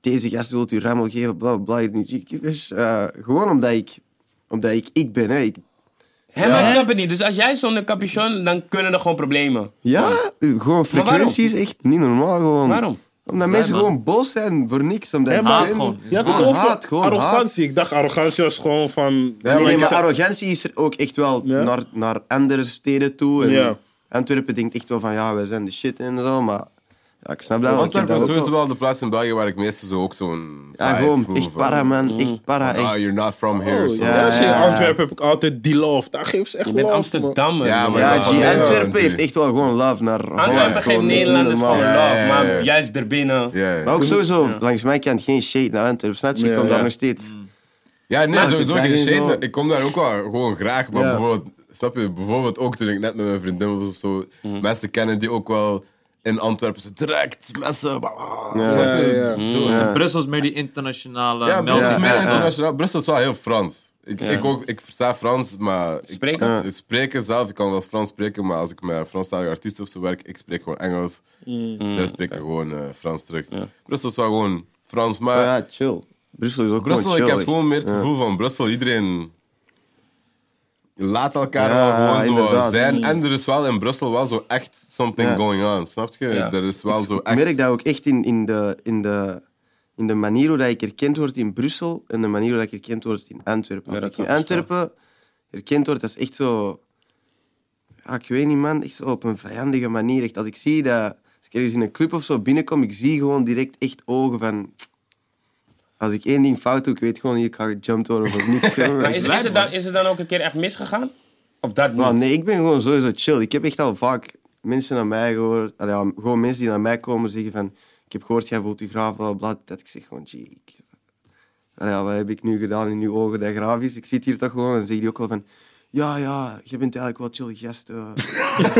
[SPEAKER 3] Deze gast wil u rammel geven, bla bla bla. Ik- ik- dus, eh, gewoon omdat ik, omdat ik ik ben. Hè. Ik,
[SPEAKER 1] Hè, maar ik snap het niet. Dus als jij zonder capuchon, dan kunnen er gewoon problemen.
[SPEAKER 3] ja, Eh, gewoon frequentie is echt niet normaal. Gewoon.
[SPEAKER 1] Waarom?
[SPEAKER 3] Omdat mensen
[SPEAKER 5] man.
[SPEAKER 3] gewoon boos zijn voor niks. Omdat
[SPEAKER 4] Hè, maar-
[SPEAKER 3] Haat gewoon.
[SPEAKER 4] Je had het
[SPEAKER 3] Gewoon
[SPEAKER 4] over
[SPEAKER 3] haat, gewoon haat.
[SPEAKER 4] arrogantie. Ik dacht, arrogantie was gewoon
[SPEAKER 2] Ja,
[SPEAKER 4] van...
[SPEAKER 3] nee,
[SPEAKER 2] maar
[SPEAKER 3] nee,
[SPEAKER 2] ik
[SPEAKER 3] maar
[SPEAKER 2] zeg-
[SPEAKER 3] arrogantie is er ook echt wel
[SPEAKER 4] Ja.
[SPEAKER 3] naar, naar andere steden toe. En
[SPEAKER 4] Ja.
[SPEAKER 3] Antwerpen denkt echt wel van ja, wij zijn de shit en zo, maar Ja, ik snap dat wel. Ik heb
[SPEAKER 2] Antwerpen is
[SPEAKER 3] dat ook
[SPEAKER 2] sowieso
[SPEAKER 3] wel.
[SPEAKER 2] wel de plaats in België waar ik meestal zo ook zo'n.
[SPEAKER 3] Ja,
[SPEAKER 2] vibe
[SPEAKER 3] gewoon
[SPEAKER 2] voel
[SPEAKER 3] echt
[SPEAKER 2] van,
[SPEAKER 3] para, man. Echt para,
[SPEAKER 2] Ah,
[SPEAKER 3] echt.
[SPEAKER 2] you're not from here.
[SPEAKER 4] Oh,
[SPEAKER 2] zo.
[SPEAKER 4] ja, als je in
[SPEAKER 3] ja, ja.
[SPEAKER 4] Antwerpen heb ik altijd die love. Daar geven ze echt
[SPEAKER 1] Je bent
[SPEAKER 4] love, man.
[SPEAKER 1] Amsterdammer.
[SPEAKER 2] Ja,
[SPEAKER 1] man.
[SPEAKER 2] maar
[SPEAKER 3] Ja,
[SPEAKER 2] Oh, Ja,
[SPEAKER 3] G,
[SPEAKER 2] ja,
[SPEAKER 3] Antwerpen
[SPEAKER 2] ja,
[SPEAKER 3] heeft echt wel gewoon love naar Holland.
[SPEAKER 1] Antwerpen
[SPEAKER 2] Ja,
[SPEAKER 1] geeft
[SPEAKER 3] Gewoon
[SPEAKER 1] Nederlanders
[SPEAKER 3] normaal.
[SPEAKER 1] gewoon
[SPEAKER 2] Ja, ja,
[SPEAKER 1] love,
[SPEAKER 2] ja, ja.
[SPEAKER 1] maar juist erbinnen.
[SPEAKER 2] Ja, ja.
[SPEAKER 3] Maar ook sowieso, langs mijn kant, geen shade naar Antwerpen. Snap je? Ik
[SPEAKER 4] Ja,
[SPEAKER 3] kom daar
[SPEAKER 4] ja.
[SPEAKER 3] nog steeds.
[SPEAKER 2] Ja, nee, sowieso
[SPEAKER 3] ik ben
[SPEAKER 2] geen
[SPEAKER 3] geen
[SPEAKER 2] shade.
[SPEAKER 3] zo-
[SPEAKER 2] Ik kom daar ook wel gewoon graag. Maar
[SPEAKER 3] Ja.
[SPEAKER 2] bijvoorbeeld, snap je, bijvoorbeeld ook toen ik net met mijn vriendin was of zo.
[SPEAKER 3] Mhm.
[SPEAKER 2] Mensen kennen die ook wel in Antwerpen. Zo direct, mensen. bah, bah,
[SPEAKER 3] Ja.
[SPEAKER 2] snap je?
[SPEAKER 4] Ja, ja.
[SPEAKER 2] Zo,
[SPEAKER 3] Ja.
[SPEAKER 5] Brussel is meer die internationale
[SPEAKER 2] Ja, Brussel is
[SPEAKER 5] melding.
[SPEAKER 2] meer
[SPEAKER 3] Ja, ja, ja.
[SPEAKER 2] internationaal. Brussel is wel heel Frans. Ik, ik, ook, ik versta Frans, maar... Ik,
[SPEAKER 1] Spreken?
[SPEAKER 2] Ja. ik spreken zelf, ik kan wel Frans spreken, maar als ik met Franstalige artiesten of zo werk, ik spreek gewoon Engels.
[SPEAKER 3] Mm.
[SPEAKER 2] Zij spreken gewoon eh, Frans terug. Brussel is wel gewoon Frans, maar...
[SPEAKER 3] Ja, chill. Brussel is ook
[SPEAKER 2] Brussel,
[SPEAKER 3] gewoon chill.
[SPEAKER 2] ik heb
[SPEAKER 3] echt.
[SPEAKER 2] gewoon meer het gevoel van Brussel, iedereen... Laat elkaar
[SPEAKER 3] Ja,
[SPEAKER 2] wel gewoon zo
[SPEAKER 3] inderdaad. Mm.
[SPEAKER 2] zijn. En er is wel in Brussel wel zo echt something
[SPEAKER 3] Ja.
[SPEAKER 2] going on, snap je?
[SPEAKER 1] Ja.
[SPEAKER 2] Er is wel zo
[SPEAKER 3] Ik
[SPEAKER 2] echt...
[SPEAKER 3] merk dat ook echt in, in, de, in, de, in de manier hoe dat ik herkend word in Brussel en de manier hoe dat ik herkend word in Antwerpen. Als
[SPEAKER 1] dat
[SPEAKER 3] ik in
[SPEAKER 1] kan ik
[SPEAKER 3] Antwerpen herkend word, dat is echt zo... Ja, ik weet niet, man. Echt zo op een vijandige manier. Echt, als ik zie dat... Als ik ergens in een club of zo binnenkom, ik zie gewoon direct echt ogen van... Als ik één ding fout doe, ik weet gewoon, hier kan gejumpt worden of niks.
[SPEAKER 1] Maar is, is, het dan, is het dan ook een keer echt misgegaan? Of dat niet?
[SPEAKER 3] Maar Ah, nee, ik ben gewoon sowieso chill. Ik heb echt al vaak mensen naar mij gehoord. allee, ja, gewoon mensen die naar mij komen zeggen van... Ik heb gehoord, jij voelt je graaf, bla, bla, bla. Dat ik zeg gewoon, gee, ik... allee, ja, wat heb ik nu gedaan in uw ogen dat graaf is? Ik zit hier toch gewoon en zeg die ook wel van... Ja, ja, je bent eigenlijk wel chill gast. eh."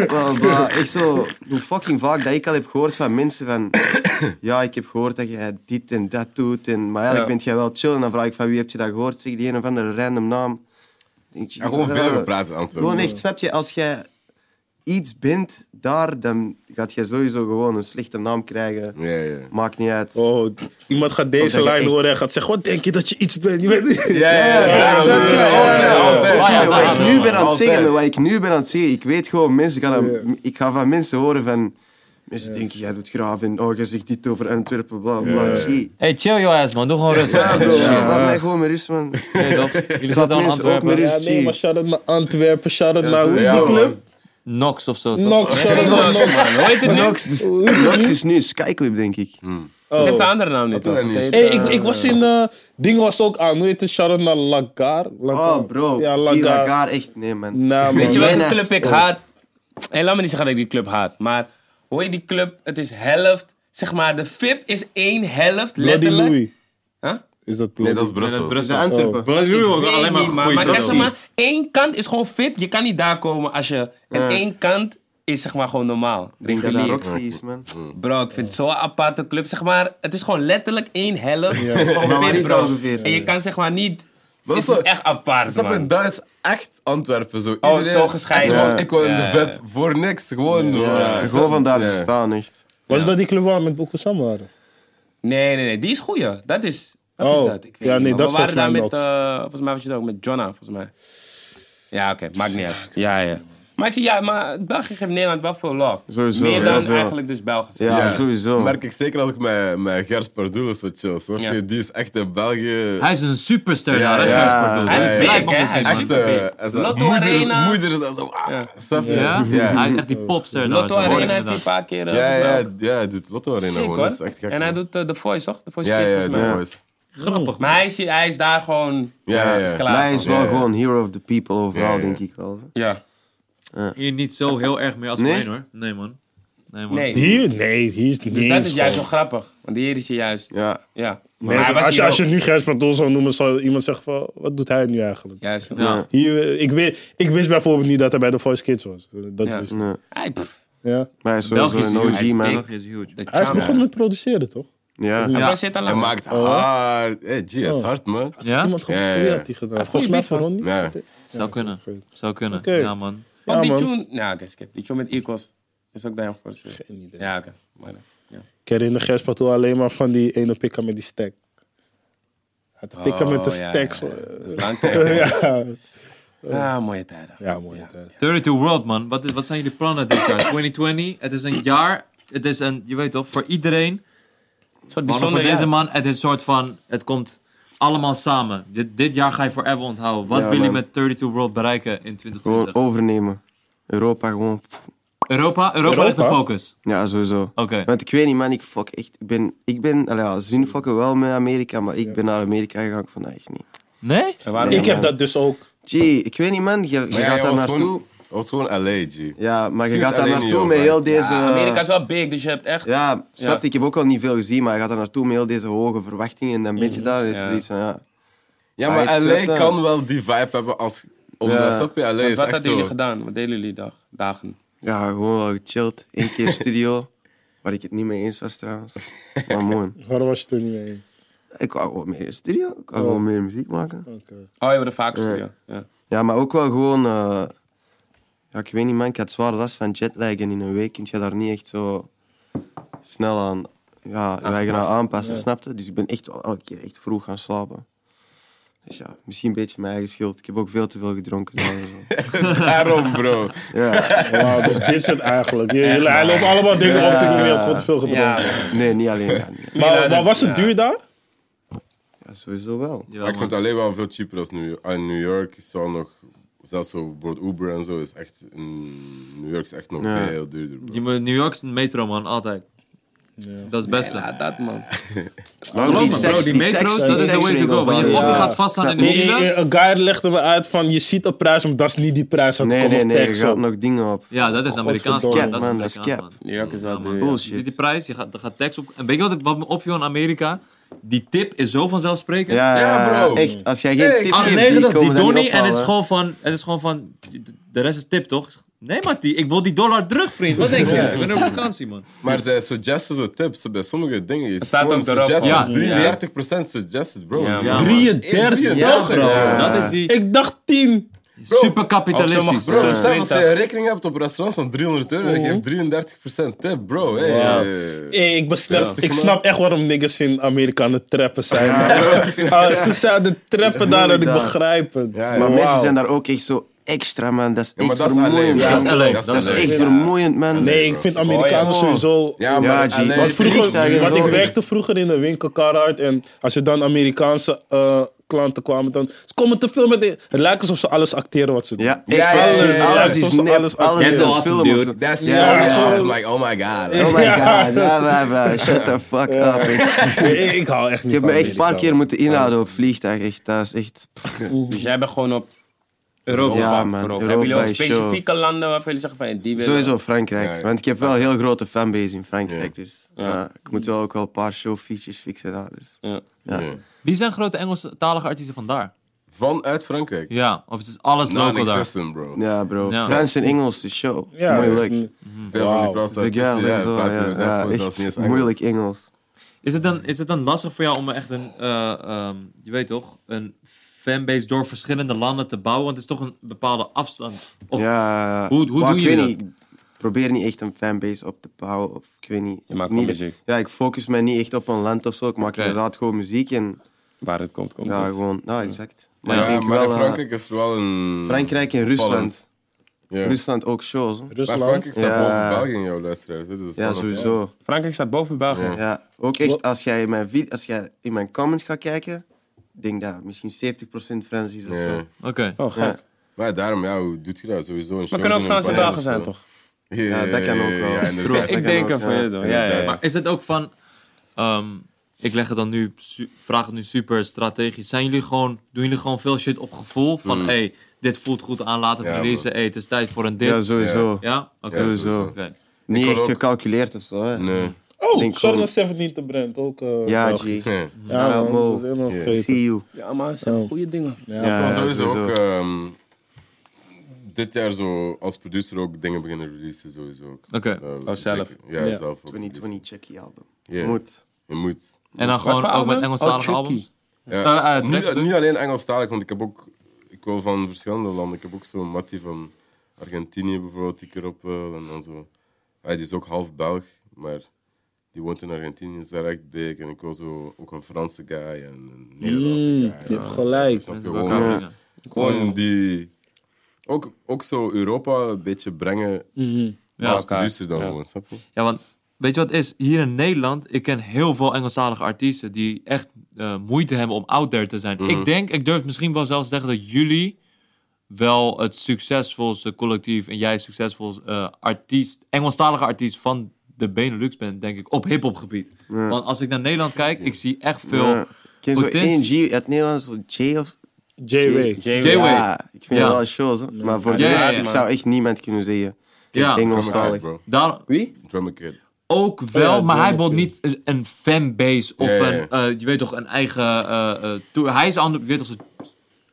[SPEAKER 3] bla, bla. Ik zo... Hoe fucking vaak dat ik al heb gehoord van mensen van... Ja, ik heb gehoord dat jij dit en dat doet. En, maar eigenlijk
[SPEAKER 1] Ja.
[SPEAKER 3] bent jij wel chill. En dan vraag ik van wie heb je dat gehoord? Zeg die een of andere random naam. Ik
[SPEAKER 2] Ja, gewoon veel gepraat in Antwerpen.
[SPEAKER 3] gewoon echt, snap je, als jij iets bent daar, dan gaat jij sowieso gewoon een slechte naam krijgen.
[SPEAKER 2] Ja, ja.
[SPEAKER 3] Maakt niet uit.
[SPEAKER 4] Oh, iemand gaat deze
[SPEAKER 3] Oh,
[SPEAKER 4] lijn
[SPEAKER 3] echt.
[SPEAKER 4] horen en gaat zeggen: Wat denk je dat je iets bent? Je bent...
[SPEAKER 2] Ja, ja, daarom.
[SPEAKER 3] Snap je?
[SPEAKER 2] Ja,
[SPEAKER 3] Ja,
[SPEAKER 2] ja,
[SPEAKER 3] ja,
[SPEAKER 2] altijd.
[SPEAKER 5] ja,
[SPEAKER 1] Ah,
[SPEAKER 3] ja.
[SPEAKER 5] ja,
[SPEAKER 3] Wat ik nu ben aan het
[SPEAKER 2] Altijd.
[SPEAKER 3] zeggen, maar wat ik nu ben aan het zeggen, ik weet gewoon, mensen gaan, aan- ik ga van mensen horen van... Mensen denken, jij doet graaf en oh, jij zegt dit over Antwerpen, bla bla.
[SPEAKER 2] Ja.
[SPEAKER 3] Gee.
[SPEAKER 5] Hey, chill your ass, man. Doe gewoon rustig.
[SPEAKER 3] Ja, bro, laat mij gewoon met rust, man.
[SPEAKER 5] Nee, toch? Jullie
[SPEAKER 3] Laat
[SPEAKER 5] zitten aan
[SPEAKER 3] mensen ook met
[SPEAKER 5] Antwerpen.
[SPEAKER 4] Ja,
[SPEAKER 3] rust,
[SPEAKER 4] nee, maar
[SPEAKER 3] gee.
[SPEAKER 4] shout-out naar Antwerpen, shout-out naar... Hoe is
[SPEAKER 2] Ja,
[SPEAKER 4] die
[SPEAKER 2] man.
[SPEAKER 4] club?
[SPEAKER 5] Nox of zo, toch?
[SPEAKER 4] Nox, shout-out naar
[SPEAKER 1] Knox,
[SPEAKER 4] Nox.
[SPEAKER 1] man. Hoe heet het nu?
[SPEAKER 3] Nox, Nox is nu Skyclub, denk ik.
[SPEAKER 1] Het
[SPEAKER 4] Oh.
[SPEAKER 1] heeft een andere naam nu toch?
[SPEAKER 2] doet hij
[SPEAKER 1] Het
[SPEAKER 2] niet.
[SPEAKER 4] Hey,
[SPEAKER 1] heet,
[SPEAKER 4] ik,
[SPEAKER 1] eh,
[SPEAKER 4] ik was in... eh, ding was ook aan, hoe heet het? Shout-out naar Lagar. Lagar.
[SPEAKER 3] Oh, bro.
[SPEAKER 4] Ja,
[SPEAKER 3] Gee,
[SPEAKER 4] Lagar.
[SPEAKER 3] Lagar, echt, nee, man.
[SPEAKER 4] Nou,
[SPEAKER 1] Weet je
[SPEAKER 4] man.
[SPEAKER 1] welke
[SPEAKER 3] Lena's.
[SPEAKER 1] club
[SPEAKER 2] Oh.
[SPEAKER 1] ik haat? Hey, laat me niet zeggen dat ik die club haat. Maar hoe heet die club? Het is helft. Zeg maar, de VIP is één helft,
[SPEAKER 4] Bloody
[SPEAKER 1] letterlijk.
[SPEAKER 4] Louis.
[SPEAKER 1] Huh?
[SPEAKER 4] Is dat
[SPEAKER 2] Nee,
[SPEAKER 4] Bloody
[SPEAKER 2] dat is
[SPEAKER 5] Nee, dat is
[SPEAKER 2] Brussel.
[SPEAKER 3] Dat is
[SPEAKER 5] Brussel.
[SPEAKER 3] Antwerpen.
[SPEAKER 5] Maar dat
[SPEAKER 1] Ik
[SPEAKER 5] jullie ook
[SPEAKER 1] weet
[SPEAKER 5] alleen maar
[SPEAKER 1] niet, maar,
[SPEAKER 5] goeie
[SPEAKER 1] maar kijk, zeg
[SPEAKER 5] shots.
[SPEAKER 1] maar, één kant is gewoon VIP. Je kan niet daar komen als je... En één kant is zeg maar gewoon normaal.
[SPEAKER 3] Ik denk dat dat
[SPEAKER 1] regulier.
[SPEAKER 3] Roxy is, man.
[SPEAKER 1] Bro, ik vind het zo'n aparte club. Zeg maar, het is gewoon letterlijk één helft. Het is
[SPEAKER 3] Maar
[SPEAKER 1] gewoon
[SPEAKER 3] waar
[SPEAKER 1] VIP,
[SPEAKER 3] is
[SPEAKER 1] bro.
[SPEAKER 3] dat ongeveer?
[SPEAKER 1] En je kan zeg maar niet...
[SPEAKER 2] Dat
[SPEAKER 1] Het
[SPEAKER 2] is
[SPEAKER 1] is
[SPEAKER 2] zo-
[SPEAKER 1] echt apart,
[SPEAKER 2] Snap je,
[SPEAKER 1] man.
[SPEAKER 2] dat is echt Antwerpen zo.
[SPEAKER 1] Oh,
[SPEAKER 2] Iedereen
[SPEAKER 1] zo gescheiden.
[SPEAKER 2] echt van,
[SPEAKER 1] Ja.
[SPEAKER 2] Ik wil in de
[SPEAKER 1] Ja.
[SPEAKER 2] web voor niks. Gewoon.
[SPEAKER 3] Ja, gewoon vandaar bestaan, echt.
[SPEAKER 4] Was dat die club waar we met Boko Sam waren?
[SPEAKER 1] Nee, nee, nee. Die is goeie. Dat is... Wat
[SPEAKER 4] Oh.
[SPEAKER 1] is dat? Ik weet
[SPEAKER 4] Ja,
[SPEAKER 1] niet,
[SPEAKER 4] nee,
[SPEAKER 1] maar
[SPEAKER 4] dat
[SPEAKER 1] We
[SPEAKER 4] is
[SPEAKER 1] waren daar
[SPEAKER 4] volgens
[SPEAKER 1] met...
[SPEAKER 4] mij
[SPEAKER 1] eh, volgens mij was je daar ook met Jonna, volgens mij. Ja, oké. Maakt niet uit. Ja, ja. Maar ik zie, ja, maar België geeft Nederland wel veel love.
[SPEAKER 3] Sowieso,
[SPEAKER 1] Meer
[SPEAKER 3] ja,
[SPEAKER 1] dan
[SPEAKER 3] veel.
[SPEAKER 1] eigenlijk dus België.
[SPEAKER 3] Ja, sowieso.
[SPEAKER 2] Merk ik zeker als ik met, met Gers Pardoel zo chill. snap je?
[SPEAKER 1] Ja.
[SPEAKER 2] Die is echt in België.
[SPEAKER 5] Hij is een superster
[SPEAKER 2] Ja,
[SPEAKER 5] daar, hè,
[SPEAKER 2] ja.
[SPEAKER 5] Gijs Pardoel.
[SPEAKER 2] Hij is
[SPEAKER 5] Ja,
[SPEAKER 2] big,
[SPEAKER 5] blijkbaar
[SPEAKER 1] hè,
[SPEAKER 5] is hij
[SPEAKER 1] hij is
[SPEAKER 5] super-
[SPEAKER 2] echt. eh,
[SPEAKER 1] superbig.
[SPEAKER 2] is dat-
[SPEAKER 1] Lotto
[SPEAKER 2] moeder, is,
[SPEAKER 1] Arena.
[SPEAKER 2] moeder is dat zo. ah,
[SPEAKER 1] Ja.
[SPEAKER 2] Snap je?
[SPEAKER 5] Ja?
[SPEAKER 2] Ja.
[SPEAKER 5] Hij is echt die popster daar.
[SPEAKER 1] Lotto
[SPEAKER 5] zo.
[SPEAKER 1] Arena heeft hij
[SPEAKER 5] Inderdaad.
[SPEAKER 1] een paar keer... eh,
[SPEAKER 2] Ja, ja,
[SPEAKER 1] gebruikt.
[SPEAKER 2] ja, hij doet Lotto Arena
[SPEAKER 1] Sick,
[SPEAKER 2] gewoon.
[SPEAKER 1] hoor.
[SPEAKER 2] Dat is echt
[SPEAKER 1] en
[SPEAKER 2] gek.
[SPEAKER 1] hij
[SPEAKER 2] man.
[SPEAKER 1] doet eh, The Voice, toch? The Voice
[SPEAKER 2] Ja,
[SPEAKER 1] Kids,
[SPEAKER 2] ja,
[SPEAKER 1] volgens mij.
[SPEAKER 2] The Voice.
[SPEAKER 5] Grappig.
[SPEAKER 1] Maar hij is, hier- hij is daar gewoon...
[SPEAKER 2] Ja, ja, ja.
[SPEAKER 1] is klaar.
[SPEAKER 3] Mij is wel
[SPEAKER 2] Ja, ja.
[SPEAKER 3] gewoon hero of the people overal,
[SPEAKER 2] Ja, ja.
[SPEAKER 3] denk ik wel.
[SPEAKER 1] Ja.
[SPEAKER 5] Hier niet zo heel erg meer als
[SPEAKER 3] Nee?
[SPEAKER 5] voorheen, hoor. Nee, man. Nee, man.
[SPEAKER 1] Nee.
[SPEAKER 4] Hier? Nee, hier is niet
[SPEAKER 1] Dus dat
[SPEAKER 4] eens
[SPEAKER 1] is juist zo
[SPEAKER 4] gewoon.
[SPEAKER 1] grappig. Want hier is hij juist...
[SPEAKER 3] Ja.
[SPEAKER 1] Ja.
[SPEAKER 4] Nee,
[SPEAKER 1] hij was
[SPEAKER 4] als, je,
[SPEAKER 1] hier
[SPEAKER 4] als je
[SPEAKER 1] ook.
[SPEAKER 4] nu Gers Pardoel zou noemen, zou iemand zeggen van... Wat doet hij nu eigenlijk?
[SPEAKER 1] Juist.
[SPEAKER 5] Ja.
[SPEAKER 4] Hier, eh, ik, weet, ik wist bijvoorbeeld niet dat hij bij de Voice Kids was. Eh, Dat
[SPEAKER 1] Ja.
[SPEAKER 4] wist ik.
[SPEAKER 3] Nee.
[SPEAKER 1] Hij, pff,
[SPEAKER 4] Ja.
[SPEAKER 3] Maar hij is
[SPEAKER 5] België
[SPEAKER 3] sowieso
[SPEAKER 5] is
[SPEAKER 3] een OG,
[SPEAKER 5] huge.
[SPEAKER 3] man.
[SPEAKER 5] België is huge.
[SPEAKER 1] de
[SPEAKER 4] Hij is
[SPEAKER 1] charm.
[SPEAKER 4] begonnen met produceren, toch?
[SPEAKER 3] Ja.
[SPEAKER 1] Hij
[SPEAKER 5] Ja.
[SPEAKER 1] zit al
[SPEAKER 2] Hij
[SPEAKER 1] lang.
[SPEAKER 2] maakt hard. Hey, G, hij is
[SPEAKER 4] Oh.
[SPEAKER 2] hard, man.
[SPEAKER 5] Ja?
[SPEAKER 4] Iemand
[SPEAKER 2] Ja, ja,
[SPEAKER 4] gewoon
[SPEAKER 2] ja.
[SPEAKER 4] ja, had die gedaan.
[SPEAKER 1] heeft goede
[SPEAKER 4] Volgens mij
[SPEAKER 1] beats, man.
[SPEAKER 4] van niet.
[SPEAKER 2] Ja.
[SPEAKER 5] Zou kunnen.
[SPEAKER 4] Geen
[SPEAKER 5] Zou kunnen.
[SPEAKER 4] Oké.
[SPEAKER 5] Ja, man.
[SPEAKER 1] Ook
[SPEAKER 4] Ja,
[SPEAKER 1] die
[SPEAKER 4] man.
[SPEAKER 1] tune... Nou, oké, skip. Die tune met Equals is ook daar heel goed.
[SPEAKER 4] idee.
[SPEAKER 1] Ja, oké. Maar dan-
[SPEAKER 4] Ik herinner Gers Pardoel alleen maar van die ene pikka met die stack. Hij had pikka
[SPEAKER 1] Oh,
[SPEAKER 4] met de eh,
[SPEAKER 1] ja,
[SPEAKER 4] stack.
[SPEAKER 1] ja,
[SPEAKER 4] zo.
[SPEAKER 1] ja. Dat is
[SPEAKER 4] Ja,
[SPEAKER 1] lang tijd.
[SPEAKER 4] ja.
[SPEAKER 1] Ah, mooie tijden.
[SPEAKER 4] mooi. hè.
[SPEAKER 5] 32 World, man. Wat, is, wat zijn jullie plannen dit jaar? 2020. Het is een jaar. Het is een, je weet toch, voor iedereen.
[SPEAKER 1] Een soort
[SPEAKER 5] Maar voor
[SPEAKER 1] bijzonder
[SPEAKER 5] deze
[SPEAKER 1] jaar.
[SPEAKER 5] man, het is een soort van, het komt allemaal samen. Dit, dit jaar ga je forever onthouden. Wat
[SPEAKER 3] Ja,
[SPEAKER 5] wil je
[SPEAKER 3] man.
[SPEAKER 5] met 32 World bereiken in
[SPEAKER 3] Gewoon
[SPEAKER 5] 2020?
[SPEAKER 3] overnemen. Europa gewoon. pff,
[SPEAKER 5] Europa? Europa, ligt de
[SPEAKER 4] Europa?
[SPEAKER 5] focus.
[SPEAKER 3] Ja, sowieso.
[SPEAKER 5] Oké.
[SPEAKER 3] Want ik weet niet, man, ik fuck echt. Ik ben, ik ben, allee, ja, zin fokken wel met Amerika, maar ik ben naar Amerika gegaan van echt niet.
[SPEAKER 5] Nee?
[SPEAKER 1] En waarom-
[SPEAKER 4] Ik heb dat dus ook.
[SPEAKER 3] Gee, ik weet niet, man, je, je
[SPEAKER 2] Maar ja,
[SPEAKER 3] gaat
[SPEAKER 2] jij
[SPEAKER 3] daar
[SPEAKER 2] was
[SPEAKER 3] naartoe.
[SPEAKER 2] Gewoon, was gewoon LA, G.
[SPEAKER 3] Ja, maar je
[SPEAKER 2] Misschien
[SPEAKER 3] gaat
[SPEAKER 2] is
[SPEAKER 3] daar
[SPEAKER 2] alleen
[SPEAKER 3] naartoe
[SPEAKER 2] niet
[SPEAKER 3] met
[SPEAKER 2] over.
[SPEAKER 3] heel deze. eh,
[SPEAKER 1] Ja, Ah, Amerika is wel big, dus je hebt echt...
[SPEAKER 3] Ja, snap
[SPEAKER 1] Ja.
[SPEAKER 3] je, ik heb ook al niet veel gezien, maar je gaat daar naartoe met heel deze hoge verwachtingen en dan ben je daar en je hebt
[SPEAKER 1] Ja.
[SPEAKER 3] zoiets van ja.
[SPEAKER 2] Ja,
[SPEAKER 3] Ja,
[SPEAKER 2] maar
[SPEAKER 3] ik snap
[SPEAKER 2] LA
[SPEAKER 3] dat.
[SPEAKER 2] kan wel die vibe hebben als... Om
[SPEAKER 3] Ja.
[SPEAKER 2] dat snap je? LA
[SPEAKER 1] Want
[SPEAKER 2] is
[SPEAKER 1] wat
[SPEAKER 2] echt
[SPEAKER 1] hadden jullie
[SPEAKER 2] zo...
[SPEAKER 1] gedaan? Wat deden jullie dag, dagen?
[SPEAKER 3] Ja, gewoon wel gechilled. Eén keer studio, waar ik het niet mee eens was trouwens. Maar mooi.
[SPEAKER 4] Waarom was je het er niet mee eens?
[SPEAKER 3] Ik wou gewoon meer studio, ik wou gewoon meer muziek maken.
[SPEAKER 4] Oké.
[SPEAKER 1] Oh, je wilde vaak studio. Ja.
[SPEAKER 3] Ja, maar ook wel gewoon. eh, ja, ik weet niet, man. Ik had zwaar last van jetlag. En in een week kun je daar niet echt zo snel aan ja, je eigen aan aanpassen, snapte? Dus ik ben echt wel elke keer echt vroeg gaan slapen. Dus ja, misschien een beetje mijn eigen schuld. Ik heb ook veel te veel gedronken. trouwens.
[SPEAKER 2] Daarom, bro.
[SPEAKER 3] ja,
[SPEAKER 4] Wauw, dus dit is het eigenlijk. Je- Jullie hij loopt allemaal dingen op te doen. Je hebt gewoon te veel gedronken.
[SPEAKER 1] Ja.
[SPEAKER 3] nee, niet alleen. Ja, nee.
[SPEAKER 4] Maar, maar was het duur daar?
[SPEAKER 3] Ja, sowieso wel.
[SPEAKER 5] Jawel,
[SPEAKER 2] Maar ik vind
[SPEAKER 5] man.
[SPEAKER 2] alleen wel veel cheaper als New York. En New York is wel nog... Zelfs zo, bijvoorbeeld Uber en zo is echt... in- New York is echt nog
[SPEAKER 3] Ja.
[SPEAKER 2] heel duurder, bro.
[SPEAKER 5] Je moet New York is een metro, man. Altijd. Dat is het beste.
[SPEAKER 1] Laat dat, man.
[SPEAKER 3] Maar ook
[SPEAKER 5] Geloof
[SPEAKER 3] die
[SPEAKER 5] me,
[SPEAKER 3] tax-
[SPEAKER 5] bro, die
[SPEAKER 3] die
[SPEAKER 5] metro's,
[SPEAKER 3] tax-
[SPEAKER 5] dat
[SPEAKER 3] die
[SPEAKER 5] is the way to
[SPEAKER 3] taxregels
[SPEAKER 5] go. Want je,
[SPEAKER 3] waren-
[SPEAKER 5] of je
[SPEAKER 3] Ja.
[SPEAKER 5] gaat vaststaan in de
[SPEAKER 4] Nee, nee,
[SPEAKER 5] file.
[SPEAKER 4] nee, een guy legde me uit van je ziet een prijs, maar dat is niet die prijs. want
[SPEAKER 3] Nee,
[SPEAKER 4] kom
[SPEAKER 3] nee,
[SPEAKER 4] op
[SPEAKER 3] nee. Er
[SPEAKER 4] tax
[SPEAKER 3] gaat
[SPEAKER 4] op.
[SPEAKER 3] nog dingen op.
[SPEAKER 5] Ja, dat is Amerikaans.
[SPEAKER 4] Godverdomme.
[SPEAKER 5] man. Dat is
[SPEAKER 3] Man, dat is
[SPEAKER 5] Amerikaans,
[SPEAKER 3] cap.
[SPEAKER 5] man.
[SPEAKER 1] New York is wel
[SPEAKER 5] Ja, man.
[SPEAKER 1] duur.
[SPEAKER 5] Je
[SPEAKER 1] ja.
[SPEAKER 3] Bullshit.
[SPEAKER 5] ziet die prijs, je gaat, er gaat tax op. En weet je wat, ik- wat me opviel in Amerika? Die tip is zo vanzelfsprekend.
[SPEAKER 3] Ja,
[SPEAKER 2] Ja,
[SPEAKER 3] ja,
[SPEAKER 2] bro.
[SPEAKER 3] Echt, als jij geen tip geeft, die
[SPEAKER 5] 98, die
[SPEAKER 3] komen dan niet
[SPEAKER 5] Donnie. En het Ah, is
[SPEAKER 3] ophalen.
[SPEAKER 5] gewoon van, het is gewoon van de- de rest is tip toch? Ik zeg, Nee, Mattie, ik wil die dollar terug, vriend. Wat denk je? Ik ben op vakantie, man.
[SPEAKER 2] Maar zij suggesten zo tips bij sommige dingen. Het
[SPEAKER 1] staat ook erop,
[SPEAKER 5] ja.
[SPEAKER 2] 33% suggested, bro.
[SPEAKER 1] Ja,
[SPEAKER 2] Ja,
[SPEAKER 1] man.
[SPEAKER 4] 33?
[SPEAKER 5] Ja,
[SPEAKER 2] bro.
[SPEAKER 5] bro. Dat is die
[SPEAKER 4] Ik dacht 10.
[SPEAKER 1] Ook
[SPEAKER 5] superkapitalistisch.
[SPEAKER 1] sommige-
[SPEAKER 2] Bro,
[SPEAKER 1] Zo'n
[SPEAKER 2] stel als
[SPEAKER 1] 20.
[SPEAKER 2] je een rekening hebt op een restaurant van 300 euro
[SPEAKER 3] Mhm.
[SPEAKER 2] en je geeft 33% tip, bro. Hey,
[SPEAKER 4] Ja.
[SPEAKER 2] eh,
[SPEAKER 4] Hey, ik, ben snel-
[SPEAKER 2] Ja.
[SPEAKER 4] ik snap echt waarom niggas in Amerika aan het trappen zijn. man. Ah, ze zijn aan het trappen daar en ik
[SPEAKER 3] Inderdaad.
[SPEAKER 4] begrijp het.
[SPEAKER 2] Ja, ja.
[SPEAKER 3] Maar
[SPEAKER 4] Wauw.
[SPEAKER 3] mensen zijn daar ook echt zo extra, man. Dat is
[SPEAKER 2] Ja,
[SPEAKER 3] echt
[SPEAKER 2] maar dat is
[SPEAKER 3] vermoeiend.
[SPEAKER 2] LA.
[SPEAKER 5] Ja, dat is
[SPEAKER 2] bro.
[SPEAKER 5] LA,
[SPEAKER 2] Dat
[SPEAKER 5] dat is
[SPEAKER 2] is
[SPEAKER 5] LA.
[SPEAKER 3] Echt
[SPEAKER 2] LA.
[SPEAKER 3] vermoeiend, man.
[SPEAKER 4] Nee, ik vind Amerikanen
[SPEAKER 3] Oh.
[SPEAKER 4] sowieso...
[SPEAKER 2] Ja,
[SPEAKER 3] Ja,
[SPEAKER 2] maar
[SPEAKER 3] G.
[SPEAKER 2] LA
[SPEAKER 4] Want
[SPEAKER 3] Want vliegtuigen
[SPEAKER 4] vroeger,
[SPEAKER 3] en
[SPEAKER 4] want
[SPEAKER 3] zo.
[SPEAKER 4] ik werkte vroeger in een winkel, Carhartt, en als je dan Amerikaanse eh, klanten kwamen, dan ze komen te veel met... die- Het lijkt alsof ze alles acteren wat ze doen.
[SPEAKER 3] Ja,
[SPEAKER 2] Ja, ja,
[SPEAKER 3] alles,
[SPEAKER 2] ja, ja, ja.
[SPEAKER 3] alles is
[SPEAKER 4] Soms
[SPEAKER 3] nep, alles,
[SPEAKER 4] alles acteren.
[SPEAKER 3] is
[SPEAKER 5] That's
[SPEAKER 3] een
[SPEAKER 5] awesome,
[SPEAKER 3] film of
[SPEAKER 5] dude.
[SPEAKER 3] zo.
[SPEAKER 2] That's
[SPEAKER 3] Ja,
[SPEAKER 2] yeah,
[SPEAKER 4] ja.
[SPEAKER 2] awesome. Like, oh my god.
[SPEAKER 3] Oh my god, ja, bla, bla, shut the fuck up. Ik,
[SPEAKER 4] Nee, ik, ik hou echt
[SPEAKER 3] ik
[SPEAKER 4] niet
[SPEAKER 3] heb
[SPEAKER 4] van
[SPEAKER 3] me echt een paar
[SPEAKER 4] Amerika.
[SPEAKER 3] keer moeten inhouden op vliegtuig. Echt, dat is echt...
[SPEAKER 1] Dus jij bent gewoon op Europa.
[SPEAKER 3] Ja, man,
[SPEAKER 1] Europa.
[SPEAKER 3] Europa
[SPEAKER 1] Hebben jullie ook
[SPEAKER 3] is show.
[SPEAKER 1] specifieke landen waarvan jullie zeggen van hey, die willen...
[SPEAKER 3] Sowieso Frankrijk,
[SPEAKER 2] Ja, ja.
[SPEAKER 3] want ik heb wel een heel grote fanbase in Frankrijk.
[SPEAKER 2] Ja.
[SPEAKER 3] Dus ja, ik moet wel ook wel een paar showfeatures fixen daar. Dus.
[SPEAKER 1] Ja.
[SPEAKER 3] Ja.
[SPEAKER 2] Ja.
[SPEAKER 5] Wie zijn grote Engelstalige artiesten vandaar?
[SPEAKER 2] Vanuit Frankrijk.
[SPEAKER 5] Ja, of het is alles
[SPEAKER 2] Nou,
[SPEAKER 5] local daar.
[SPEAKER 2] Non-existent, bro.
[SPEAKER 3] Ja, bro.
[SPEAKER 5] Ja.
[SPEAKER 3] Frans en Engels, de show.
[SPEAKER 4] Ja,
[SPEAKER 3] moeilijk.
[SPEAKER 4] dus-
[SPEAKER 2] Veel van die
[SPEAKER 4] Wauw.
[SPEAKER 2] Franse
[SPEAKER 3] Zo geil,
[SPEAKER 2] artiesten, ja,
[SPEAKER 3] zo,
[SPEAKER 2] praten
[SPEAKER 3] Dus ja,
[SPEAKER 2] inderdaad
[SPEAKER 3] ja,
[SPEAKER 2] gewoon zelfs niet
[SPEAKER 3] echt
[SPEAKER 2] eens Engels.
[SPEAKER 3] moeilijk Engels.
[SPEAKER 5] Is het, dan, is het dan lastig voor jou om echt een, eh, ehm, je weet toch, een fanbase door verschillende landen te bouwen? Want het is toch een bepaalde afstand. Of,
[SPEAKER 3] ja,
[SPEAKER 5] Hoe- hoe
[SPEAKER 3] maar
[SPEAKER 5] doe
[SPEAKER 3] ik
[SPEAKER 5] je
[SPEAKER 3] weet
[SPEAKER 5] dat?
[SPEAKER 3] Niet, ik probeer niet echt een fanbase op te bouwen. Of, ik weet niet.
[SPEAKER 1] Je maakt
[SPEAKER 3] niet,
[SPEAKER 1] gewoon muziek.
[SPEAKER 3] Ja, ik focus mij niet echt op een land of zo. Ik maak
[SPEAKER 5] Oké.
[SPEAKER 3] inderdaad gewoon muziek en
[SPEAKER 1] Waar het komt, komt
[SPEAKER 3] ja,
[SPEAKER 1] het.
[SPEAKER 3] gewoon, nou exact. Maar
[SPEAKER 2] Ja,
[SPEAKER 3] ik denk
[SPEAKER 2] maar
[SPEAKER 3] wel,
[SPEAKER 2] in
[SPEAKER 3] eh,
[SPEAKER 2] Frankrijk is wel een...
[SPEAKER 3] Frankrijk en Rusland.
[SPEAKER 2] Opvallend. Ja.
[SPEAKER 3] Rusland ook shows. hè?
[SPEAKER 2] Maar
[SPEAKER 4] Rusland.
[SPEAKER 2] Frankrijk staat
[SPEAKER 3] Ja.
[SPEAKER 2] boven België in jouw luisteraars. hè, dus dat is
[SPEAKER 3] Ja,
[SPEAKER 2] wel nog-
[SPEAKER 3] sowieso.
[SPEAKER 1] Frankrijk staat boven België.
[SPEAKER 2] Ja.
[SPEAKER 3] Ja, ook echt als jij, in mijn vid- als jij in mijn comments gaat kijken, denk dat misschien 70% Frans is of
[SPEAKER 2] Ja.
[SPEAKER 3] zo.
[SPEAKER 5] Oké.
[SPEAKER 1] Oh, gek.
[SPEAKER 3] Ja.
[SPEAKER 2] Maar daarom, ja, hoe doet je dat? Sowieso een
[SPEAKER 1] Maar
[SPEAKER 2] show
[SPEAKER 1] kunnen ook
[SPEAKER 2] doen in
[SPEAKER 1] Franse Belgen
[SPEAKER 2] Parijs of
[SPEAKER 1] zijn,
[SPEAKER 2] zo.
[SPEAKER 1] toch?
[SPEAKER 3] Ja, dat kan ook wel.
[SPEAKER 2] Ja, inderdaad.
[SPEAKER 1] ik
[SPEAKER 3] kan
[SPEAKER 1] denk
[SPEAKER 3] ook,
[SPEAKER 1] er van
[SPEAKER 3] ja.
[SPEAKER 1] je door. Ja, ja, ja.
[SPEAKER 5] Maar is het ook van, ehm, ik leg het dan nu, su- vraag het nu super strategisch. Zijn jullie gewoon, doen jullie gewoon veel shit op gevoel? Van, hey, dit voelt goed aan, laten we
[SPEAKER 2] Mm. Ja,
[SPEAKER 5] releasen. Hey, het is tijd voor een dip.
[SPEAKER 3] Ja,
[SPEAKER 5] Ja,
[SPEAKER 3] sowieso.
[SPEAKER 5] Oké.
[SPEAKER 2] Ja,
[SPEAKER 3] sowieso.
[SPEAKER 5] Oké.
[SPEAKER 3] Niet
[SPEAKER 2] Ik
[SPEAKER 3] echt
[SPEAKER 2] wil ook-
[SPEAKER 3] gecalculeerd of zo. Hè.
[SPEAKER 2] Nee.
[SPEAKER 4] Oh,
[SPEAKER 3] Denk
[SPEAKER 4] Jordan
[SPEAKER 3] gewoon-
[SPEAKER 4] 17 te Brent ook. eh,
[SPEAKER 3] Ja,
[SPEAKER 4] België.
[SPEAKER 3] G.
[SPEAKER 2] Ja.
[SPEAKER 4] Ja,
[SPEAKER 3] Ja,
[SPEAKER 4] man,
[SPEAKER 3] Mo.
[SPEAKER 4] dat is helemaal
[SPEAKER 2] Ja.
[SPEAKER 4] vergeten.
[SPEAKER 3] See you.
[SPEAKER 1] Ja, maar het zijn
[SPEAKER 4] Oh.
[SPEAKER 1] goede dingen.
[SPEAKER 4] Ja,
[SPEAKER 3] Ja.
[SPEAKER 2] Maar sowieso
[SPEAKER 3] sowieso.
[SPEAKER 2] ook ehm, dit jaar zo als producer ook dingen beginnen releasen sowieso ook.
[SPEAKER 5] Oké.
[SPEAKER 2] Eh,
[SPEAKER 1] Oh, zelf?
[SPEAKER 2] zeker. Ja,
[SPEAKER 4] Ja.
[SPEAKER 2] zelf ook.
[SPEAKER 3] 2020 checkie album.
[SPEAKER 2] Ja,
[SPEAKER 3] Moet.
[SPEAKER 2] Je moet.
[SPEAKER 5] En dan gewoon
[SPEAKER 1] voor
[SPEAKER 5] ook met
[SPEAKER 1] album?
[SPEAKER 5] Engelstalige
[SPEAKER 1] Oh,
[SPEAKER 5] albums?
[SPEAKER 2] Ja.
[SPEAKER 5] Eh, eh,
[SPEAKER 2] niet,
[SPEAKER 5] teksten?
[SPEAKER 2] niet alleen Engelstalig, want ik heb ook... Ik wil van verschillende landen. Ik heb ook zo'n Mattie van Argentinië bijvoorbeeld die ik erop wil. En dan zo... Hij die is ook half Belg, maar die woont in Argentinië, is daar echt big. En ik wil zo ook een Franse guy en een Nederlandse
[SPEAKER 4] Mm,
[SPEAKER 2] guy.
[SPEAKER 4] je hebt
[SPEAKER 2] Ja.
[SPEAKER 4] gelijk.
[SPEAKER 2] Snap je?
[SPEAKER 5] Mensen bij
[SPEAKER 2] Gewoon-
[SPEAKER 5] elkaar
[SPEAKER 3] Ja.
[SPEAKER 5] brengen.
[SPEAKER 1] Oh.
[SPEAKER 2] Gewoon die... Ook, ook zo Europa een beetje brengen
[SPEAKER 4] Mhm.
[SPEAKER 5] Ja,
[SPEAKER 2] als
[SPEAKER 1] elkaar.
[SPEAKER 2] producer dan
[SPEAKER 1] Ja.
[SPEAKER 2] gewoon, snap je?
[SPEAKER 5] Ja, want weet je wat het is? Hier in Nederland, ik ken heel veel Engelstalige artiesten die
[SPEAKER 3] Mhm.
[SPEAKER 5] echt eh, moeite hebben om out there te zijn. Ik denk, ik durf misschien wel zelfs te zeggen dat jullie wel het succesvolste collectief en jij succesvolste eh, artiest, Engelstalige artiest van de Benelux bent, denk ik, op hip-hop gebied.
[SPEAKER 3] Ja.
[SPEAKER 5] Want als ik naar Nederland kijk, ik zie echt veel.
[SPEAKER 3] Ja. Ken je zo
[SPEAKER 5] potentie.
[SPEAKER 3] één G uit Nederland, zo J of...
[SPEAKER 4] J-Way.
[SPEAKER 1] J-Way.
[SPEAKER 5] J-Way.
[SPEAKER 3] Ja, ik vind
[SPEAKER 5] Ja.
[SPEAKER 3] dat wel shows, hoor. Maar voor de
[SPEAKER 5] Ja, ja,
[SPEAKER 3] rest,
[SPEAKER 5] ja.
[SPEAKER 3] ik zou echt niemand kunnen zeggen.
[SPEAKER 5] Ja.
[SPEAKER 2] Drummer kid,
[SPEAKER 3] Engelstalig.
[SPEAKER 2] bro.
[SPEAKER 5] Daar,
[SPEAKER 3] Wie?
[SPEAKER 2] Drummer kid.
[SPEAKER 5] Ook wel,
[SPEAKER 4] ja,
[SPEAKER 5] maar hij
[SPEAKER 4] tuurlijk,
[SPEAKER 5] bouwt niet een- een fanbase of
[SPEAKER 2] Ja, ja, ja.
[SPEAKER 5] een, eh, je weet toch, een eigen eh, eh, tour. Hij is, on, je weet toch, zo-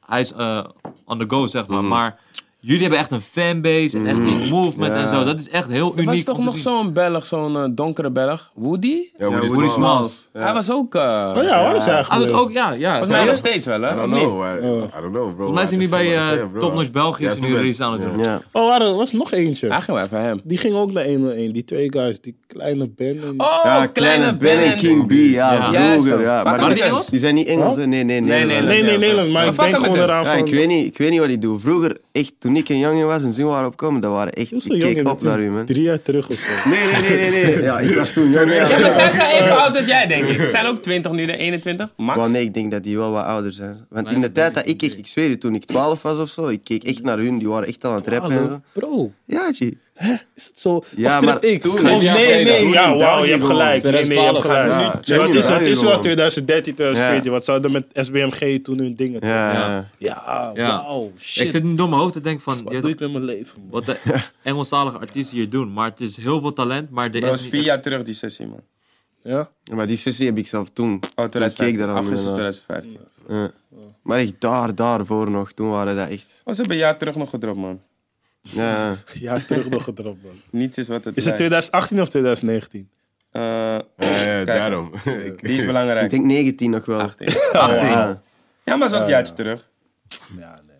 [SPEAKER 5] hij is eh, on the go, zeg maar. Maar jullie hebben echt een fanbase en echt die movement en
[SPEAKER 3] Ja.
[SPEAKER 5] zo. Dat is echt heel
[SPEAKER 1] Er
[SPEAKER 5] uniek.
[SPEAKER 1] was toch
[SPEAKER 5] om te
[SPEAKER 1] nog
[SPEAKER 5] zien.
[SPEAKER 1] zo'n Belg, zo'n eh, donkere Belg, Woody?
[SPEAKER 2] Ja, Woody
[SPEAKER 3] Woody
[SPEAKER 2] Small.
[SPEAKER 5] Smalls.
[SPEAKER 1] Hij was ook... eh
[SPEAKER 4] Oh ja, waar is hij
[SPEAKER 5] Hij doet
[SPEAKER 4] eigenlijk?
[SPEAKER 5] ook, ja, ja.
[SPEAKER 1] Volgens mij
[SPEAKER 5] Ja.
[SPEAKER 1] nog steeds wel, hè?
[SPEAKER 2] I don't
[SPEAKER 1] Of niet?
[SPEAKER 2] know. I, I don't know, bro.
[SPEAKER 5] Volgens mij zijn nu bij eh,
[SPEAKER 2] Topnotch
[SPEAKER 5] Top Notch België
[SPEAKER 2] Ja,
[SPEAKER 5] is
[SPEAKER 2] is
[SPEAKER 5] nu
[SPEAKER 2] goed.
[SPEAKER 5] release aan het doen.
[SPEAKER 3] Ja.
[SPEAKER 4] Oh, waar- er was nog eentje.
[SPEAKER 1] Hij ging wel even hem.
[SPEAKER 4] Die ging ook naar 101. Die twee guys, die kleine band. en-
[SPEAKER 1] Oh,
[SPEAKER 3] Ja, kleine Ben en King B. Ja,
[SPEAKER 1] Ja,
[SPEAKER 3] vroeger.
[SPEAKER 1] zo.
[SPEAKER 3] Ja,
[SPEAKER 1] Waren
[SPEAKER 5] die
[SPEAKER 3] die,
[SPEAKER 5] Engels?
[SPEAKER 3] die zijn niet Engels. hè? Nee, nee, nee.
[SPEAKER 1] nee,
[SPEAKER 4] nee, nee, Nederland. Maar
[SPEAKER 1] Wat
[SPEAKER 4] ik denk
[SPEAKER 1] fucken
[SPEAKER 4] gewoon
[SPEAKER 1] met
[SPEAKER 4] eraan
[SPEAKER 3] Ja,
[SPEAKER 4] van...
[SPEAKER 3] ik, weet niet, ik weet niet wat die doen. Vroeger, echt, toen ik een jongen was en ze waren opkomen, dat waren echt...
[SPEAKER 4] Heel
[SPEAKER 3] Ik
[SPEAKER 4] zo jong,
[SPEAKER 3] keek
[SPEAKER 4] dat
[SPEAKER 3] op naar
[SPEAKER 4] is
[SPEAKER 3] u, man.
[SPEAKER 4] drie jaar terug of zo.
[SPEAKER 3] Nee, nee, nee, nee, nee. Ja, ik was toen jong.
[SPEAKER 1] Ja,
[SPEAKER 3] Ja,
[SPEAKER 1] maar zij zijn even oud als jij, denk ik. Zijn ook 20 nu, de 21? Max?
[SPEAKER 3] Maar nee, ik denk dat die wel wat ouder zijn. Want in de
[SPEAKER 5] dat
[SPEAKER 3] tijd dat ik echt, ik zweer je, toen ik 12 was of zo, ik keek echt naar hun, die waren echt aan het rappen en
[SPEAKER 4] Hallo,
[SPEAKER 3] zo.
[SPEAKER 4] bro.
[SPEAKER 3] Ja, G.
[SPEAKER 4] Is het zo?
[SPEAKER 3] Ja,
[SPEAKER 4] of trip
[SPEAKER 3] maar
[SPEAKER 4] ik?
[SPEAKER 3] toen-
[SPEAKER 4] Of
[SPEAKER 3] Toen-
[SPEAKER 4] nee, nee,
[SPEAKER 3] Toen-
[SPEAKER 4] ja,
[SPEAKER 3] Toen-
[SPEAKER 4] wauw, je
[SPEAKER 3] Toen-
[SPEAKER 4] hebt
[SPEAKER 3] Toen-
[SPEAKER 4] gelijk. Nee, nee, je hebt
[SPEAKER 5] 2012
[SPEAKER 4] gelijk.
[SPEAKER 3] gaan we nu-
[SPEAKER 4] Ja, het is, het is wel
[SPEAKER 3] Ja.
[SPEAKER 4] 2013, 2014. Wat ze hadden met SBMG toen hun dingen. toch?
[SPEAKER 3] Ja,
[SPEAKER 5] Ja.
[SPEAKER 3] ja.
[SPEAKER 4] Ja,
[SPEAKER 5] Ja.
[SPEAKER 4] wauw,
[SPEAKER 5] Ik
[SPEAKER 4] shit.
[SPEAKER 5] zit nu door mijn hoofd te denken van, je
[SPEAKER 4] Wat
[SPEAKER 5] weet
[SPEAKER 4] doe
[SPEAKER 5] toch,
[SPEAKER 4] ik met mijn leven? man?
[SPEAKER 5] wat de Engelstalige artiesten hier doen. Maar het is heel veel talent, maar er
[SPEAKER 1] Dat
[SPEAKER 5] is
[SPEAKER 1] was
[SPEAKER 5] niet
[SPEAKER 1] vier
[SPEAKER 5] echt-
[SPEAKER 1] jaar terug, die sessie, man.
[SPEAKER 4] Ja?
[SPEAKER 3] Maar die sessie heb ik zelf toen.
[SPEAKER 1] Oh,
[SPEAKER 3] toen keek ik
[SPEAKER 1] 2015.
[SPEAKER 3] daar aan.
[SPEAKER 1] Augustus
[SPEAKER 3] inderdaad.
[SPEAKER 1] 2015.
[SPEAKER 3] Ja. Maar echt daar, daarvoor nog, toen waren dat echt...
[SPEAKER 1] Was hebben een jaar terug nog gedropt, man.
[SPEAKER 3] Ja, ja.
[SPEAKER 4] Ja, terug nog gedropt, man.
[SPEAKER 1] Niets is wat het
[SPEAKER 4] Is
[SPEAKER 1] lijkt.
[SPEAKER 4] het 2018 of 2019?
[SPEAKER 1] Eh,
[SPEAKER 2] Ja, ja,
[SPEAKER 1] Kijk.
[SPEAKER 2] daarom. Ik-
[SPEAKER 1] Die is
[SPEAKER 3] ik
[SPEAKER 1] belangrijk.
[SPEAKER 3] denk 19 nog wel.
[SPEAKER 1] 18. 18.
[SPEAKER 3] Ja.
[SPEAKER 1] Ja, maar zo'n jaartje terug.
[SPEAKER 4] Eh, Ja, nee.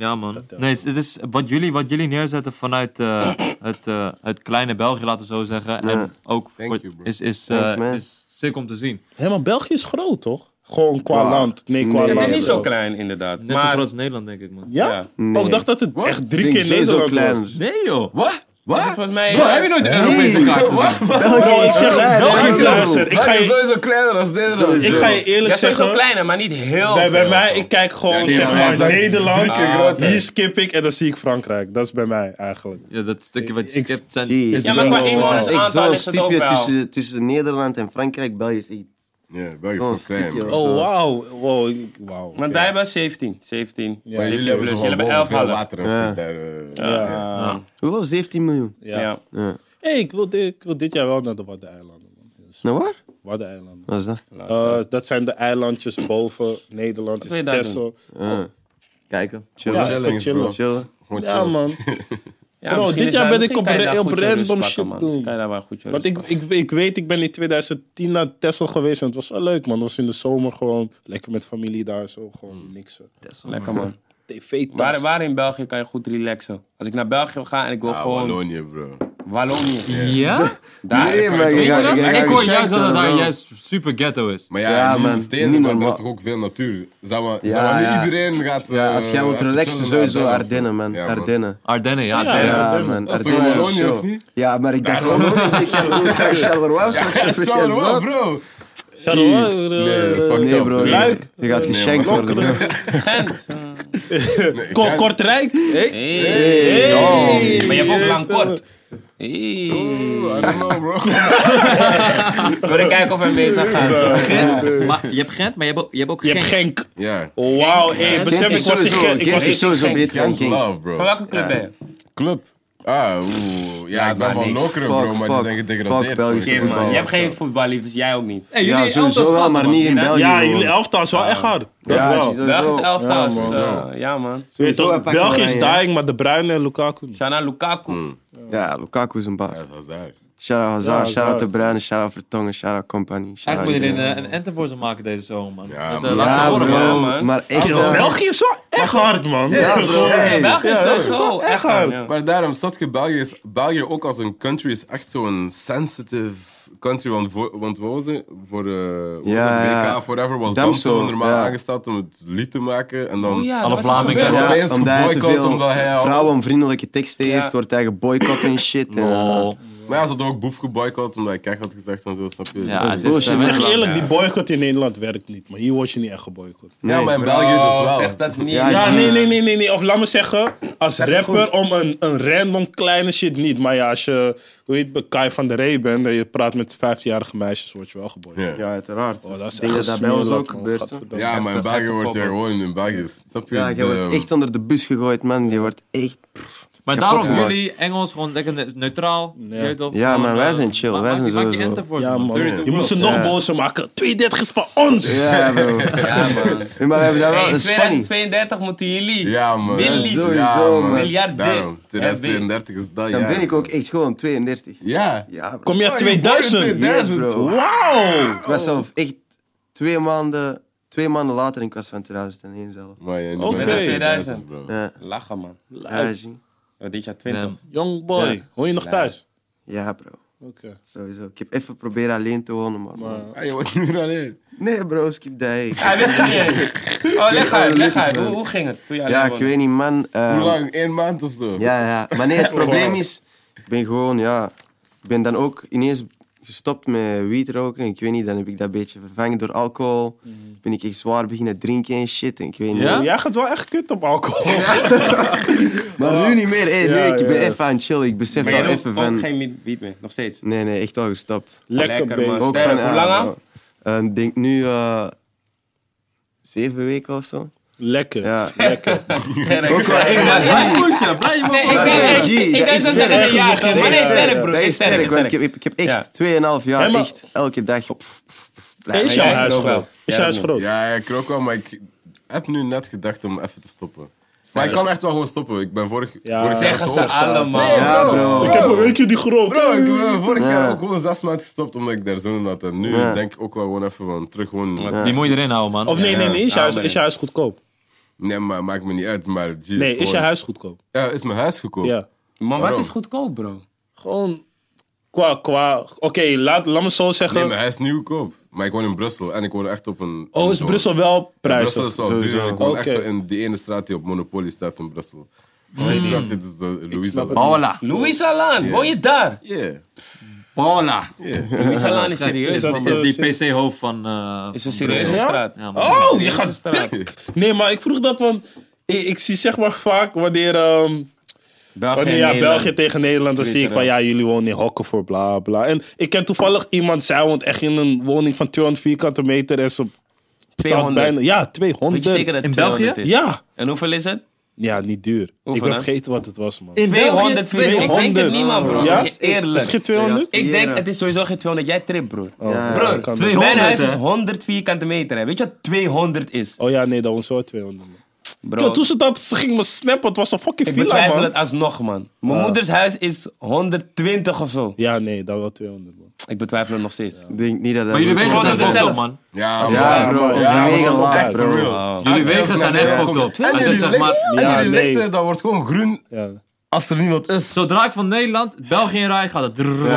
[SPEAKER 5] Ja, man. Nee, het is wat jullie, wat jullie neerzetten vanuit eh, het, eh, het kleine België, laten we zo zeggen.
[SPEAKER 3] Ja.
[SPEAKER 5] En ook
[SPEAKER 2] Thank
[SPEAKER 5] voor-
[SPEAKER 2] you, bro.
[SPEAKER 5] is, is,
[SPEAKER 3] Thanks,
[SPEAKER 5] eh,
[SPEAKER 3] man.
[SPEAKER 5] is sick om te zien.
[SPEAKER 4] Hé, maar België is groot, toch? Gewoon qua
[SPEAKER 3] Wow.
[SPEAKER 4] land. Nee, qua
[SPEAKER 3] Nee.
[SPEAKER 4] land.
[SPEAKER 1] Het is niet zo
[SPEAKER 4] wel.
[SPEAKER 1] klein, inderdaad.
[SPEAKER 5] Net zo
[SPEAKER 1] maar
[SPEAKER 5] groot als Nederland, denk ik, man.
[SPEAKER 4] Ja?
[SPEAKER 1] Ja.
[SPEAKER 3] Nee.
[SPEAKER 4] Oh, ik dacht dat het echt drie keer
[SPEAKER 3] zo
[SPEAKER 4] Nederland was.
[SPEAKER 3] klein.
[SPEAKER 5] Nee, joh.
[SPEAKER 2] Wat? Wat?
[SPEAKER 1] volgens mij...
[SPEAKER 5] Bro, heb je nooit de Europese kaart gezien?
[SPEAKER 4] Nou, ik zeg
[SPEAKER 3] Ja,
[SPEAKER 4] België
[SPEAKER 2] ja,
[SPEAKER 4] is
[SPEAKER 2] ja.
[SPEAKER 4] luister, ik ga
[SPEAKER 2] Hij is
[SPEAKER 4] je,
[SPEAKER 2] sowieso kleiner dan Nederland.
[SPEAKER 4] ik ga je
[SPEAKER 1] Ja,
[SPEAKER 4] eerlijk
[SPEAKER 1] sowieso
[SPEAKER 4] zeggen.
[SPEAKER 1] kleiner, maar niet heel
[SPEAKER 4] Bij, bij
[SPEAKER 1] veel.
[SPEAKER 4] mij, ik kijk gewoon
[SPEAKER 2] Ja, die
[SPEAKER 4] zeg
[SPEAKER 2] van mij
[SPEAKER 4] maar
[SPEAKER 2] is like
[SPEAKER 4] Nederland.
[SPEAKER 2] drie keer groter.
[SPEAKER 4] hier skip ik en dan zie ik Frankrijk. Dat is bij mij eigenlijk.
[SPEAKER 5] Ja, dat stukje wat je
[SPEAKER 4] Ik-
[SPEAKER 5] skipt zijn...
[SPEAKER 3] Jeez.
[SPEAKER 5] is
[SPEAKER 1] Ja, maar
[SPEAKER 5] wel-
[SPEAKER 1] qua inwoners
[SPEAKER 3] Dat is echt
[SPEAKER 1] aantal
[SPEAKER 3] zo'n
[SPEAKER 1] is het ook
[SPEAKER 3] stipje
[SPEAKER 1] wel.
[SPEAKER 3] tussen, tussen Nederland en Frankrijk. België is echt
[SPEAKER 2] Ja, België is
[SPEAKER 3] zo'n
[SPEAKER 2] gewoon klein,
[SPEAKER 3] stipje.
[SPEAKER 2] bro.
[SPEAKER 4] Oh,
[SPEAKER 3] Zo.
[SPEAKER 4] wauw. Wow, ik- wauw.
[SPEAKER 1] Want wij hebben 17. 17.
[SPEAKER 2] Maar
[SPEAKER 1] 17
[SPEAKER 2] jullie hebben
[SPEAKER 1] plus.
[SPEAKER 2] ze
[SPEAKER 1] Jullie
[SPEAKER 2] gewoon
[SPEAKER 1] hebben
[SPEAKER 2] boven
[SPEAKER 1] 11
[SPEAKER 2] veel
[SPEAKER 1] half.
[SPEAKER 2] water en
[SPEAKER 3] Ja.
[SPEAKER 2] shit daar. eh, ja.
[SPEAKER 4] Ja.
[SPEAKER 3] Hoeveel? 17 miljoen.
[SPEAKER 4] Ja.
[SPEAKER 1] Ja.
[SPEAKER 3] Ja.
[SPEAKER 4] hey, ik, wil dit, ik wil dit jaar wel naar de Waddeneilanden. man. Dus
[SPEAKER 3] Nou waar?
[SPEAKER 4] Waddeneilanden.
[SPEAKER 3] Wat is dat?
[SPEAKER 2] Nou,
[SPEAKER 4] Eh, dat zijn de eilandjes boven Nederland.
[SPEAKER 1] wil
[SPEAKER 4] Is
[SPEAKER 1] je daar
[SPEAKER 4] Texel.
[SPEAKER 3] Ja.
[SPEAKER 5] Kijken.
[SPEAKER 4] Ja,
[SPEAKER 3] Chillen.
[SPEAKER 4] even
[SPEAKER 2] Chillings, bro.
[SPEAKER 4] chillen.
[SPEAKER 3] Chillen.
[SPEAKER 2] Gewoon
[SPEAKER 4] Ja,
[SPEAKER 2] chillen.
[SPEAKER 4] man.
[SPEAKER 1] Ja,
[SPEAKER 4] Bro,
[SPEAKER 1] misschien
[SPEAKER 4] dit
[SPEAKER 1] is
[SPEAKER 4] jaar
[SPEAKER 1] hij-
[SPEAKER 4] ben ik
[SPEAKER 1] misschien
[SPEAKER 4] op
[SPEAKER 1] kan je
[SPEAKER 4] ra-
[SPEAKER 1] daar
[SPEAKER 4] op
[SPEAKER 1] goed je rust
[SPEAKER 4] random
[SPEAKER 1] pakken,
[SPEAKER 4] shit
[SPEAKER 1] man.
[SPEAKER 4] doen.
[SPEAKER 1] Misschien Kan je daar wel goed je
[SPEAKER 4] Want
[SPEAKER 1] rust
[SPEAKER 4] ik, ik, ik weet, ik ben in 2010 naar Texel geweest en het was wel leuk, man. Dat was in de zomer gewoon lekker met familie daar, zo
[SPEAKER 2] Hmm.
[SPEAKER 4] gewoon niks. eh,
[SPEAKER 1] pakken. Lekker, man. Waar,
[SPEAKER 4] TV-tas.
[SPEAKER 1] waar in België kan je goed relaxen? Als ik naar België ga en ik wil
[SPEAKER 2] Ja,
[SPEAKER 1] gewoon
[SPEAKER 2] Ah, Wallonië, bro.
[SPEAKER 1] Wallonië.
[SPEAKER 5] Ja?
[SPEAKER 1] Daar
[SPEAKER 3] Nee,
[SPEAKER 1] kan
[SPEAKER 3] maar
[SPEAKER 1] je
[SPEAKER 3] je
[SPEAKER 1] toch-
[SPEAKER 3] gaat-
[SPEAKER 5] Weet je
[SPEAKER 3] je
[SPEAKER 5] dat?
[SPEAKER 3] gaat
[SPEAKER 5] Ik hoor
[SPEAKER 3] gecheckt
[SPEAKER 5] juist dat het
[SPEAKER 3] worden,
[SPEAKER 5] daar
[SPEAKER 3] bro.
[SPEAKER 5] juist super ghetto is.
[SPEAKER 2] Maar
[SPEAKER 3] Ja,
[SPEAKER 2] ja, niet in
[SPEAKER 3] man.
[SPEAKER 2] de steden,
[SPEAKER 3] Niet
[SPEAKER 2] maar er
[SPEAKER 3] normaal.
[SPEAKER 2] is toch ook veel natuur. Zeg maar,
[SPEAKER 3] Ja,
[SPEAKER 2] zeg maar,
[SPEAKER 3] ja.
[SPEAKER 2] niet iedereen gaat...
[SPEAKER 3] Ja,
[SPEAKER 2] eh,
[SPEAKER 3] als jij wilt
[SPEAKER 2] even
[SPEAKER 3] relaxen,
[SPEAKER 2] chillen naar
[SPEAKER 3] sowieso
[SPEAKER 2] of
[SPEAKER 3] Ardennen,
[SPEAKER 2] zo.
[SPEAKER 3] man.
[SPEAKER 2] Ja,
[SPEAKER 3] Ardennen.
[SPEAKER 5] Ardennen, ja.
[SPEAKER 4] Ja.
[SPEAKER 5] Ardennen.
[SPEAKER 3] Ja,
[SPEAKER 4] Ardennen.
[SPEAKER 3] man.
[SPEAKER 2] Dat is toch
[SPEAKER 3] Ardennen is
[SPEAKER 2] Wallonië,
[SPEAKER 3] zo.
[SPEAKER 2] of niet?
[SPEAKER 3] Ja, maar ik dacht wel nog niet. Ik ga doen, ik ga Charleroi
[SPEAKER 2] Ja,
[SPEAKER 3] zo'n
[SPEAKER 2] Charleroi,
[SPEAKER 3] zot.
[SPEAKER 2] bro.
[SPEAKER 4] Charleroi,
[SPEAKER 2] Nee, dat is
[SPEAKER 4] eh,
[SPEAKER 2] fucked
[SPEAKER 3] Nee,
[SPEAKER 2] up,
[SPEAKER 3] bro.
[SPEAKER 2] sorry.
[SPEAKER 4] Luik.
[SPEAKER 3] Je gaat
[SPEAKER 4] Nee,
[SPEAKER 3] geschenkt
[SPEAKER 2] man.
[SPEAKER 3] worden. bro.
[SPEAKER 1] Gent.
[SPEAKER 2] Nee, ik
[SPEAKER 4] Ko-
[SPEAKER 2] ga-
[SPEAKER 4] Kortrijk. Hey.
[SPEAKER 1] Hey.
[SPEAKER 4] Hey.
[SPEAKER 1] Oh, Maar je hebt ook
[SPEAKER 4] Yes,
[SPEAKER 1] lang
[SPEAKER 4] eh.
[SPEAKER 1] kort. Hey.
[SPEAKER 2] Oeh, I don't know, bro.
[SPEAKER 1] We gaan kijken of hij bezig gaat.
[SPEAKER 5] Gent, maar, je hebt Gent, maar je hebt ook, je hebt ook
[SPEAKER 4] Je hebt
[SPEAKER 5] Genk.
[SPEAKER 4] Genk.
[SPEAKER 2] Ja.
[SPEAKER 4] Wauw, hey,
[SPEAKER 3] Gent
[SPEAKER 4] besef ik
[SPEAKER 3] is
[SPEAKER 4] was in
[SPEAKER 3] sowieso-
[SPEAKER 4] Genk. Ik
[SPEAKER 3] Gent
[SPEAKER 4] was
[SPEAKER 3] is
[SPEAKER 4] in
[SPEAKER 3] sowieso beter dan
[SPEAKER 2] Young
[SPEAKER 3] Genk.
[SPEAKER 2] love,
[SPEAKER 1] Van
[SPEAKER 2] bro.
[SPEAKER 1] welke club ben je?
[SPEAKER 2] Club. Ah, oeh. Ja, ik
[SPEAKER 1] maar
[SPEAKER 2] ben van
[SPEAKER 1] niks.
[SPEAKER 2] Lokeren, bro,
[SPEAKER 3] Fuck,
[SPEAKER 2] maar die
[SPEAKER 3] fuck.
[SPEAKER 2] zijn
[SPEAKER 3] Fuck
[SPEAKER 2] gedegradeerd. dus
[SPEAKER 3] Belgisch
[SPEAKER 2] sorry.
[SPEAKER 3] voetbal.
[SPEAKER 1] Je hebt geen voetballiefdes, jij ook niet.
[SPEAKER 5] Hey,
[SPEAKER 3] Ja,
[SPEAKER 5] jullie elftal
[SPEAKER 3] sowieso
[SPEAKER 5] is
[SPEAKER 3] wel,
[SPEAKER 5] gat,
[SPEAKER 3] maar
[SPEAKER 5] man.
[SPEAKER 3] niet in
[SPEAKER 1] Ja,
[SPEAKER 3] België.
[SPEAKER 4] Ja,
[SPEAKER 3] bro.
[SPEAKER 4] jullie elftal is wel echt hard.
[SPEAKER 3] Ja,
[SPEAKER 4] Dat wel.
[SPEAKER 3] sowieso.
[SPEAKER 1] Belgisch elftal is...
[SPEAKER 3] Ja, man.
[SPEAKER 1] eh, Ja, man.
[SPEAKER 4] Je weet
[SPEAKER 3] Sowieso,
[SPEAKER 4] toch,
[SPEAKER 3] hij pakt
[SPEAKER 4] België is
[SPEAKER 3] wel aan, ja.
[SPEAKER 4] dying, maar De Bruyne en Lukaku. niet.
[SPEAKER 1] Shana Lukaku.
[SPEAKER 3] Ja, Lukaku is een baas.
[SPEAKER 2] Ja, dat is daar.
[SPEAKER 3] Shout-out
[SPEAKER 4] Ja,
[SPEAKER 3] Hazard, shout-out
[SPEAKER 4] Hazard.
[SPEAKER 3] De Bruyne, shout-out Vertongen, shout-out Company.
[SPEAKER 5] Eigenlijk moet
[SPEAKER 3] iedereen.
[SPEAKER 5] je er eh, een, een anthem voor ze maken deze zomer, man.
[SPEAKER 2] Ja,
[SPEAKER 5] Dat, eh,
[SPEAKER 2] man.
[SPEAKER 5] laat ze
[SPEAKER 3] Ja,
[SPEAKER 5] horen, man.
[SPEAKER 1] Ja,
[SPEAKER 3] bro.
[SPEAKER 1] man.
[SPEAKER 3] maar echt...
[SPEAKER 4] Bro,
[SPEAKER 3] eh,
[SPEAKER 4] België is wel echt hard, man.
[SPEAKER 3] Ja, bro.
[SPEAKER 1] Ja,
[SPEAKER 3] hey.
[SPEAKER 1] België is sowieso echt man, ja.
[SPEAKER 2] Maar daarom, zat je België, is, België ook als een country is echt zo'n sensitive country. Want, voor, want wat was het? Voor eh, wat was
[SPEAKER 3] Ja,
[SPEAKER 2] het?
[SPEAKER 3] ja.
[SPEAKER 2] BK Forever was
[SPEAKER 3] Damso,
[SPEAKER 2] Damso normaal
[SPEAKER 3] ja.
[SPEAKER 2] aangesteld om het lied te maken. En dan
[SPEAKER 1] Oh ja,
[SPEAKER 5] Alle
[SPEAKER 1] dat was
[SPEAKER 5] Vlamingen.
[SPEAKER 1] iets gebeurd.
[SPEAKER 5] Ja.
[SPEAKER 2] opeens
[SPEAKER 3] omdat hij te
[SPEAKER 2] geboycott
[SPEAKER 3] veel
[SPEAKER 2] omdat hij al-
[SPEAKER 3] vrouwenvriendelijke teksten
[SPEAKER 1] Ja.
[SPEAKER 3] heeft, wordt hij geboycott en shit. En, eh,
[SPEAKER 5] Lol.
[SPEAKER 2] Maar ja, ze hadden ook Boef geboycott omdat ik kijk had gezegd en zo, snap je?
[SPEAKER 5] Ja,
[SPEAKER 2] Dus-
[SPEAKER 5] het is,
[SPEAKER 3] bullshit.
[SPEAKER 5] eh,
[SPEAKER 4] Ik zeg je
[SPEAKER 5] wel-
[SPEAKER 4] eerlijk,
[SPEAKER 5] ja.
[SPEAKER 4] die boycott in Nederland werkt niet. Maar hier word je niet echt geboycott.
[SPEAKER 2] ja, maar in België dus wel.
[SPEAKER 1] Zeg dat niet.
[SPEAKER 3] Ja,
[SPEAKER 4] Ja,
[SPEAKER 3] ja.
[SPEAKER 4] nee, nee, nee, nee, nee. Of laat me zeggen, als rapper
[SPEAKER 3] goed.
[SPEAKER 4] om een, een random kleine shit niet. Maar ja, als je, hoe heet het, Kai van der Rey bent en je praat met 15-jarige meisjes, word je wel geboycott.
[SPEAKER 2] Ja.
[SPEAKER 3] Ja, uiteraard.
[SPEAKER 4] Oh, dat is
[SPEAKER 3] Dingen
[SPEAKER 4] echt
[SPEAKER 3] dat bij ons
[SPEAKER 4] gesmeerlap,
[SPEAKER 3] ook
[SPEAKER 4] man.
[SPEAKER 3] gebeurt. hè.
[SPEAKER 4] Gadverdamme.
[SPEAKER 2] Ja, maar in
[SPEAKER 1] Heftig,
[SPEAKER 2] België wordt je
[SPEAKER 1] heftig
[SPEAKER 2] gewoon in België. Snap je?
[SPEAKER 3] Ja, je
[SPEAKER 2] De-
[SPEAKER 3] wordt echt onder de bus gegooid, man. Je wordt echt... pff,
[SPEAKER 5] Maar
[SPEAKER 3] kapot
[SPEAKER 5] daarom
[SPEAKER 3] gemaakt.
[SPEAKER 5] jullie Engels gewoon lekker ne- neutraal. je weet toch,
[SPEAKER 3] Ja,
[SPEAKER 5] gewoon,
[SPEAKER 3] maar wij
[SPEAKER 5] eh,
[SPEAKER 3] zijn chill,
[SPEAKER 5] ma-
[SPEAKER 3] wij
[SPEAKER 5] maak-
[SPEAKER 3] zijn
[SPEAKER 5] maak je
[SPEAKER 3] sowieso-
[SPEAKER 5] enter voor ze,
[SPEAKER 4] Ja,
[SPEAKER 5] man.
[SPEAKER 4] man.
[SPEAKER 5] Dirty to
[SPEAKER 4] Je moet
[SPEAKER 5] world.
[SPEAKER 4] ze nog
[SPEAKER 3] Ja.
[SPEAKER 4] bozer maken. 32 is van ons!
[SPEAKER 3] Ja, bro.
[SPEAKER 1] Ja, man.
[SPEAKER 3] Ja, maar we hebben dat wel.
[SPEAKER 1] Hey,
[SPEAKER 3] dat
[SPEAKER 1] in
[SPEAKER 3] is funny.
[SPEAKER 1] 2032 moeten jullie.
[SPEAKER 2] Ja, man.
[SPEAKER 1] Millies.
[SPEAKER 2] Ja,
[SPEAKER 3] Sowieso, man.
[SPEAKER 1] Miljarden.
[SPEAKER 2] Daarom. 2032 is dat
[SPEAKER 3] Dan
[SPEAKER 2] jaar.
[SPEAKER 3] ben ik ook echt gewoon 32.
[SPEAKER 2] Ja.
[SPEAKER 3] Ja, bro.
[SPEAKER 4] Kom je uit
[SPEAKER 2] Oh, je bent
[SPEAKER 4] 2000?
[SPEAKER 2] in
[SPEAKER 3] Yes, bro.
[SPEAKER 4] Wauw!
[SPEAKER 3] Ik was zelf echt twee maanden, twee maanden later en ik was van 2001 zelf.
[SPEAKER 2] Maar ja,
[SPEAKER 4] Oké.
[SPEAKER 1] 2000,
[SPEAKER 2] bro.
[SPEAKER 3] Ja,
[SPEAKER 1] Lachen, man.
[SPEAKER 3] ja, zie.
[SPEAKER 1] Wat Dit jaar 20.
[SPEAKER 5] Ja.
[SPEAKER 4] Young boy, hoor je nog thuis?
[SPEAKER 3] ja bro.
[SPEAKER 4] Oké.
[SPEAKER 3] Sowieso. Ik heb even proberen alleen te wonen, maar...
[SPEAKER 4] Maar-
[SPEAKER 2] Ja, Ah, je wordt nu weer alleen.
[SPEAKER 3] Nee, bro, skip dat. hey.
[SPEAKER 1] Hij wist het niet eens. Oh, leg uit, leg uit. Hoe, hoe ging het? Toen je
[SPEAKER 3] Ja,
[SPEAKER 1] alleen
[SPEAKER 3] ik
[SPEAKER 1] was?
[SPEAKER 3] weet niet, man. ehm,
[SPEAKER 2] Hoe lang? Eén maand of zo?
[SPEAKER 3] Ja, ja. Maar nee, het probleem is... Ik ben gewoon, ja... Ik ben dan ook ineens gestopt met wiet roken. Ik weet niet, dan heb ik dat beetje vervangen door alcohol.
[SPEAKER 1] Mhm.
[SPEAKER 3] Ben ik echt zwaar beginnen drinken en shit. En ik weet niet.
[SPEAKER 5] Ja?
[SPEAKER 4] Jij gaat wel echt kut op alcohol.
[SPEAKER 3] Maar nu niet meer. Hey,
[SPEAKER 4] Ja,
[SPEAKER 3] nee, ik ben
[SPEAKER 4] ja.
[SPEAKER 3] even aan het chillen. Ik besef
[SPEAKER 1] Maar
[SPEAKER 3] wel
[SPEAKER 1] je rookt
[SPEAKER 3] even
[SPEAKER 1] ook
[SPEAKER 3] van...
[SPEAKER 1] geen wiet meer, nog steeds.
[SPEAKER 3] Nee, nee, echt al gestopt.
[SPEAKER 4] Lekker,
[SPEAKER 1] Lekker,
[SPEAKER 4] bezig.
[SPEAKER 1] man.
[SPEAKER 3] Ook
[SPEAKER 1] Sterk.
[SPEAKER 3] van,
[SPEAKER 1] Hoe
[SPEAKER 3] ah,
[SPEAKER 1] lang
[SPEAKER 3] nou,
[SPEAKER 1] al?
[SPEAKER 3] eh, Ik denk nu eh, zeven weken of zo.
[SPEAKER 4] Lekker,
[SPEAKER 3] Ja.
[SPEAKER 4] lekker.
[SPEAKER 1] Sterk.
[SPEAKER 3] Ook wel echt,
[SPEAKER 1] Ja,
[SPEAKER 3] man.
[SPEAKER 1] ja.
[SPEAKER 5] Blijf pushen, blijf
[SPEAKER 1] Nee, ik
[SPEAKER 5] maar
[SPEAKER 1] denk
[SPEAKER 5] pushen.
[SPEAKER 1] echt-
[SPEAKER 3] Gee,
[SPEAKER 1] ik
[SPEAKER 3] dat
[SPEAKER 1] denk
[SPEAKER 3] is
[SPEAKER 1] dat ze
[SPEAKER 4] sterk.
[SPEAKER 1] zeggen, ja,
[SPEAKER 4] Dat is
[SPEAKER 1] maar nee,
[SPEAKER 4] sterk.
[SPEAKER 1] sterk bro,
[SPEAKER 3] dat is sterk, want
[SPEAKER 1] sterk.
[SPEAKER 3] Ik, heb, ik heb echt 2,5 jaar
[SPEAKER 4] Hey, maar-
[SPEAKER 3] echt elke dag...
[SPEAKER 1] Oh.
[SPEAKER 4] Hey,
[SPEAKER 1] Ja,
[SPEAKER 4] is jouw
[SPEAKER 1] ik
[SPEAKER 4] huis
[SPEAKER 1] geloof wel.
[SPEAKER 4] groot? Is
[SPEAKER 1] Ja,
[SPEAKER 4] jouw huis
[SPEAKER 1] dat
[SPEAKER 4] groot?
[SPEAKER 2] Ja, ja, ik rook wel, maar ik heb nu net gedacht om even te stoppen. Maar ik kan echt wel gewoon stoppen. Ik ben vorig,
[SPEAKER 4] dus- Ja.
[SPEAKER 2] vorig jaar
[SPEAKER 1] Zeggen
[SPEAKER 2] zo
[SPEAKER 1] ze
[SPEAKER 2] opgegaan.
[SPEAKER 1] allemaal.
[SPEAKER 3] Ja, bro.
[SPEAKER 4] Ik heb een weekje die groot.
[SPEAKER 2] Bro, ik ben vorig jaar
[SPEAKER 3] Ja.
[SPEAKER 2] ook gewoon zes maanden gestopt omdat ik daar zin in had. En nu
[SPEAKER 3] Ja.
[SPEAKER 2] denk ik ook wel gewoon even van terug gewoon...
[SPEAKER 5] Die moet je erin houden, man.
[SPEAKER 4] Of nee, nee, nee. Is je
[SPEAKER 1] Ja,
[SPEAKER 4] huis,
[SPEAKER 1] man.
[SPEAKER 4] is je huis goedkoop?
[SPEAKER 2] Nee, maar maakt me niet uit, maar... geez,
[SPEAKER 4] Nee, is je
[SPEAKER 2] gewoon-
[SPEAKER 4] huis goedkoop?
[SPEAKER 2] Ja, is mijn huis goedkoop.
[SPEAKER 4] Ja.
[SPEAKER 1] Maar wat
[SPEAKER 2] Waarom?
[SPEAKER 1] is goedkoop, bro?
[SPEAKER 4] Gewoon qua, qua... Oké, laat, laat me zo
[SPEAKER 2] Nee,
[SPEAKER 4] zeggen.
[SPEAKER 2] mijn huis is niet goedkoop. Maar ik woon in Brussel en ik woon echt op een...
[SPEAKER 4] oh, is
[SPEAKER 2] een-
[SPEAKER 4] Brussel wel
[SPEAKER 2] Ja,
[SPEAKER 4] prijzig?
[SPEAKER 2] Brussel is wel duur. en Ik woon echt
[SPEAKER 4] Oké.
[SPEAKER 2] zo in die ene straat die op Monopoly staat in Brussel. Ik snap het, is eh, de Louis
[SPEAKER 4] snap het.
[SPEAKER 5] Paula.
[SPEAKER 1] Louis Alan, woon je daar?
[SPEAKER 2] Yeah,
[SPEAKER 5] Paula.
[SPEAKER 2] yeah.
[SPEAKER 1] Louis Alan is serieus,
[SPEAKER 4] dat-
[SPEAKER 1] man.
[SPEAKER 5] Is die PC-hoofd van... eh,
[SPEAKER 1] Is een
[SPEAKER 5] van Brussel.
[SPEAKER 1] serieuze
[SPEAKER 4] Ja?
[SPEAKER 1] straat.
[SPEAKER 5] Ja, man.
[SPEAKER 4] Oh, je
[SPEAKER 1] Serieuze
[SPEAKER 4] gaat...
[SPEAKER 1] straat.
[SPEAKER 4] Nee, maar ik vroeg dat, want ik, ik zie zeg maar vaak wanneer... ehm,
[SPEAKER 1] België,
[SPEAKER 4] Wanneer Oh, ja,
[SPEAKER 1] Nederland.
[SPEAKER 4] België tegen Nederland, dan zie ik van
[SPEAKER 1] Twitteren.
[SPEAKER 4] ja, jullie wonen in hokken voor bla bla. En ik ken toevallig iemand, zij woont echt in een woning van 200 vierkante meter en ze betaalt
[SPEAKER 1] 200.
[SPEAKER 4] bijna. Ja, 200.
[SPEAKER 1] Weet je zeker dat
[SPEAKER 5] In
[SPEAKER 1] 200
[SPEAKER 5] België?
[SPEAKER 1] is?
[SPEAKER 4] Ja.
[SPEAKER 1] En hoeveel is het?
[SPEAKER 4] Ja, niet duur.
[SPEAKER 1] Hoeveel, hè?
[SPEAKER 4] ik ben vergeten wat het was, man.
[SPEAKER 1] 200, vriend. Ik denk het
[SPEAKER 4] 200.
[SPEAKER 1] niet, man, bro.
[SPEAKER 4] Ja?
[SPEAKER 1] Het is
[SPEAKER 4] Is
[SPEAKER 1] Eerlijk.
[SPEAKER 4] het geen 200?
[SPEAKER 1] Ik denk, het is sowieso geen 200. Jij trip, broer.
[SPEAKER 4] Oh,
[SPEAKER 3] Ja,
[SPEAKER 4] dat
[SPEAKER 1] broer,
[SPEAKER 4] kan
[SPEAKER 5] twee-
[SPEAKER 4] niet.
[SPEAKER 1] Mijn
[SPEAKER 5] 200,
[SPEAKER 1] huis is
[SPEAKER 5] hè?
[SPEAKER 1] 100 vierkante meter. Hè. Weet je wat 200 is?
[SPEAKER 4] Oh ja, nee, dat was wel 200. Man.
[SPEAKER 1] Bro,
[SPEAKER 4] Yo, toen ze dat, ze ging me snappen, het was een fucking
[SPEAKER 1] ik
[SPEAKER 4] villa,
[SPEAKER 1] betwijfel
[SPEAKER 4] man.
[SPEAKER 1] het alsnog, man. Mijn moeders huis is 120 of zo.
[SPEAKER 4] Ja, nee, dat was 200, man.
[SPEAKER 1] Ik betwijfel het nog steeds.
[SPEAKER 3] Ik denk niet dat dat...
[SPEAKER 5] Maar jullie
[SPEAKER 3] moet
[SPEAKER 5] wegen
[SPEAKER 1] Gewoon
[SPEAKER 5] zijn
[SPEAKER 1] op
[SPEAKER 5] fucked
[SPEAKER 1] dezelfde.
[SPEAKER 5] up, man.
[SPEAKER 2] Ja,
[SPEAKER 3] Ja,
[SPEAKER 2] man.
[SPEAKER 3] bro. Onze
[SPEAKER 2] Ja,
[SPEAKER 3] wegen
[SPEAKER 2] man,
[SPEAKER 3] laag,
[SPEAKER 2] echt for
[SPEAKER 3] bro.
[SPEAKER 2] real.
[SPEAKER 5] Jullie
[SPEAKER 2] Ja,
[SPEAKER 5] wegen zijn
[SPEAKER 2] ja,
[SPEAKER 5] echt
[SPEAKER 2] ja,
[SPEAKER 5] fucked
[SPEAKER 2] kom.
[SPEAKER 5] up.
[SPEAKER 2] En
[SPEAKER 5] Dat
[SPEAKER 2] jullie
[SPEAKER 5] is zeg maar...
[SPEAKER 2] lichten-
[SPEAKER 4] Ja,
[SPEAKER 2] En jullie
[SPEAKER 4] nee.
[SPEAKER 2] lichten, dat wordt gewoon groen
[SPEAKER 4] Ja.
[SPEAKER 2] als er niemand is.
[SPEAKER 5] Zodra ik van Nederland België in rij, gaat het...
[SPEAKER 2] Fuck up,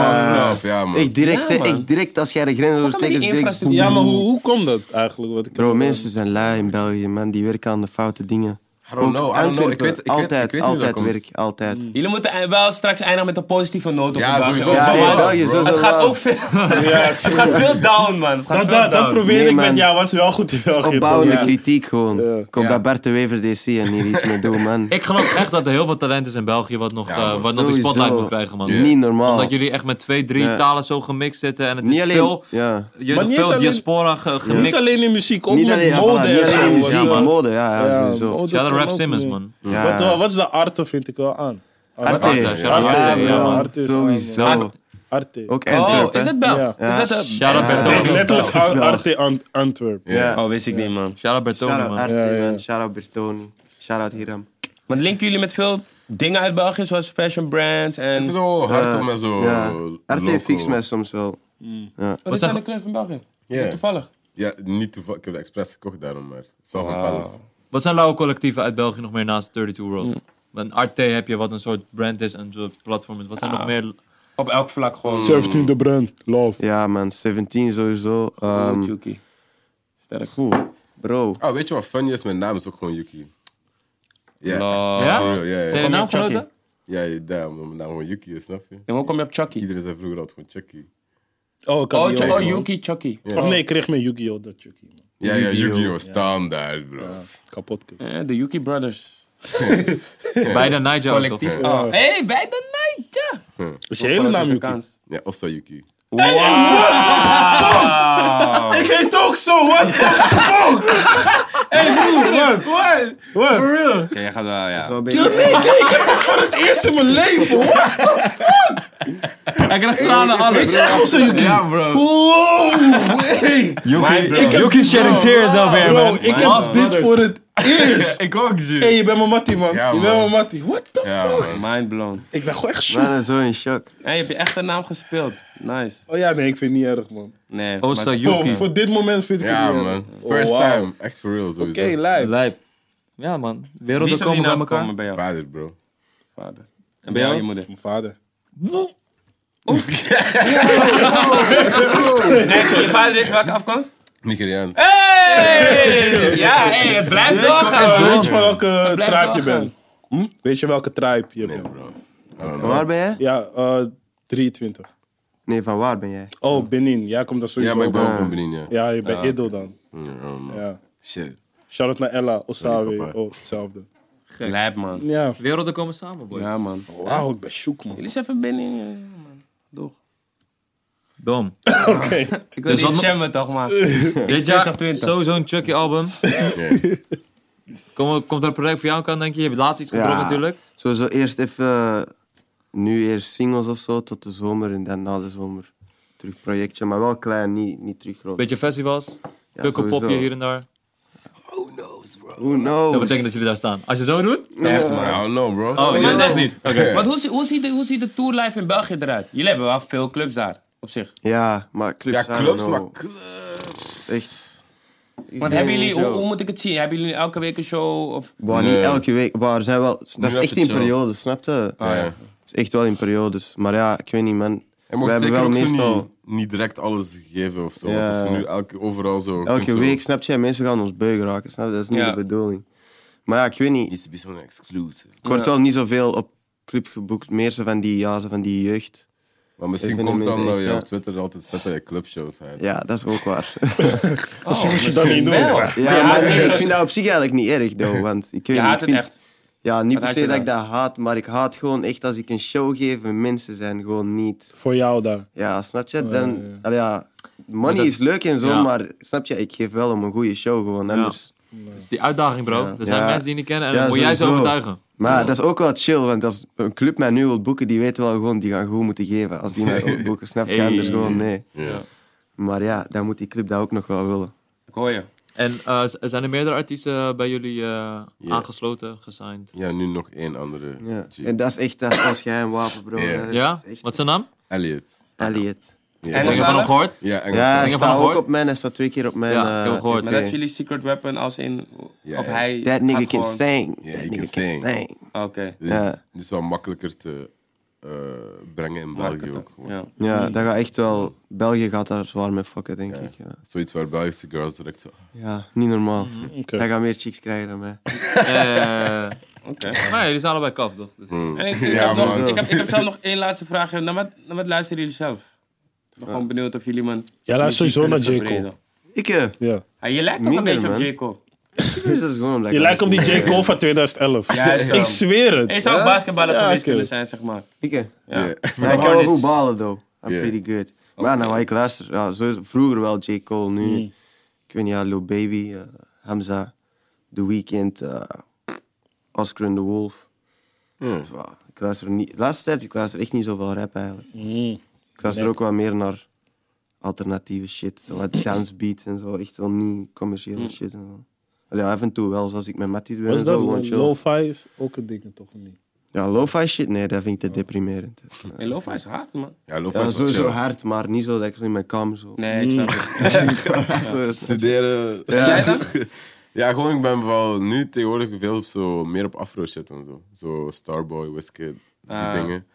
[SPEAKER 2] ja, man.
[SPEAKER 3] Echt direct,
[SPEAKER 1] Ja,
[SPEAKER 3] hè,
[SPEAKER 1] man.
[SPEAKER 3] echt direct als jij de grens
[SPEAKER 1] die
[SPEAKER 3] oversteekt. is direct-
[SPEAKER 1] infrastructuur?
[SPEAKER 4] ja, maar hoe, hoe komt dat eigenlijk? Wat ik
[SPEAKER 3] Bro, mensen zijn lui in België, man. Die werken aan de foute dingen.
[SPEAKER 2] I don't know, I don't know. Ik weet, ik weet, ik
[SPEAKER 3] altijd,
[SPEAKER 2] weet niet hoe dat
[SPEAKER 3] altijd
[SPEAKER 2] komt. Hmm.
[SPEAKER 3] werk, altijd.
[SPEAKER 1] Jullie moeten ei- wel straks eindigen met een positieve noot op
[SPEAKER 2] Ja,
[SPEAKER 1] de dag.
[SPEAKER 2] sowieso.
[SPEAKER 1] Want
[SPEAKER 3] Ja,
[SPEAKER 2] Bro,
[SPEAKER 3] in
[SPEAKER 2] man,
[SPEAKER 3] België
[SPEAKER 2] bro.
[SPEAKER 3] zo
[SPEAKER 1] Het gaat ook veel, het gaat veel down, man. Het gaat
[SPEAKER 4] Dat,
[SPEAKER 1] veel
[SPEAKER 4] dat, dat
[SPEAKER 1] down.
[SPEAKER 4] probeer
[SPEAKER 3] Nee,
[SPEAKER 4] ik met
[SPEAKER 3] man.
[SPEAKER 4] ja, was wel goed in België.
[SPEAKER 3] Opbouwende
[SPEAKER 4] toch?
[SPEAKER 3] kritiek gewoon.
[SPEAKER 4] Ja.
[SPEAKER 3] Kom dat Bart de Wever DC en hier iets mee doen, man.
[SPEAKER 5] Ik geloof echt dat er heel veel talent is in België wat nog,
[SPEAKER 2] Ja,
[SPEAKER 5] eh,
[SPEAKER 2] man.
[SPEAKER 5] wat nog die spotlight
[SPEAKER 3] Sowieso.
[SPEAKER 5] moet krijgen, man.
[SPEAKER 3] Niet normaal.
[SPEAKER 5] Omdat jullie echt met twee, drie
[SPEAKER 3] Ja.
[SPEAKER 5] talen zo gemixt zitten en het
[SPEAKER 3] Niet
[SPEAKER 5] is
[SPEAKER 3] alleen...
[SPEAKER 5] veel,
[SPEAKER 3] Ja.
[SPEAKER 5] je
[SPEAKER 4] Maar
[SPEAKER 5] hebt
[SPEAKER 4] niet
[SPEAKER 5] veel
[SPEAKER 4] eens alleen-
[SPEAKER 5] diaspora ge-
[SPEAKER 4] Niet
[SPEAKER 5] gemixt.
[SPEAKER 4] alleen in muziek, ook
[SPEAKER 3] Niet
[SPEAKER 4] met
[SPEAKER 3] alleen, ja,
[SPEAKER 4] mode
[SPEAKER 3] voilà,
[SPEAKER 4] en
[SPEAKER 3] niet
[SPEAKER 4] zo.
[SPEAKER 3] alleen in
[SPEAKER 4] wat,
[SPEAKER 3] muziek,
[SPEAKER 4] eh,
[SPEAKER 3] mode, ja, ja, sowieso.
[SPEAKER 4] mode
[SPEAKER 5] Ja, de
[SPEAKER 4] oh, kan
[SPEAKER 5] Rap
[SPEAKER 4] ook
[SPEAKER 5] Simmons,
[SPEAKER 4] mee.
[SPEAKER 5] man.
[SPEAKER 3] Ja.
[SPEAKER 4] Wat, eh, wat is de arte, vind ik wel aan.
[SPEAKER 3] Arte.
[SPEAKER 5] Arte,
[SPEAKER 3] Arte,
[SPEAKER 5] ja,
[SPEAKER 4] ja,
[SPEAKER 5] man.
[SPEAKER 4] ja,
[SPEAKER 3] man.
[SPEAKER 4] ah, Arte is eh,
[SPEAKER 3] Sowieso.
[SPEAKER 1] man.
[SPEAKER 4] Arte.
[SPEAKER 3] Ook
[SPEAKER 1] Oh,
[SPEAKER 3] Antwerpen.
[SPEAKER 1] is het Belg?
[SPEAKER 4] Ja.
[SPEAKER 1] Is dat een...
[SPEAKER 5] Shout-out
[SPEAKER 3] Ja.
[SPEAKER 4] Het is
[SPEAKER 5] Bertone.
[SPEAKER 4] letterlijk
[SPEAKER 3] Belgisch
[SPEAKER 4] Ar-
[SPEAKER 3] wel.
[SPEAKER 4] Arte Ant- Antwerp.
[SPEAKER 3] Ja.
[SPEAKER 1] Oh, wist ik niet, man.
[SPEAKER 5] Shout-out Bertone,
[SPEAKER 3] Shout-out
[SPEAKER 5] man.
[SPEAKER 3] Arte,
[SPEAKER 4] Ja, ja.
[SPEAKER 3] man. Shout-out Bertoni. Shout-out Hiram.
[SPEAKER 1] Want linken jullie met veel dingen uit België, zoals fashion brands en...
[SPEAKER 2] Ik vind het wel hard om
[SPEAKER 3] Eh,
[SPEAKER 2] met zo...
[SPEAKER 3] Ja.
[SPEAKER 2] eh, local-
[SPEAKER 3] Arte fix mij soms wel. Ja.
[SPEAKER 1] Wat
[SPEAKER 5] Wat
[SPEAKER 1] zijn
[SPEAKER 5] zeg-
[SPEAKER 1] de kleur van België?
[SPEAKER 2] Ja.
[SPEAKER 1] Toevallig.
[SPEAKER 2] Ja, niet toevallig. Ik heb het expres gekocht daarom, maar het is wel van Palace.
[SPEAKER 5] Wat zijn lauwe collectieven uit België nog meer naast 32 World? Want RT heb je wat een soort brand is en een soort platform is. Wat zijn nog meer...
[SPEAKER 1] Op elk vlak gewoon.
[SPEAKER 4] 17 de brand, love.
[SPEAKER 3] Mm. ja, man. 17 sowieso.
[SPEAKER 1] Goed,
[SPEAKER 3] Ehm
[SPEAKER 1] Yuki. Sterk.
[SPEAKER 3] poeh, bro.
[SPEAKER 2] Ah, weet je wat funny is? Mijn naam is ook gewoon Yuki. Ja.
[SPEAKER 1] Love.
[SPEAKER 5] Ja?
[SPEAKER 2] For real, ja, ja.
[SPEAKER 5] Zijn er
[SPEAKER 1] Kom
[SPEAKER 5] nou
[SPEAKER 1] je op Chucky?
[SPEAKER 5] grote?
[SPEAKER 2] Ja, ja, daarom omdat mijn naam gewoon Yuki is, snap je?
[SPEAKER 1] En hoe kom je op Chucky?
[SPEAKER 2] Iedereen zei vroeger altijd gewoon Chucky.
[SPEAKER 4] Oh, ik had
[SPEAKER 1] Oh,
[SPEAKER 4] die
[SPEAKER 1] Chu-
[SPEAKER 4] ook,
[SPEAKER 1] oh,
[SPEAKER 4] man.
[SPEAKER 1] Yuki, Chucky.
[SPEAKER 4] Of nee, ik kreeg meer Yu-Gi-Oh! dan Chucky. man.
[SPEAKER 2] Ja, ja, Yu-Gi-Oh! Standaard, bro.
[SPEAKER 4] Kapot. kut.
[SPEAKER 1] Eh, de Yuki Brothers.
[SPEAKER 5] Bij de Nigel.
[SPEAKER 1] Collectief.
[SPEAKER 5] toch?
[SPEAKER 1] Oh, hey, bij de Nightja!
[SPEAKER 4] Is je hele naam Yuki?
[SPEAKER 2] Ja, Osta Yuki.
[SPEAKER 3] Ik heet ook zo, wat?
[SPEAKER 1] For real?
[SPEAKER 6] Oké, jij gaat wel, ja.
[SPEAKER 3] Nee, nee,
[SPEAKER 4] Eerst in mijn leven, hoor!
[SPEAKER 5] Hij krijgt tranen alles.
[SPEAKER 4] Echt wel zo Yuki.
[SPEAKER 6] Ja, bro.
[SPEAKER 5] Yuki shedding tears over here,
[SPEAKER 4] Bro,
[SPEAKER 5] man.
[SPEAKER 4] ik heb dit voor het eerst.
[SPEAKER 6] Ik ook, G.
[SPEAKER 4] Hey, je bent mijn mattie, man.
[SPEAKER 2] Ja,
[SPEAKER 4] je
[SPEAKER 2] man.
[SPEAKER 4] bent mijn mattie. What the
[SPEAKER 2] Ja,
[SPEAKER 4] fuck?
[SPEAKER 2] man.
[SPEAKER 1] Mind blown.
[SPEAKER 4] Ik ben gewoon echt
[SPEAKER 3] Ik
[SPEAKER 4] shook.
[SPEAKER 3] ben zo in shock.
[SPEAKER 1] Hey, je hebt je echte naam gespeeld. Nice.
[SPEAKER 4] Oh ja, nee, ik vind het niet erg, man.
[SPEAKER 1] Nee. maar
[SPEAKER 5] Osta
[SPEAKER 1] het is-
[SPEAKER 4] Voor,
[SPEAKER 5] Yuki.
[SPEAKER 4] voor dit moment vind ik
[SPEAKER 2] Ja,
[SPEAKER 4] het niet
[SPEAKER 2] man.
[SPEAKER 4] erg. Oh,
[SPEAKER 2] First
[SPEAKER 4] wauw.
[SPEAKER 2] time. Echt for real, sowieso.
[SPEAKER 4] Oké, lijp.
[SPEAKER 5] Lijp. Ja, man.
[SPEAKER 1] Wie
[SPEAKER 5] Werelden
[SPEAKER 1] zou die
[SPEAKER 5] komen bij
[SPEAKER 1] naam
[SPEAKER 5] elkaar.
[SPEAKER 1] komen bij jou?
[SPEAKER 2] Vader, bro.
[SPEAKER 1] Vader. En bij jou,
[SPEAKER 5] jou?
[SPEAKER 1] je moeder.
[SPEAKER 4] Mijn vader.
[SPEAKER 1] Nee, je vader is welke afkomst?
[SPEAKER 2] Nigeriaan.
[SPEAKER 1] Hey! Ja, hey, het blijft doorgaan.
[SPEAKER 4] Weet je van welke
[SPEAKER 1] blijft Hm?
[SPEAKER 4] tribe je
[SPEAKER 1] doorgaan.
[SPEAKER 4] bent? Weet je welke tribe je bent?
[SPEAKER 2] Bro. I don't
[SPEAKER 3] Van
[SPEAKER 2] know.
[SPEAKER 3] waar ben jij?
[SPEAKER 4] Ja, eh 23.
[SPEAKER 3] Nee, van waar ben jij?
[SPEAKER 4] Oh, Benin. Jij komt daar
[SPEAKER 2] Ja,
[SPEAKER 4] sowieso
[SPEAKER 2] maar ik ben ook
[SPEAKER 4] bij.
[SPEAKER 2] van Benin, ja.
[SPEAKER 4] Ja, je bent Edo dan.
[SPEAKER 2] Ja, man.
[SPEAKER 4] Ja.
[SPEAKER 2] Shit.
[SPEAKER 4] Shout-out naar Ella, Osawe.
[SPEAKER 2] papa.
[SPEAKER 4] Oh, hetzelfde.
[SPEAKER 1] Lijp, man.
[SPEAKER 4] Ja.
[SPEAKER 5] Werelden komen samen, boys.
[SPEAKER 1] Ja, man.
[SPEAKER 4] Wauw, ik ben shook, man.
[SPEAKER 1] Jullie zijn even binnen. ja, man. Doeg.
[SPEAKER 5] Dom.
[SPEAKER 4] Oké.
[SPEAKER 1] Ik wil niet
[SPEAKER 5] Dus wat-
[SPEAKER 1] shammen, toch, maar.
[SPEAKER 5] Dit jaar
[SPEAKER 1] 20.
[SPEAKER 5] sowieso een Chucky album.
[SPEAKER 2] Ja.
[SPEAKER 5] Kom, komt er een project voor jou kan, denk je? Je hebt laatst iets gedropt
[SPEAKER 3] Ja.
[SPEAKER 5] natuurlijk.
[SPEAKER 3] Sowieso eerst even, eh, nu eerst singles of zo, tot de zomer en dan na de zomer terug projectje, maar wel klein, niet, niet terug groot.
[SPEAKER 5] Beetje festivals.
[SPEAKER 3] Ja,
[SPEAKER 5] Pukkelpopje
[SPEAKER 3] sowieso.
[SPEAKER 5] hier en daar.
[SPEAKER 3] Who knows?
[SPEAKER 5] Dat betekent dat jullie daar staan. Als je zo doet?
[SPEAKER 1] Echt, man.
[SPEAKER 2] I don't know, bro.
[SPEAKER 5] Oh, je
[SPEAKER 1] maar-
[SPEAKER 5] doet echt niet. Oké.
[SPEAKER 1] Want hoe, zie- hoe, ziet de, hoe ziet de tourlife in België eruit? Jullie hebben wel veel clubs daar, op zich.
[SPEAKER 3] Ja, maar clubs.
[SPEAKER 2] Ja,
[SPEAKER 3] I don't
[SPEAKER 2] clubs,
[SPEAKER 3] know.
[SPEAKER 2] maar clubs.
[SPEAKER 3] Echt.
[SPEAKER 1] Want hebben jullie, hoe, hoe moet ik het zien? Hebben jullie elke week een show? Of...
[SPEAKER 3] Boah,
[SPEAKER 2] Nee.
[SPEAKER 3] niet elke week. Boah, er zijn wel... Dat is
[SPEAKER 2] even
[SPEAKER 3] echt in
[SPEAKER 2] chill.
[SPEAKER 3] periodes, snap je?
[SPEAKER 2] ja.
[SPEAKER 3] Dat is echt wel in periodes. Maar ja, ik weet niet, man.
[SPEAKER 2] En
[SPEAKER 3] We
[SPEAKER 2] mocht
[SPEAKER 3] hebben
[SPEAKER 2] zeker
[SPEAKER 3] wel
[SPEAKER 2] ook zo
[SPEAKER 3] meestal...
[SPEAKER 2] niet, niet direct alles geven of zo.
[SPEAKER 3] Ja.
[SPEAKER 2] want Als we nu elke, overal zo... kunt
[SPEAKER 3] Elke
[SPEAKER 2] zo-
[SPEAKER 3] week, snap je? Mensen gaan ons beu raken, snap je? Dat is niet
[SPEAKER 1] Ja.
[SPEAKER 3] de bedoeling. Maar ja, ik weet niet.
[SPEAKER 2] Iets bijzonder exclusive.
[SPEAKER 3] Ik
[SPEAKER 1] Ja.
[SPEAKER 3] word wel niet zoveel op club geboekt. Meer zo van die, ja, zo van die jeugd.
[SPEAKER 2] Maar misschien
[SPEAKER 3] vind
[SPEAKER 2] komt
[SPEAKER 3] hem
[SPEAKER 2] dan
[SPEAKER 3] niet
[SPEAKER 2] dat
[SPEAKER 3] echt,
[SPEAKER 2] je
[SPEAKER 3] ja.
[SPEAKER 2] op Twitter altijd zet dat je clubshows hebt.
[SPEAKER 3] Ja, dat is ook waar.
[SPEAKER 4] Misschien moet je dat niet doen. man.
[SPEAKER 3] Ja, maar nee, ik vind dat op zich eigenlijk niet erg, though, want ik weet
[SPEAKER 1] Je
[SPEAKER 3] niet,
[SPEAKER 1] haat
[SPEAKER 3] ik
[SPEAKER 1] het
[SPEAKER 3] vind,
[SPEAKER 1] echt.
[SPEAKER 3] Ja, niet
[SPEAKER 1] Wat
[SPEAKER 3] per
[SPEAKER 1] haat
[SPEAKER 3] se
[SPEAKER 1] je
[SPEAKER 3] dat ik dat haat, maar ik haat gewoon echt als ik een show geef en mensen zijn gewoon niet...
[SPEAKER 4] Voor jou daar.
[SPEAKER 3] Ja, snap je? Dan,
[SPEAKER 4] Oh, ja.
[SPEAKER 3] allee, ja, money
[SPEAKER 5] dat-
[SPEAKER 3] is leuk en zo,
[SPEAKER 5] ja.
[SPEAKER 3] maar snap je, ik geef wel om een goede show gewoon, anders...
[SPEAKER 5] Dat is die uitdaging, bro. Er zijn
[SPEAKER 3] Ja.
[SPEAKER 5] mensen die je niet kennen en
[SPEAKER 3] Ja,
[SPEAKER 5] dan moet jij ze
[SPEAKER 3] sowieso.
[SPEAKER 5] overtuigen.
[SPEAKER 3] Maar dat is ook wel chill, want als een club mij nu wil boeken, die weten wel gewoon, die gaan goed moeten geven. Als die mij wil boeken, snap je?
[SPEAKER 5] Hey.
[SPEAKER 3] Anders gewoon, nee.
[SPEAKER 2] Ja.
[SPEAKER 3] Maar ja, dan moet die club dat ook nog wel willen.
[SPEAKER 1] Ik hoor je.
[SPEAKER 5] En eh, z- zijn er meerdere artiesten bij jullie eh,
[SPEAKER 2] Ja.
[SPEAKER 5] aangesloten, gesigned?
[SPEAKER 2] ja, nu nog één andere.
[SPEAKER 3] Ja.
[SPEAKER 2] G.
[SPEAKER 3] En dat is echt, dat is ons geheimwapen, bro.
[SPEAKER 2] Ja.
[SPEAKER 3] Dat is
[SPEAKER 5] Ja?
[SPEAKER 3] echt-
[SPEAKER 5] Wat is zijn naam?
[SPEAKER 2] Elliot.
[SPEAKER 3] Elliot.
[SPEAKER 2] Ja,
[SPEAKER 1] En
[SPEAKER 5] Ik heb
[SPEAKER 1] Engels-
[SPEAKER 5] van hem gehoord.
[SPEAKER 2] Ja, Engels.
[SPEAKER 3] Ja, hij
[SPEAKER 5] heb hem
[SPEAKER 3] staat ook
[SPEAKER 5] gehoord.
[SPEAKER 3] op mijn, hij staat twee keer op mijn...
[SPEAKER 5] Ja, ik heb hem
[SPEAKER 3] eh,
[SPEAKER 5] gehoord.
[SPEAKER 1] Maar
[SPEAKER 3] Nee.
[SPEAKER 1] dat is jullie secret weapon als in...
[SPEAKER 2] Ja,
[SPEAKER 1] of
[SPEAKER 2] ja.
[SPEAKER 1] hij...
[SPEAKER 3] That
[SPEAKER 1] gaat
[SPEAKER 3] nigga can
[SPEAKER 1] gewoon-
[SPEAKER 3] sing.
[SPEAKER 2] Yeah,
[SPEAKER 3] that
[SPEAKER 2] he
[SPEAKER 3] nigga
[SPEAKER 2] can
[SPEAKER 3] can
[SPEAKER 2] sing.
[SPEAKER 3] sing.
[SPEAKER 1] Oké.
[SPEAKER 2] Dus
[SPEAKER 3] Ja.
[SPEAKER 2] Het is wel makkelijker te eh, brengen in België
[SPEAKER 1] Marketing.
[SPEAKER 2] ook. gewoon.
[SPEAKER 1] Ja.
[SPEAKER 3] Ja, dat gaat echt wel... België gaat daar zwaar mee fokken, denk ik. Mm. Ja.
[SPEAKER 2] Zoiets waar Belgische girls direct zo...
[SPEAKER 3] ja, niet normaal.
[SPEAKER 5] Mhm.
[SPEAKER 4] Oké.
[SPEAKER 3] Dat gaan meer chicks krijgen dan mij.
[SPEAKER 5] Eh,
[SPEAKER 1] Oké.
[SPEAKER 5] maar jullie zijn allebei kaf, toch? Dus-
[SPEAKER 2] hmm.
[SPEAKER 1] En ik, ik,
[SPEAKER 2] Ja,
[SPEAKER 1] heb nog,
[SPEAKER 2] man.
[SPEAKER 1] ik, heb, ik heb zelf nog één laatste vraag. Naar wat, naar wat luisteren jullie zelf? Ik ben gewoon benieuwd of jullie man...
[SPEAKER 4] Jij luistert
[SPEAKER 1] muziek
[SPEAKER 4] sowieso naar
[SPEAKER 1] kunnen
[SPEAKER 4] J. Cole.
[SPEAKER 1] verbreden.
[SPEAKER 3] Ik, eh,
[SPEAKER 4] Ja.
[SPEAKER 1] Ah, je lijkt toch een
[SPEAKER 3] Minder,
[SPEAKER 1] beetje op
[SPEAKER 3] man.
[SPEAKER 1] J. Cole.
[SPEAKER 3] dus dat is gewoon omdat
[SPEAKER 4] Je
[SPEAKER 3] ik
[SPEAKER 4] lijkt op die
[SPEAKER 3] alles
[SPEAKER 4] J.
[SPEAKER 3] moet
[SPEAKER 4] Cole van 2011.
[SPEAKER 1] Juist, ja.
[SPEAKER 4] Ik zweer het.
[SPEAKER 1] Je zou ook basketballer
[SPEAKER 4] Ja,
[SPEAKER 1] geweest
[SPEAKER 4] oké.
[SPEAKER 1] kunnen zijn, zeg maar.
[SPEAKER 3] Ik, eh.
[SPEAKER 2] Ja.
[SPEAKER 3] Ja, ik kan wel
[SPEAKER 1] Hornets.
[SPEAKER 3] goed ballen, though. I'm
[SPEAKER 2] Ja.
[SPEAKER 3] pretty good. Maar nou, ik luister. Ja, sowieso, vroeger wel J. Cole, nu...
[SPEAKER 2] Hmm.
[SPEAKER 3] Ik weet niet, ja, Lil Baby, eh, Hamza, The Weeknd, eh, Oscar and the Wolf.
[SPEAKER 2] Ja.
[SPEAKER 3] Dus, ja, ik luister niet... De laatste tijd, ik luister echt niet zoveel rap, eigenlijk.
[SPEAKER 4] Mm.
[SPEAKER 3] Ik luister ook wel meer naar alternatieve shit. Zo wat
[SPEAKER 2] Hmm.
[SPEAKER 3] dancebeats en zo. Echt wel niet commerciële shit. En zo. Allee, ja, af en toe wel, zoals ik met Matties ben.
[SPEAKER 4] Was
[SPEAKER 3] en zo,
[SPEAKER 4] dat
[SPEAKER 3] gewoon
[SPEAKER 4] man?
[SPEAKER 3] chill.
[SPEAKER 4] lo-fi? Is ook een ding, toch? of Niet?
[SPEAKER 3] Ja, lo-fi shit, nee, dat vind ik te deprimerend.
[SPEAKER 1] Hey, Lofa is hard, man.
[SPEAKER 2] Ja, Lofa
[SPEAKER 3] Ja,
[SPEAKER 2] Oh. is wel
[SPEAKER 3] sowieso
[SPEAKER 2] chill.
[SPEAKER 3] hard, maar niet zo dat ik zo in mijn kamer zo...
[SPEAKER 1] Nee,
[SPEAKER 4] Mm.
[SPEAKER 1] ik snap het.
[SPEAKER 2] Studeren. Ja. ja, gewoon, ik ben vooral nu tegenwoordig veel op zo, meer op afro shit en zo. Zo Starboy, Wizkid, die
[SPEAKER 1] Ah.
[SPEAKER 2] dingen.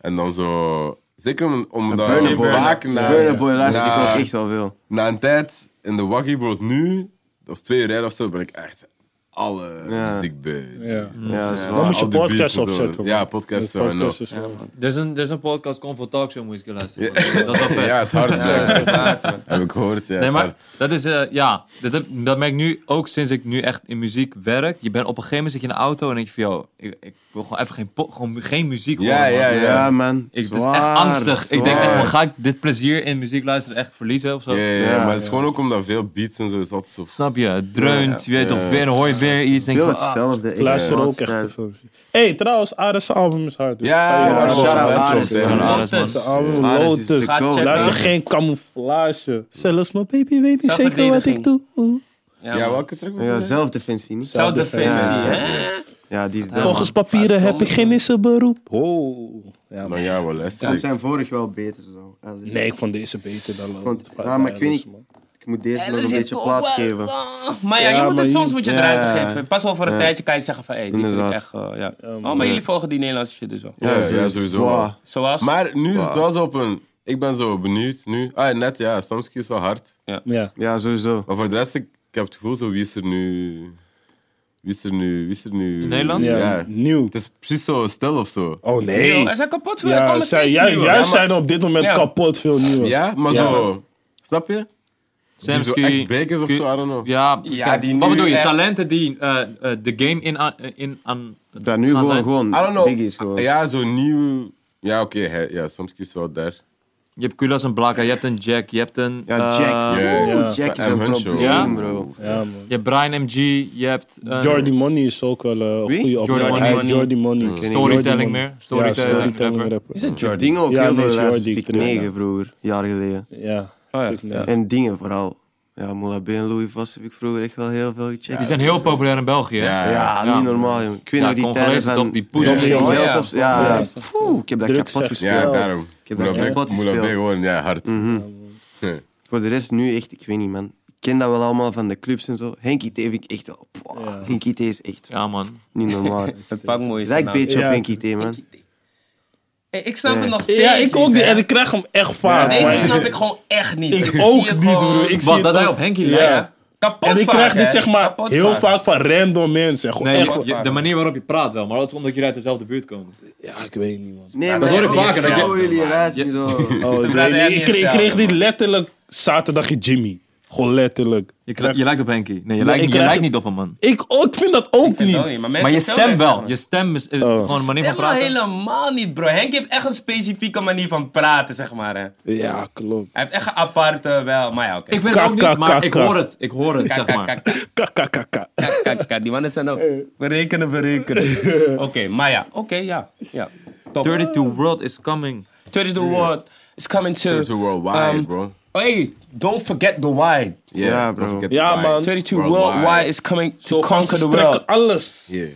[SPEAKER 2] En dan zo... Zeker om- omdat
[SPEAKER 3] Burna
[SPEAKER 2] je
[SPEAKER 3] Boy.
[SPEAKER 2] vaak na,
[SPEAKER 3] Burner Boy luister ik
[SPEAKER 2] na,
[SPEAKER 3] ook echt wel veel.
[SPEAKER 2] na een tijd in de waggie, bro, nu, dat is twee uur rijden of zo, ben ik echt alle
[SPEAKER 3] Ja.
[SPEAKER 2] muziek bij.
[SPEAKER 4] Ja.
[SPEAKER 3] Ja, dat is
[SPEAKER 2] Ja,
[SPEAKER 4] Dan moet je
[SPEAKER 2] al die
[SPEAKER 4] podcast
[SPEAKER 2] beats en zo.
[SPEAKER 4] opzetten, man.
[SPEAKER 2] Ja, podcast wel. en
[SPEAKER 4] Podcast
[SPEAKER 2] nog.
[SPEAKER 4] is wel-
[SPEAKER 5] Er is een, er is een podcast, Convo Talkshow, moet je eens luisteren.
[SPEAKER 2] Ja.
[SPEAKER 5] Dat is wel vet.
[SPEAKER 2] Ja, is hard
[SPEAKER 5] Ja, dat
[SPEAKER 2] black.
[SPEAKER 5] is waard, man.
[SPEAKER 2] Heb ik gehoord, ja.
[SPEAKER 5] Nee,
[SPEAKER 2] is
[SPEAKER 5] maar
[SPEAKER 2] hard.
[SPEAKER 5] dat is, eh, ja, dat, heb- dat merk ik nu ook sinds ik nu echt in muziek werk. Je bent op een gegeven moment zit je in de auto en denk je van, yo, ik, ik wil gewoon even geen, po- gewoon geen muziek
[SPEAKER 2] Ja,
[SPEAKER 5] horen. man.
[SPEAKER 2] ja, ja.
[SPEAKER 3] Ja, man.
[SPEAKER 5] Ik, het is
[SPEAKER 3] Zwaar,
[SPEAKER 5] echt angstig. Ik denk echt
[SPEAKER 3] zwaar.
[SPEAKER 5] van, ga ik dit plezier in muziek luisteren echt verliezen of zo?
[SPEAKER 2] Ja, ja, ja,
[SPEAKER 3] Ja,
[SPEAKER 2] maar het is
[SPEAKER 4] ja.
[SPEAKER 2] gewoon ook omdat veel beats en zo is altijd zo...
[SPEAKER 5] Snap je? Het dreunt, je weet
[SPEAKER 2] Ja.
[SPEAKER 5] of weer hoor je weer iets. Denk
[SPEAKER 3] Veel
[SPEAKER 5] je van, ah,
[SPEAKER 3] hetzelfde.
[SPEAKER 4] Ik luister ook echt te veel. hey, trouwens, Ares' album is hard. dus hoor.
[SPEAKER 2] Ja,
[SPEAKER 3] Ja,
[SPEAKER 2] Ares,
[SPEAKER 3] shout-out
[SPEAKER 2] Ares,
[SPEAKER 3] Ares,
[SPEAKER 2] Ares,
[SPEAKER 5] man.
[SPEAKER 2] Ares.
[SPEAKER 4] Ares'
[SPEAKER 5] man.
[SPEAKER 4] album,
[SPEAKER 3] Ares is
[SPEAKER 4] Lotus.
[SPEAKER 3] de goat,
[SPEAKER 5] checken.
[SPEAKER 4] Luister,
[SPEAKER 3] man.
[SPEAKER 4] geen camouflage. Zelfs mijn baby weet niet zeker wat ik doe.
[SPEAKER 2] Ja, welke track was
[SPEAKER 3] Ja,
[SPEAKER 2] dat?
[SPEAKER 3] zelfdefensie niet.
[SPEAKER 1] Zelfdefensie,
[SPEAKER 3] Ja.
[SPEAKER 1] hè?
[SPEAKER 3] Ja, die is dope.
[SPEAKER 4] Volgens papieren heb ik geen isse beroep. Oh. Ja,
[SPEAKER 2] Nou ja, wel les.
[SPEAKER 3] Die zijn vorig wel beter zo. Ja, dus-
[SPEAKER 4] Nee, ik vond deze beter dan Lotus.
[SPEAKER 3] Want-
[SPEAKER 4] van
[SPEAKER 3] ja, maar ik weet
[SPEAKER 4] Ares,
[SPEAKER 3] niet.
[SPEAKER 4] man.
[SPEAKER 3] Ik moet deze
[SPEAKER 2] dus
[SPEAKER 3] nog een beetje plaats geven.
[SPEAKER 1] Maar ja,
[SPEAKER 4] Ja,
[SPEAKER 1] je moet
[SPEAKER 4] maar
[SPEAKER 1] het,
[SPEAKER 4] je-
[SPEAKER 1] soms moet je het
[SPEAKER 3] ja.
[SPEAKER 1] ruimte geven. Pas over een tijdje kan je zeggen van, hé, die vind ik
[SPEAKER 3] Inderdaad.
[SPEAKER 1] echt, eh, ja.
[SPEAKER 4] maar-
[SPEAKER 1] Oh, maar jullie volgen die Nederlandse shit dus wel.
[SPEAKER 2] Ja, ja, sowieso.
[SPEAKER 3] Wow.
[SPEAKER 2] wel.
[SPEAKER 1] Zoals?
[SPEAKER 2] Maar nu is het wel zo op een... Ik ben zo benieuwd nu. Ah, net ja, Stamski is wel hard.
[SPEAKER 4] Ja.
[SPEAKER 3] Ja, sowieso.
[SPEAKER 2] Maar voor de rest, ik, ik heb het gevoel zo, wie is er nu... Wie is er nu... Wie is er nu...
[SPEAKER 5] In Nederland?
[SPEAKER 4] Ja.
[SPEAKER 2] Ja.
[SPEAKER 4] Nieuw.
[SPEAKER 2] Het is precies zo stil of zo.
[SPEAKER 4] Oh nee.
[SPEAKER 1] Yo, er zijn kapot veel, er
[SPEAKER 4] Ja,
[SPEAKER 1] komen
[SPEAKER 4] zij,
[SPEAKER 1] steeds
[SPEAKER 4] jij,
[SPEAKER 1] nieuwe.
[SPEAKER 4] jij
[SPEAKER 1] Ja, maar-
[SPEAKER 4] zijn op dit moment
[SPEAKER 1] Ja.
[SPEAKER 4] kapot veel nieuwe.
[SPEAKER 2] Ja, maar
[SPEAKER 4] Ja.
[SPEAKER 2] zo... Snap je? Die zo
[SPEAKER 5] Samsky.
[SPEAKER 2] echt bekers of zo, I don't know.
[SPEAKER 5] Ja,
[SPEAKER 1] Ja,
[SPEAKER 5] kijk,
[SPEAKER 1] die
[SPEAKER 5] wat
[SPEAKER 1] nu
[SPEAKER 5] bedoel je?
[SPEAKER 1] echt-
[SPEAKER 5] Talenten die eh, eh, de game in, aan- in aan...
[SPEAKER 3] Daar nu
[SPEAKER 5] aan
[SPEAKER 3] gewoon,
[SPEAKER 5] zijn.
[SPEAKER 3] gewoon.
[SPEAKER 2] I don't know.
[SPEAKER 3] Biggies gewoon.
[SPEAKER 2] Ja, zo nieuw... Ja, oké. hij- ja, Stamski is wel daar.
[SPEAKER 5] Je hebt Kulas en Blaka, je hebt een Jack, je hebt een...
[SPEAKER 3] Ja,
[SPEAKER 5] eh,
[SPEAKER 3] Jack.
[SPEAKER 2] Ja,
[SPEAKER 3] Oeh,
[SPEAKER 4] ja.
[SPEAKER 3] Jack is
[SPEAKER 2] Ja,
[SPEAKER 3] een
[SPEAKER 2] hun show.
[SPEAKER 3] probleem,
[SPEAKER 5] Ja?
[SPEAKER 3] bro.
[SPEAKER 4] Ja, man.
[SPEAKER 5] Je hebt Brian MG, je hebt... een
[SPEAKER 4] Jordy Money is ook wel eh, een
[SPEAKER 3] Wie?
[SPEAKER 4] goede opmerking.
[SPEAKER 5] Money.
[SPEAKER 4] Hij- Jordy Money. Jordy
[SPEAKER 5] Storytelling
[SPEAKER 4] Money.
[SPEAKER 5] meer. Storytelling,
[SPEAKER 4] ja, storytelling
[SPEAKER 5] rapper.
[SPEAKER 1] Hmm.
[SPEAKER 4] rapper.
[SPEAKER 1] Is het
[SPEAKER 3] Die
[SPEAKER 1] Jordi?
[SPEAKER 3] Dingen ook
[SPEAKER 4] Ja,
[SPEAKER 3] heel
[SPEAKER 4] nee,
[SPEAKER 3] veel
[SPEAKER 4] Jordi,
[SPEAKER 3] luisteren.
[SPEAKER 4] ik
[SPEAKER 3] Ik
[SPEAKER 4] ken hem,
[SPEAKER 3] 9, broer. Jaar geleden.
[SPEAKER 4] Ja.
[SPEAKER 1] Oh, ja.
[SPEAKER 4] Fuck, nee.
[SPEAKER 3] En dingen vooral. Ja, Moula B en Louis Vast heb ik vroeger echt wel heel veel gecheckt.
[SPEAKER 5] Die zijn heel populair in België. hè?
[SPEAKER 2] Ja,
[SPEAKER 3] Ja,
[SPEAKER 5] Ja.
[SPEAKER 3] niet normaal, jongen. Ik weet
[SPEAKER 5] Ja,
[SPEAKER 3] nog die
[SPEAKER 5] Congolezen
[SPEAKER 3] tijden van...
[SPEAKER 5] toch, die poes.
[SPEAKER 2] Ja,
[SPEAKER 3] Geen
[SPEAKER 1] ja.
[SPEAKER 3] geld of zo. Ja,
[SPEAKER 4] Ja.
[SPEAKER 3] ja. Poeh, ik heb dat
[SPEAKER 4] Drugs
[SPEAKER 3] kapot
[SPEAKER 4] zeg-
[SPEAKER 3] gespeeld.
[SPEAKER 2] Ja,
[SPEAKER 4] Ja.
[SPEAKER 2] daarom.
[SPEAKER 3] heb
[SPEAKER 2] Moela
[SPEAKER 3] dat
[SPEAKER 2] B-
[SPEAKER 3] kapot
[SPEAKER 2] Moela B
[SPEAKER 3] gespeeld.
[SPEAKER 2] gewoon, ja, hard.
[SPEAKER 3] Mhm.
[SPEAKER 2] Ja.
[SPEAKER 3] Voor de rest nu echt, ik weet niet, man. Ik ken dat wel allemaal van de clubs en zo. Henkie T vind ik echt wel... Pwah,
[SPEAKER 4] Ja.
[SPEAKER 3] Henkie T is echt
[SPEAKER 5] Ja, man.
[SPEAKER 3] niet normaal.
[SPEAKER 1] Het pak mooi is
[SPEAKER 3] Lijkt een beetje
[SPEAKER 4] Ja.
[SPEAKER 3] op Henkie T, man.
[SPEAKER 1] Ik snap het
[SPEAKER 3] nou. Ja.
[SPEAKER 1] nog steeds
[SPEAKER 4] Ja, ik ook
[SPEAKER 1] niet,
[SPEAKER 4] niet.
[SPEAKER 1] hè.
[SPEAKER 4] En ik krijg hem echt vaak. maar-
[SPEAKER 1] Deze snap ik gewoon echt niet.
[SPEAKER 4] Ik
[SPEAKER 1] zie
[SPEAKER 4] ook
[SPEAKER 1] het
[SPEAKER 4] niet,
[SPEAKER 1] gewoon
[SPEAKER 4] broer. Ik zie
[SPEAKER 5] Wat,
[SPEAKER 4] het
[SPEAKER 5] dat hij
[SPEAKER 4] ook.
[SPEAKER 5] op Henky
[SPEAKER 4] Ja.
[SPEAKER 5] lijkt.
[SPEAKER 1] Kapot
[SPEAKER 4] En ik
[SPEAKER 1] vaak,
[SPEAKER 4] krijg dit
[SPEAKER 1] hè.
[SPEAKER 4] zeg maar
[SPEAKER 1] Kapot
[SPEAKER 4] heel
[SPEAKER 1] vaak.
[SPEAKER 4] vaak van random mensen. Gewoon
[SPEAKER 5] Nee,
[SPEAKER 4] echt.
[SPEAKER 5] je- de manier waarop je praat wel, maar dat is omdat jullie uit dezelfde buurt komen.
[SPEAKER 4] Ja, ik weet niet, man.
[SPEAKER 3] Nee,
[SPEAKER 5] dat hoor ik
[SPEAKER 3] ook
[SPEAKER 5] vaker, dat je-
[SPEAKER 3] Zo jullie eruit,
[SPEAKER 5] Ja.
[SPEAKER 3] niet zo.
[SPEAKER 4] Oh, ik,
[SPEAKER 1] Ja,
[SPEAKER 4] weet niet.
[SPEAKER 1] ja,
[SPEAKER 4] ik kreeg, ik
[SPEAKER 1] ja.
[SPEAKER 4] kreeg dit letterlijk zaterdag in Jimmy. Gewoon letterlijk.
[SPEAKER 5] Je, kla- je lijkt op Henky. Nee, je,
[SPEAKER 4] ik
[SPEAKER 5] lijkt, je
[SPEAKER 4] krijg-
[SPEAKER 5] lijkt niet op hem, man.
[SPEAKER 4] Ik, ook- ik vind dat ook
[SPEAKER 1] Ik vind
[SPEAKER 4] niet.
[SPEAKER 1] het ook niet, Maar,
[SPEAKER 5] Maar
[SPEAKER 1] mensen
[SPEAKER 5] je
[SPEAKER 1] vertellen
[SPEAKER 5] stem
[SPEAKER 1] mensen
[SPEAKER 5] wel. Je stem is eh,
[SPEAKER 3] Oh.
[SPEAKER 5] gewoon een manier van
[SPEAKER 1] Helemaal,
[SPEAKER 5] praten.
[SPEAKER 1] helemaal niet, bro. Henk heeft echt een specifieke manier van praten, zeg maar. Hè.
[SPEAKER 4] Ja, klopt.
[SPEAKER 1] Hij heeft echt een aparte wel. Maar ja, oké.
[SPEAKER 5] Ik vind het ook
[SPEAKER 4] Kaka,
[SPEAKER 5] niet, maar ik
[SPEAKER 4] kaka.
[SPEAKER 5] hoor het. Ik hoor het,
[SPEAKER 1] Kak,
[SPEAKER 5] zeg
[SPEAKER 1] kak,
[SPEAKER 5] maar.
[SPEAKER 1] kak, kak,
[SPEAKER 4] Kakakaka.
[SPEAKER 1] kak, kak, kak. Die mannen zijn ook... We rekenen, we rekenen. Oké, maar ja. Oké, ja. ja. Top.
[SPEAKER 5] 32 World is coming.
[SPEAKER 1] 30 the world is coming to...
[SPEAKER 2] Turn to worldwide,
[SPEAKER 1] um,
[SPEAKER 2] bro.
[SPEAKER 1] Hey, don't forget the why.
[SPEAKER 2] Yeah,
[SPEAKER 3] Ja,
[SPEAKER 2] don't
[SPEAKER 3] bro.
[SPEAKER 2] forget the
[SPEAKER 4] Ja,
[SPEAKER 2] vibe.
[SPEAKER 4] man.
[SPEAKER 1] 32
[SPEAKER 2] Worldwide.
[SPEAKER 1] worldwide is coming to
[SPEAKER 4] Zo gaan
[SPEAKER 1] conquer
[SPEAKER 4] ze
[SPEAKER 1] the
[SPEAKER 4] strekken
[SPEAKER 1] world.
[SPEAKER 4] alles.
[SPEAKER 2] Yeah.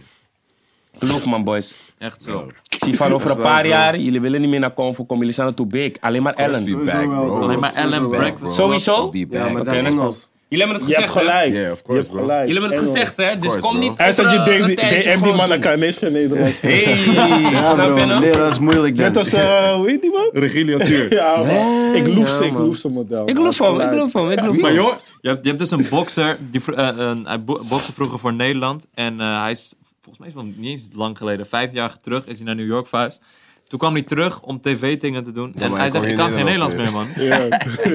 [SPEAKER 1] Geloof man, boys.
[SPEAKER 5] Echt zo.
[SPEAKER 1] Ik zie van over een paar jaar, jullie willen niet meer naar Convo komen, jullie zijn er toe big. Alleen maar Ellen.
[SPEAKER 2] Be
[SPEAKER 1] Jullie
[SPEAKER 2] back,
[SPEAKER 3] wel,
[SPEAKER 2] bro.
[SPEAKER 3] bro.
[SPEAKER 5] Alleen maar
[SPEAKER 3] Sowieso
[SPEAKER 5] Ellen
[SPEAKER 2] Be back,
[SPEAKER 5] Breakfast.
[SPEAKER 2] bro.
[SPEAKER 1] Sowieso?
[SPEAKER 2] I'll Be
[SPEAKER 3] Ja,
[SPEAKER 2] back.
[SPEAKER 3] maar
[SPEAKER 1] Oké,
[SPEAKER 3] dat
[SPEAKER 1] let's
[SPEAKER 3] Engels.
[SPEAKER 1] hebben het
[SPEAKER 4] Je hebt
[SPEAKER 1] gezegd, hè?
[SPEAKER 4] gelijk.
[SPEAKER 2] Yeah, of
[SPEAKER 4] Je
[SPEAKER 2] course,
[SPEAKER 4] hebt
[SPEAKER 2] bro.
[SPEAKER 4] gelijk.
[SPEAKER 1] Jullie hebben het
[SPEAKER 4] Engels.
[SPEAKER 1] gezegd, hè? Dus
[SPEAKER 2] course,
[SPEAKER 1] kom
[SPEAKER 2] bro.
[SPEAKER 1] niet...
[SPEAKER 4] Hij zei, je
[SPEAKER 1] over,
[SPEAKER 4] denkt,
[SPEAKER 1] eh,
[SPEAKER 4] die-
[SPEAKER 1] een tijdje
[SPEAKER 4] de MD
[SPEAKER 1] gewoon
[SPEAKER 4] man, hij
[SPEAKER 1] doen.
[SPEAKER 4] kan niks geen Nederlands.
[SPEAKER 1] Hey,
[SPEAKER 3] Ja,
[SPEAKER 1] snap
[SPEAKER 3] bro.
[SPEAKER 1] je nou?
[SPEAKER 3] Nee, dat is moeilijk dan.
[SPEAKER 4] Net als, eh, hoe heet die man?
[SPEAKER 2] Regilio Tuur.
[SPEAKER 4] Ja, man. Ik loef ze, ik
[SPEAKER 3] man.
[SPEAKER 4] loef ze model.
[SPEAKER 1] Ik
[SPEAKER 4] man.
[SPEAKER 1] geloof van, ik geloof van, ik geloof
[SPEAKER 5] Maar
[SPEAKER 1] van.
[SPEAKER 5] joh, je hebt, je hebt dus een bokser. Die, vro- eh, een, hij bo- bokste vroeger voor Nederland. En eh, hij is, volgens mij is het wel niet eens lang geleden, vijf jaar terug, is hij naar New York verhuisd. Toen kwam hij terug om tv-dingen te doen. En
[SPEAKER 2] maar
[SPEAKER 5] hij
[SPEAKER 2] ik
[SPEAKER 5] zegt,
[SPEAKER 2] hoor
[SPEAKER 5] ik
[SPEAKER 2] geen
[SPEAKER 5] kan geen Nederlands meer, man.
[SPEAKER 4] Ja.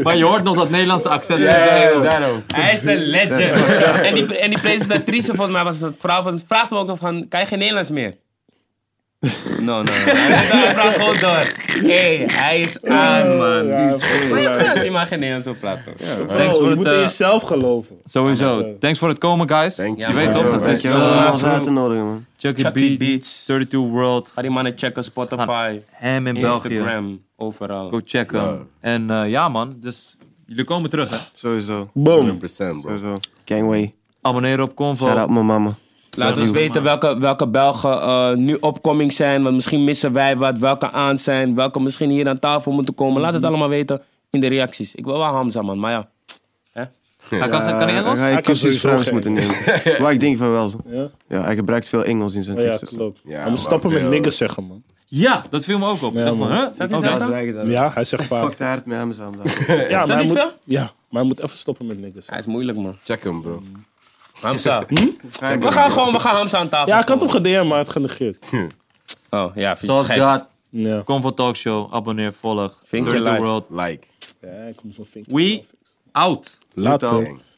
[SPEAKER 5] Maar je hoort nog dat Nederlandse accent. eh,
[SPEAKER 2] Ja, daarom.
[SPEAKER 1] Hij is een legend. En die, en die presentatrice, volgens mij, was een vrouw van... Vraagt me ook nog van, kan je geen Nederlands meer? No, no, no. Hij praat gewoon door. Hé, hij is aan, man.
[SPEAKER 4] Ja,
[SPEAKER 1] Maar
[SPEAKER 4] ja.
[SPEAKER 1] je praat, je mag geen Nederlands zo praten.
[SPEAKER 5] Thanks
[SPEAKER 4] Bro,
[SPEAKER 5] voor
[SPEAKER 4] je
[SPEAKER 5] het,
[SPEAKER 4] moet in
[SPEAKER 5] eh,
[SPEAKER 4] jezelf geloven.
[SPEAKER 5] Sowieso. Thanks voor het komen, guys.
[SPEAKER 2] Thank
[SPEAKER 1] Ja,
[SPEAKER 5] je
[SPEAKER 1] man.
[SPEAKER 5] weet toch, het is
[SPEAKER 3] Dankjewel
[SPEAKER 1] Ja,
[SPEAKER 3] om
[SPEAKER 5] eh,
[SPEAKER 3] ons
[SPEAKER 1] bro.
[SPEAKER 3] uit te nodigen, man.
[SPEAKER 5] Chucky
[SPEAKER 1] Chucky
[SPEAKER 5] Beats,
[SPEAKER 1] Beats.
[SPEAKER 5] 32 World,
[SPEAKER 1] Ga die mannen checken, Spotify,
[SPEAKER 5] hem in België.
[SPEAKER 1] Instagram, overal.
[SPEAKER 5] Go checken.
[SPEAKER 2] Ja.
[SPEAKER 5] En eh, ja, man. Dus jullie komen terug, hè.
[SPEAKER 3] Sowieso,
[SPEAKER 4] Boom.
[SPEAKER 2] 100%, bro.
[SPEAKER 3] sowieso. Gangway.
[SPEAKER 5] Abonneren op Convo.
[SPEAKER 3] Shout out mijn mama.
[SPEAKER 1] Laat ons weten welke, welke Belgen eh, nu opkoming zijn. Want misschien missen wij wat. Welke aan zijn. Welke misschien hier aan tafel moeten komen. Laat het allemaal weten in de reacties. Ik wil wel Hamza, man. Maar ja.
[SPEAKER 5] Hij kan, kan hij
[SPEAKER 3] Eh, Dan
[SPEAKER 5] Engels?
[SPEAKER 3] ga je
[SPEAKER 4] Hij kan
[SPEAKER 3] cursus
[SPEAKER 4] sowieso
[SPEAKER 3] Frans
[SPEAKER 4] geen.
[SPEAKER 3] moeten nemen. Maar ik denk van wel. zo.
[SPEAKER 4] Ja?
[SPEAKER 3] Ja, hij gebruikt veel Engels in zijn
[SPEAKER 4] Oh, ja,
[SPEAKER 3] teksten.
[SPEAKER 4] klopt.
[SPEAKER 2] Ja,
[SPEAKER 4] Hij moet
[SPEAKER 2] maar
[SPEAKER 4] stoppen met
[SPEAKER 2] veel-
[SPEAKER 4] niggers zeggen, man.
[SPEAKER 5] Ja, dat viel me Oh, ook op.
[SPEAKER 4] Ja,
[SPEAKER 5] Ik dacht van,
[SPEAKER 4] man.
[SPEAKER 5] huh?
[SPEAKER 1] Staat
[SPEAKER 5] Oké.
[SPEAKER 1] hij daar?
[SPEAKER 3] zwijgen dan.
[SPEAKER 4] Ja, hij zegt vaak.
[SPEAKER 3] Fuck de hard met hem samen.
[SPEAKER 4] Ja, maar hij
[SPEAKER 1] niet
[SPEAKER 4] moet,
[SPEAKER 1] veel?
[SPEAKER 4] ja, maar hij moet even stoppen met niggers.
[SPEAKER 1] Hij is moeilijk, man.
[SPEAKER 2] Check hem, bro.
[SPEAKER 1] Hamza. We gaan gewoon, we gaan Hamza aan tafel.
[SPEAKER 4] Ja, ik had hem
[SPEAKER 1] gooien.
[SPEAKER 4] gedm, maar het genegeerd.
[SPEAKER 1] Oh, ja, vies.
[SPEAKER 5] Zoals
[SPEAKER 1] gek.
[SPEAKER 5] dat.
[SPEAKER 4] Ja.
[SPEAKER 5] Kom voor Talkshow. Abonneer, volg.
[SPEAKER 1] Vinkje
[SPEAKER 5] Dirty
[SPEAKER 1] live.
[SPEAKER 5] World.
[SPEAKER 2] Like.
[SPEAKER 4] Ja, ik kom zo'n vinkje.
[SPEAKER 5] We out.
[SPEAKER 4] Later.
[SPEAKER 2] Gang.